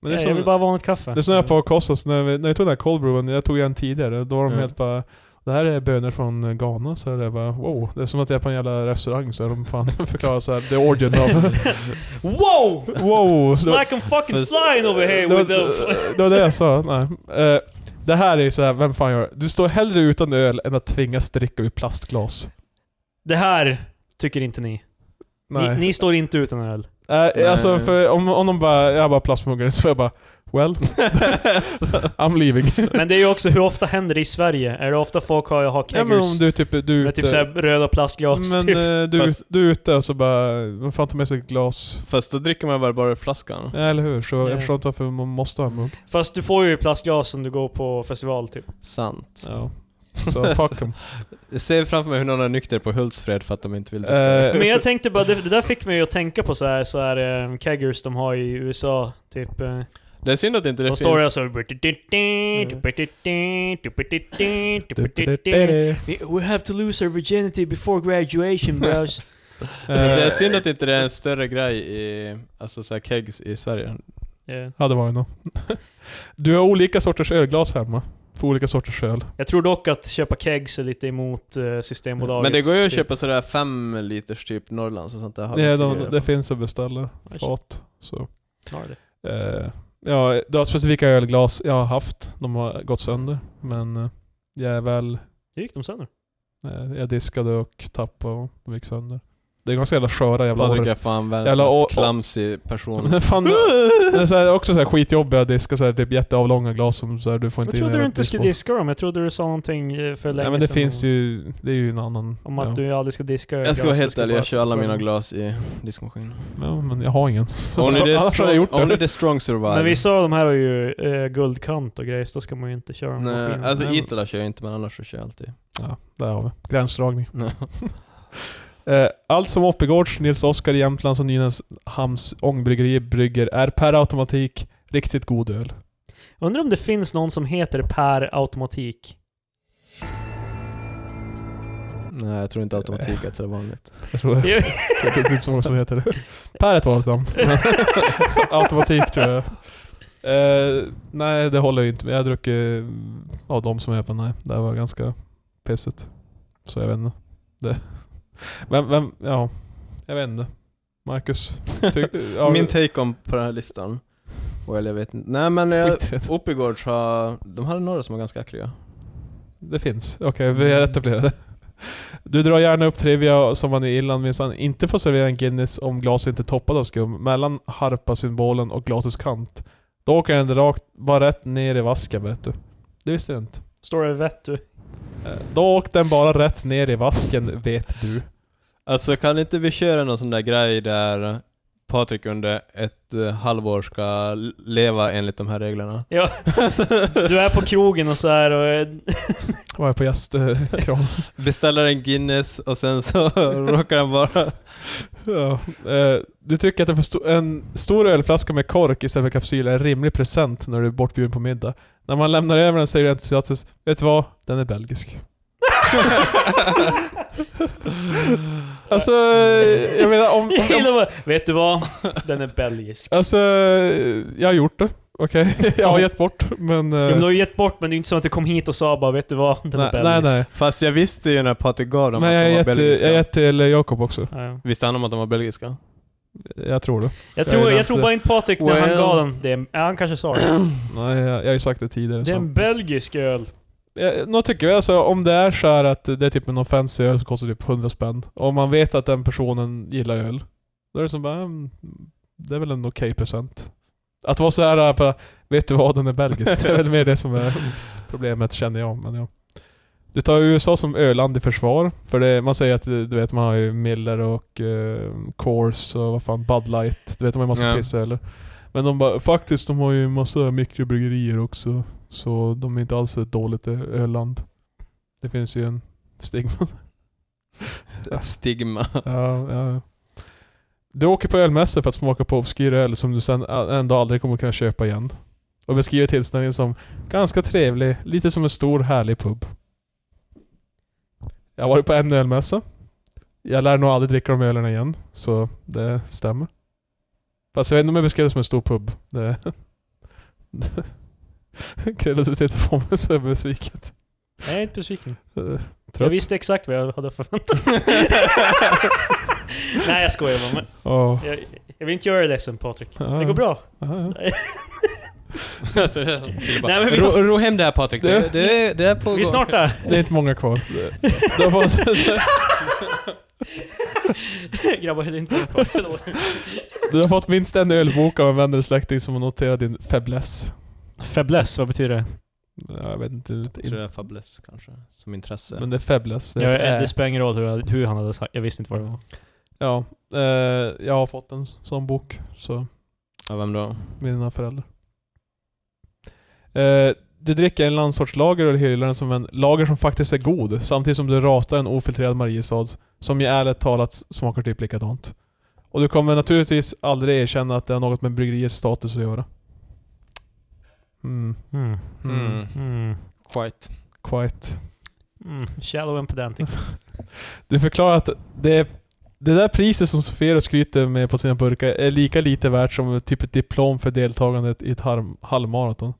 S1: det är
S2: Ja, jag
S1: som-
S2: vill bara ha vanligt kaffe.
S1: Det snöade på Kossos när, vi, när jag tog den här cold brewen, jag tog en tidigare, då var de
S3: Mm.
S1: helt bara Det här är bönor från Ghana, så är det bara wow. Det är som att jag är på en jävla restaurang så är de fan förklarar så här the origin of...
S2: Wow!
S1: Wow! Det var-
S2: Like I'm fucking flying over here with the...
S1: det var det jag sa, nej. Eh, Det här är ju såhär, vem fan gör det? Du står hellre utan öl än att tvingas dricka ur plastglas.
S2: Det här tycker inte ni.
S1: Nej.
S2: Ni, ni står inte utan öl.
S1: Eh,
S3: Nej.
S1: Alltså, för om, om de bara, jag bara plastmuggare, så jag bara well, I'm leaving.
S2: Men det är ju också, hur ofta händer det i Sverige? Är det ofta folk har, har
S1: Ja,
S2: keggers?
S1: men om du typ, du är
S2: med typ
S1: ute,
S2: såhär röda plastglas?
S1: men
S2: typ.
S1: eh, du,
S3: Fast-
S1: du är ute och så bara, vad fan tar med sig ett glas?
S3: Fast då dricker man bara bara ur flaskan.
S1: Ja, eller hur? Så
S2: Ja.
S1: jag förstår inte varför man måste ha en mugg.
S2: Fast du får ju plastglas om du går på festival typ.
S3: Sant.
S1: Ja. Så fuck em.
S3: Jag ser framför mig hur någon är nykter på Hultsfred för att de inte vill dricka.
S1: Eh,
S2: Men jag tänkte bara, det, det där fick mig att tänka på så här, så här eh, keggers de har i USA. Typ, eh,
S3: Det är synd att inte det
S2: de
S3: finns...
S2: står där
S1: alltså?
S2: så... här- alltså-
S1: Eh, Mm.
S2: We have to lose our virginity before graduation bros.
S3: Det är
S1: eh,
S3: synd att inte det är en större grej i, alltså så här kegs i Sverige.
S2: Yeah.
S1: Ja, det var ju nog. Du har olika sorters ölglas hemma. För olika sorters öl.
S2: Jag tror dock att köpa kegs är lite emot eh, Systembolagets...
S3: Men det går ju att
S2: typ-
S3: köpa sådär fem liters typ Norrlands och sånt där. Har
S1: Ja,
S3: inte
S1: de,
S3: det?
S1: det finns att beställa
S2: Ja,
S1: fat. Så.
S2: Ja, det.
S1: Eh, ja, det har specifika ölglas jag har haft. De har gått sönder. Men eh, jag är väl...
S2: Det gick de sönder.
S1: Eh, jag diskade och tappade och de gick sönder. Det är ganska jävla sköra jävla
S3: Patrik
S1: orre.
S3: är fan världens
S1: Jävla å-
S3: mest clumsy person.
S1: Men fan, det är så här, också så här skitjobbiga diskar, så här, typ jätteavlånga glas som så här, du får
S2: Jag
S1: inte
S2: trodde
S1: era
S2: du inte skulle
S1: diskborr.
S2: diska dem, jag trodde du sa någonting eh, för länge
S1: Nej men det
S2: sedan
S1: finns
S2: om,
S1: ju, det är ju en annan...
S2: om att
S1: ja.
S2: du aldrig ska diska
S3: Jag ska vara
S2: glas, du
S3: helt ärlig,
S2: bara
S3: jag kör alla
S2: få-
S3: mina glas i diskmaskinen.
S1: Ja, men jag har ingen.
S3: Only the
S1: Annars hade jag gjort
S3: strong, only
S1: det.
S3: the strong survive.
S2: Alltså, Men vissa av de här har ju eh, guldkant och grejs, då ska man ju inte köra dem på
S3: Nej,
S2: maskinen.
S3: alltså
S1: Nej, men-
S3: Itala kör jag inte men annars så kör jag alltid.
S1: Ja, där har vi. Gränsdragning. Eh, Allt som Oppigårds, Nils Oskar i Jämtlands och Nynäshamns ångbryggeri brygger är per automatik riktigt god öl.
S2: Undrar om det finns någon som heter Per automatik?
S3: Nej, jag tror inte automatik är så vanligt.
S1: Jag tror det,
S2: Jo.
S1: jag tror det är inte så många som heter det. Per är ett vanligt namn. men automatik tror jag. Eh, nej, det håller ju inte. Jag druckit eh, av de som är på nej. Det här var ganska pissigt. Så jag vet inte. Det. Vem, vem, ja. Jag vet inte. Marcus? Ty, ja,
S3: Min take on på den här listan. Well, jag vet inte. Nej men jag,
S1: skit i det.
S3: Oppigårds har... De hade några som var ganska äckliga.
S1: Det finns. Okej, vi är etablerade. Du drar gärna upp trivia som man i Irland minsann inte får servera en Guinness om glaset inte är toppat av skum, mellan harpa-symbolen och glasets kant. Då åker den rakt, bara rätt ner i vasken vet du. Det visste jag inte.
S2: Står det vett du?
S1: Eh, Då åkte den bara rätt ner i vasken, vet du.
S3: Alltså kan inte vi köra någon sån där grej där Patrik under ett eh, halvår ska l- leva enligt de här reglerna?
S2: Ja. Du är på krogen och så här och... eh,
S1: Var jag på gästkram.
S3: Beställer en Guinness och sen så råkar han bara...
S1: Ja, eh, du tycker att en, för sto- en stor ölflaska med kork istället för kapsyl är en rimlig present när du är bortbjuden på middag. När man lämnar över den säger du entusiastiskt Vet du vad? Den är belgisk. alltså, eh, jag menar om...
S2: Jag
S1: om
S2: gillar bara, Vet du vad? Den är belgisk.
S1: alltså, eh, jag har gjort det. Okej, jag har gett bort men... eh,
S2: Ja, men du har ju gett bort, men det är inte så att du kom hit och sa bara vet du vad? Den är
S1: nej, nej,
S2: belgisk.
S1: nej.
S3: Fast jag visste ju när Patrik gav dem
S1: Men jag
S3: att
S1: har gett,
S3: de var belgiska.
S1: jag har gett till Jakob också.
S2: Ja, ja.
S3: Visste han om att de var belgiska?
S1: Jag tror det.
S2: Jag tror,
S1: gillar
S2: jag
S1: inte
S2: tror
S1: det.
S2: bara inte Patrik när han
S3: Well.
S2: gav den. Det är, ja, han kanske sa det.
S1: Nej, jag, jag har ju sagt det tidigare.
S2: Det är
S1: så.
S2: en belgisk öl.
S1: Eh, Nå tycker jag alltså om det är så här att det är typ en offensiv öl som kostar typ 100 spänn. Om man vet att den personen gillar öl. Då är det som bara, mm, det är väl en okej present. Att vara så här eh, bara, vet du vad, den är belgisk. Det är väl mer det som är problemet känner jag. Men ja. Du tar USA som öland i försvar. För det, man säger att eh, du vet man har ju Miller och eh, Coors och vad fan, Bud Light. Du vet de har ju massa
S3: Ja.
S1: piss eller Men de bara, faktiskt de har ju massa mikrobryggerier också. Så de är inte alls ett dåligt ö- öland. Det finns ju en stigma.
S3: Ett stigma.
S1: ja, ja. Du åker på ölmässor för att smaka på obskyr öl som du sen a- ändå aldrig kommer kunna köpa igen. Och beskriver tillställningen som ganska trevlig, lite som en stor härlig pub. Jag har varit på en ölmässa. Jag lär nog aldrig dricka de ölen igen, så det stämmer. Fast jag vet inte om jag beskrev det som en stor pub. Det... Krille, du tittar på mig så är besviket.
S2: Nej,
S4: jag är inte besviken.
S1: Eh,
S4: Jag
S1: Trött.
S4: visste exakt vad jag hade förväntat mig. Nej jag skojar bara. Men
S1: Ja.
S4: jag, jag vill inte göra dig ledsen Patrik.
S1: Ja.
S4: Det går bra.
S1: Ja, ja.
S3: Alltså, det är som kille bara,
S4: Nej, men vi-
S3: ro, ro hem det här Patrik, det, det, är- det är på
S4: Vi är
S3: gång.
S4: snart där.
S1: Det är inte många kvar. Det var
S4: Grabbar, det är inte bara kvar.
S1: Du har fått minst en ölbok av en vän eller släkting som har noterat din fäbless.
S2: Fäbless, vad betyder det?
S1: Ja, jag vet inte.
S3: Jag tror det är fabless kanske, som intresse.
S1: Men det är fäbless. Det
S2: Jag,
S1: är,
S2: det spelar ingen roll hur, jag- hur han hade sagt, jag visste inte vad det var.
S1: ja, eh, jag har fått en s- sån bok. Så,
S3: Ja, vem då?
S1: mina föräldrar. Eh, du dricker en landsortslager och hyllar den som en lager som faktiskt är god, samtidigt som du ratar en ofiltrerad Mariestad, som ju ärligt talat smakar typ likadant. Och du kommer naturligtvis aldrig erkänna att det har något med bryggeriets status att göra. Mm,
S2: Mm.
S1: mm,
S3: Mm.
S2: Mm.
S3: Quite.
S1: quite.
S4: Mm, shallow and pedantic.
S1: Du förklarar att det, det där priset som Sofero skryter med på sina burkar är lika lite värt som typ ett diplom för deltagandet i ett harm- halvmaraton.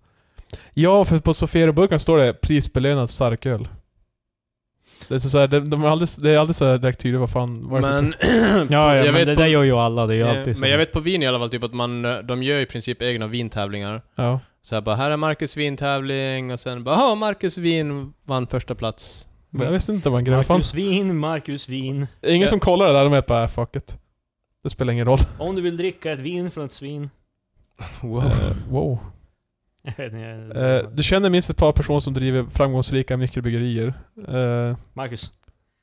S1: Ja, för på Sofero-burken står det prisbelönad starköl. Det är så här, de, de är aldrig, det är aldrig så här direkt tydligt vad fan... Vad det är för-
S3: Men...
S2: Ja, ja
S3: jag
S2: men
S3: vet
S2: det
S3: på-
S2: där gör ju alla. Det är ju
S3: Eh,
S2: alltid så.
S3: Men jag vet på vin i alla fall typ att man, eh, de gör i princip egna vintävlingar.
S1: ja.
S3: Så här bara, här är Marcus vintävling och sen bara, ja Marcus vin vann första plats.
S1: Men jag visste inte vad en grej var. Fan,
S2: Marcus Wien, Marcus Wien.
S1: Ingen som kollar det där, de är bara äh, fuck it. Det spelar ingen roll.
S2: Om du vill dricka ett vin från ett svin.
S3: Wow.
S1: Eh, wow.
S4: Jag vet inte, jag-
S1: Eh, du känner minst ett par personer som driver framgångsrika mikrobryggerier. Eh,
S2: Marcus.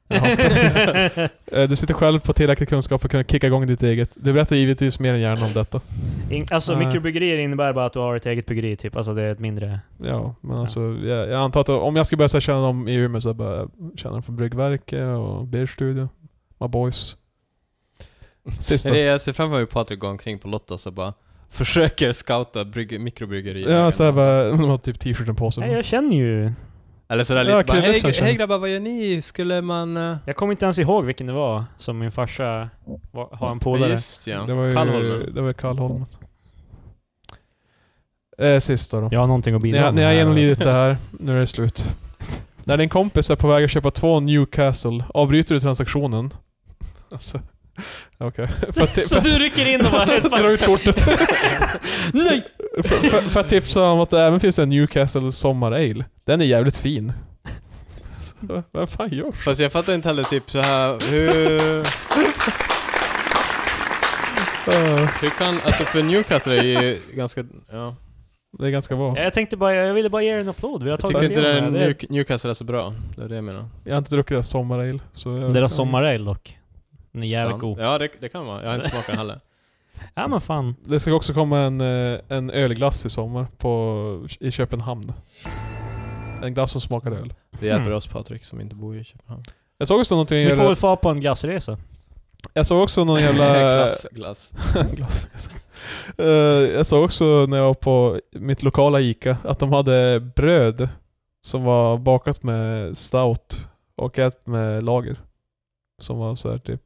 S1: Ja, precis. Eh, Du sitter själv på tillräcklig kunskap för att kunna kicka igång ditt eget. Du berättar givetvis mer än gärna om detta. Eh,
S4: In, alltså
S1: Nej.
S4: mikrobryggerier innebär bara att du har ett eget bryggeri typ. Alltså det är ett mindre...
S1: Ja, men alltså Jag, jag antar att om jag ska börja så här känna dem i Umeå så jag bara känna dem från Bryggverket och Beer Studio, My Boys. Sista.
S3: Det är, jag ser framför mig Patrik gå omkring på Lottas och bara försöker scouta brygge, mikrobryggerier.
S1: Ja, såhär bara, de har typ t-shirten på sig.
S4: Nej, jag känner ju...
S3: Eller sådär lite
S1: Ja,
S3: bara,
S1: kul,
S3: hej,
S1: det känns-
S3: hej grabbar vad gör ni? Skulle man... eh,
S4: Jag kommer inte ens ihåg vilken det var som min farsa var, har en
S3: Ja,
S4: polare.
S3: just ja.
S1: Det var ju
S3: Kallholmen.
S1: Det var ju Kallholmen. Eh, sista då.
S4: Jag har någonting att
S1: När
S4: bidra
S1: jag, när
S4: med
S1: jag
S4: här.
S1: genomlidit det här, nu är det slut. När din kompis är på väg att köpa två Newcastle, avbryter du transaktionen? Alltså... Okej. För att-
S4: Så du rycker in och bara helt
S1: Dra ut kortet.
S4: Nej!
S1: för, för, för att tipsa om att det även finns en Newcastle Sommar Ale. Den är jävligt fin. Så, Vad fan gör
S3: Fast jag fattar inte heller typ så här hur...
S1: Eh,
S3: Hur kan, alltså för Newcastle är ju ganska, ja.
S1: Det är ganska bra.
S4: Jag tänkte bara, jag ville bara ge er en applåd. Vi har
S3: Jag
S4: tagit
S3: tyckte inte
S4: oss
S3: den
S4: igenom det.
S3: New, Newcastle är så bra. Det är det jag menar.
S1: Jag har inte druckit deras Sommar Ale. Så jag,
S2: Deras sommaröl dock. Den är jävligt
S3: Sant.
S2: god.
S3: Ja, det, det kan vara. Jag har inte smakat den heller.
S4: Ja men fan.
S1: Det ska också komma en, eh, en ölglass i sommar på, i Köpenhamn. En glass som smakar öl.
S3: Det hjälper
S2: Mm.
S3: oss Patrik som inte bor i Köpenhamn.
S1: Jag såg också någonting...
S4: Vi får väl få på en glassresa.
S1: Jag såg också någon jävla...
S3: glass, glass.
S1: glass. Eh, jag såg också när jag var på mitt lokala ICA att de hade bröd som var bakat med stout och ett med lager. Som var så här typ...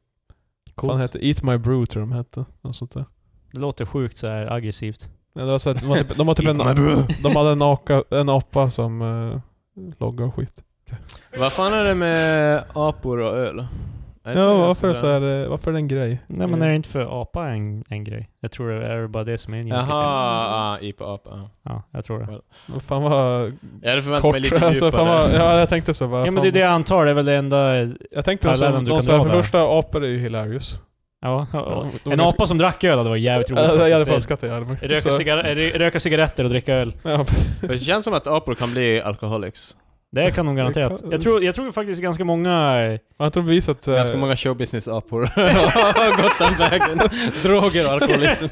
S1: Vad fan
S2: Coolt.
S1: hette Eat My Brew tror jag de hette. Något sånt där.
S2: Det låter sjukt så här aggressivt.
S1: Nej, det var så här, de, var typ, de, var typ en, de hade en, aka, en apa som eh, logga och skit.
S3: Vad fan är det med apor och öl? Är inte
S1: Ja,
S3: det
S1: varför,
S3: ganska
S1: så här, eh, varför är det en grej?
S4: Nej men är det inte för apa en, en grej? Jag tror det är bara det som är en
S3: Jaha,
S4: joker.
S3: ah, IPA-apa.
S4: Ja, jag tror det.
S1: Vad Fan vad
S3: Jag hade förväntat
S1: kort.
S3: mig lite
S1: Alltså, fan vad,
S3: djupare.
S1: ja, jag tänkte så. Bara,
S4: Ja men
S1: fan,
S4: det är det jag antar, det är väl det enda...
S1: Jag tänkte så,
S2: parallellen du
S1: någon
S2: kan
S1: så här,
S2: dra
S1: för
S2: där.
S1: första apor är ju hilarious.
S4: Ja,
S1: Ja, de är
S4: en
S1: ganska-
S4: apa som drack öl, det var jävligt roligt
S1: Ja, Jag hade
S4: faktiskt.
S1: önskat det. jag hade varit-
S4: Röka,
S1: så-
S4: cigar- äh, rö- röka cigaretter och dricka öl.
S1: Ja,
S3: Det känns som att apor kan bli alkoholics.
S4: Det kan de garanterat.
S1: kan-
S4: Jag tror, jag tror faktiskt ganska många... eh,
S1: man har inte bevisat... eh,
S3: Ganska många showbusiness-apor har gått den vägen. Droger och alkoholism.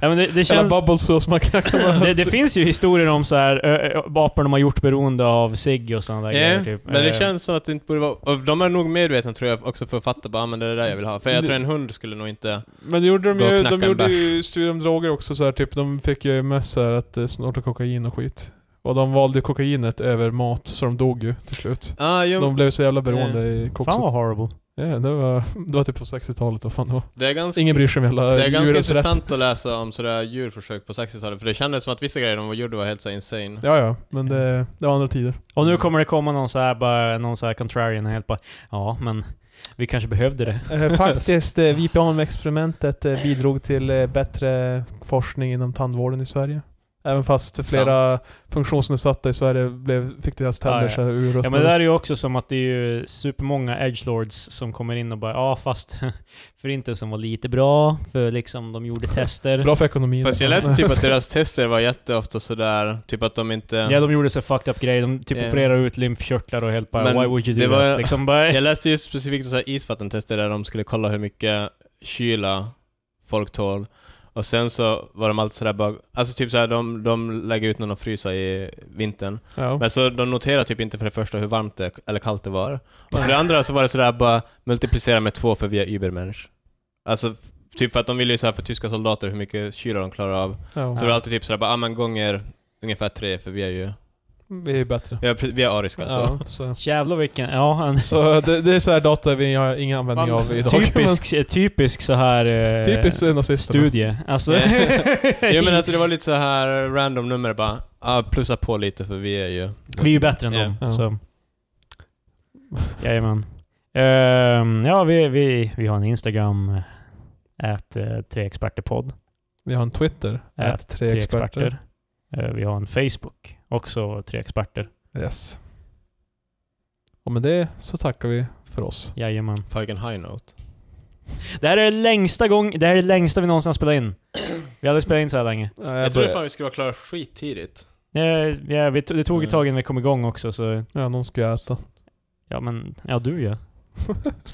S4: Ja, men det, det,
S1: Jävla
S4: känns,
S1: bubbles så som man knackar
S4: det, det finns ju historier om så här ö, ö, apor de har gjort beroende av cigg och sådana där
S3: Ja,
S4: grejer. Typ.
S3: men det
S4: Eh,
S3: känns som att det inte borde vara... Och de är nog medvetna tror jag också för att fatta bara, ah, men det är det där jag vill ha. För jag
S1: Det-
S3: tror en hund skulle nog inte...
S1: Men det gjorde
S3: Gå
S1: de
S3: och
S1: ju,
S3: knacka
S1: de
S3: en
S1: gjorde ju studier om droger också så här, typ de fick ju mest så här att eh, snorta kokain och skit. Och de valde ju kokainet över mat, så de dog ju till slut.
S3: Ah, jo,
S1: De blev så jävla beroende i
S4: Fan
S1: kokset.
S4: vad horrible.
S1: Ja, det, var, det var typ på 60-talet, vad fan det var.
S3: Det är ganska,
S1: Ingen bryr sig om jävla
S3: det är ganska
S1: djurens rätt.
S3: intressant att läsa om sådär djurförsök på 60-talet, för det kändes som att vissa grejer de gjorde var helt så här insane.
S1: Ja, ja. Men det, det var andra tider.
S2: Och nu kommer det komma någon så här, bara, någon så här contrarian och helt bara Ja, men vi kanske behövde det.
S1: faktiskt, eh, VPAN-experimentet eh, bidrog till eh, bättre forskning inom tandvården i Sverige. Även fast flera funktionsnedsatta i Sverige blev, fick deras tänder
S2: Ah, ja.
S1: så här ur
S2: Ja men det där är ju också som att det är ju supermånga edgelords som kommer in och bara ja fast förintelsen var lite bra för liksom de gjorde tester.
S1: Bra för ekonomin.
S3: Fast jag läste typ att deras tester var jätteofta sådär, typ att de inte...
S2: Ja de gjorde så fucked up grejer, de typ
S3: Ja.
S2: opererade ut lymfkörtlar och helt bara
S3: Men
S2: why would you do
S3: det
S2: det
S3: var-
S2: that? Liksom bara,
S3: Jag läste ju specifikt om så här isvattentester där de skulle kolla hur mycket kyla folk tål. Och sen så var de alltid sådär bara... Alltså typ såhär, de, de lägger ut någon att frysa i vintern.
S1: Ja.
S3: Men så de noterar typ inte för det första hur varmt det, eller kallt det var. Och för det andra så var det sådär bara multiplicera med två för vi är übermensch. Alltså typ för att de ville ju såhär för tyska soldater hur mycket kyla de klarar av.
S1: ja.
S3: Så det var alltid typ sådär bara, ah, men gånger ungefär tre för vi är ju...
S1: Vi är ju bättre.
S3: Vi är, vi är ariska alltså.
S1: Ja, så.
S2: Jävlar vilken, ja en
S1: Så det, det är så här data vi har ingen användning
S2: Fan,
S1: av idag.
S2: typisk, typisk så här eh,
S1: Typiskt eh, nazisterna.
S2: studie. Alltså,
S3: Ja men alltså det var lite så här random nummer bara, ah, plussa på lite för vi är ju...
S2: vi är ju bättre än dem.
S1: Ja.
S2: Så. Jajamän. Ehm, ja, vi, vi, vi har en Instagram, eh, att tre experterpodd.
S1: Vi har en Twitter.
S2: Ät tre experter. Eh, Vi har en Facebook, också tre experter.
S1: Yes. Och med det så tackar vi för oss.
S2: Jajamän.
S3: Fucking high note.
S2: Det här är längsta gång, det här är det längsta vi någonsin har spelat in. Vi har aldrig spelat in så här länge.
S3: Jag trodde fan vi skulle vara klara skittidigt.
S2: Eh, ja, vi to- det tog ett tag innan vi kom igång också så...
S1: Ja, någon ska ju äta.
S2: Ja men, ja du ja.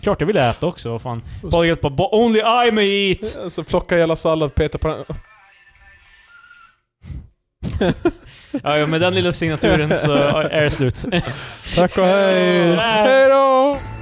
S2: Klart jag vill äta också, vad fan. Patrik bara "Bo- “Only I may eat!”
S1: Så plocka hela sallad, peta på den.
S2: ja, ja, med den lilla signaturen så är det slut.
S1: Tack och hej!
S2: Nej.
S1: Hej då!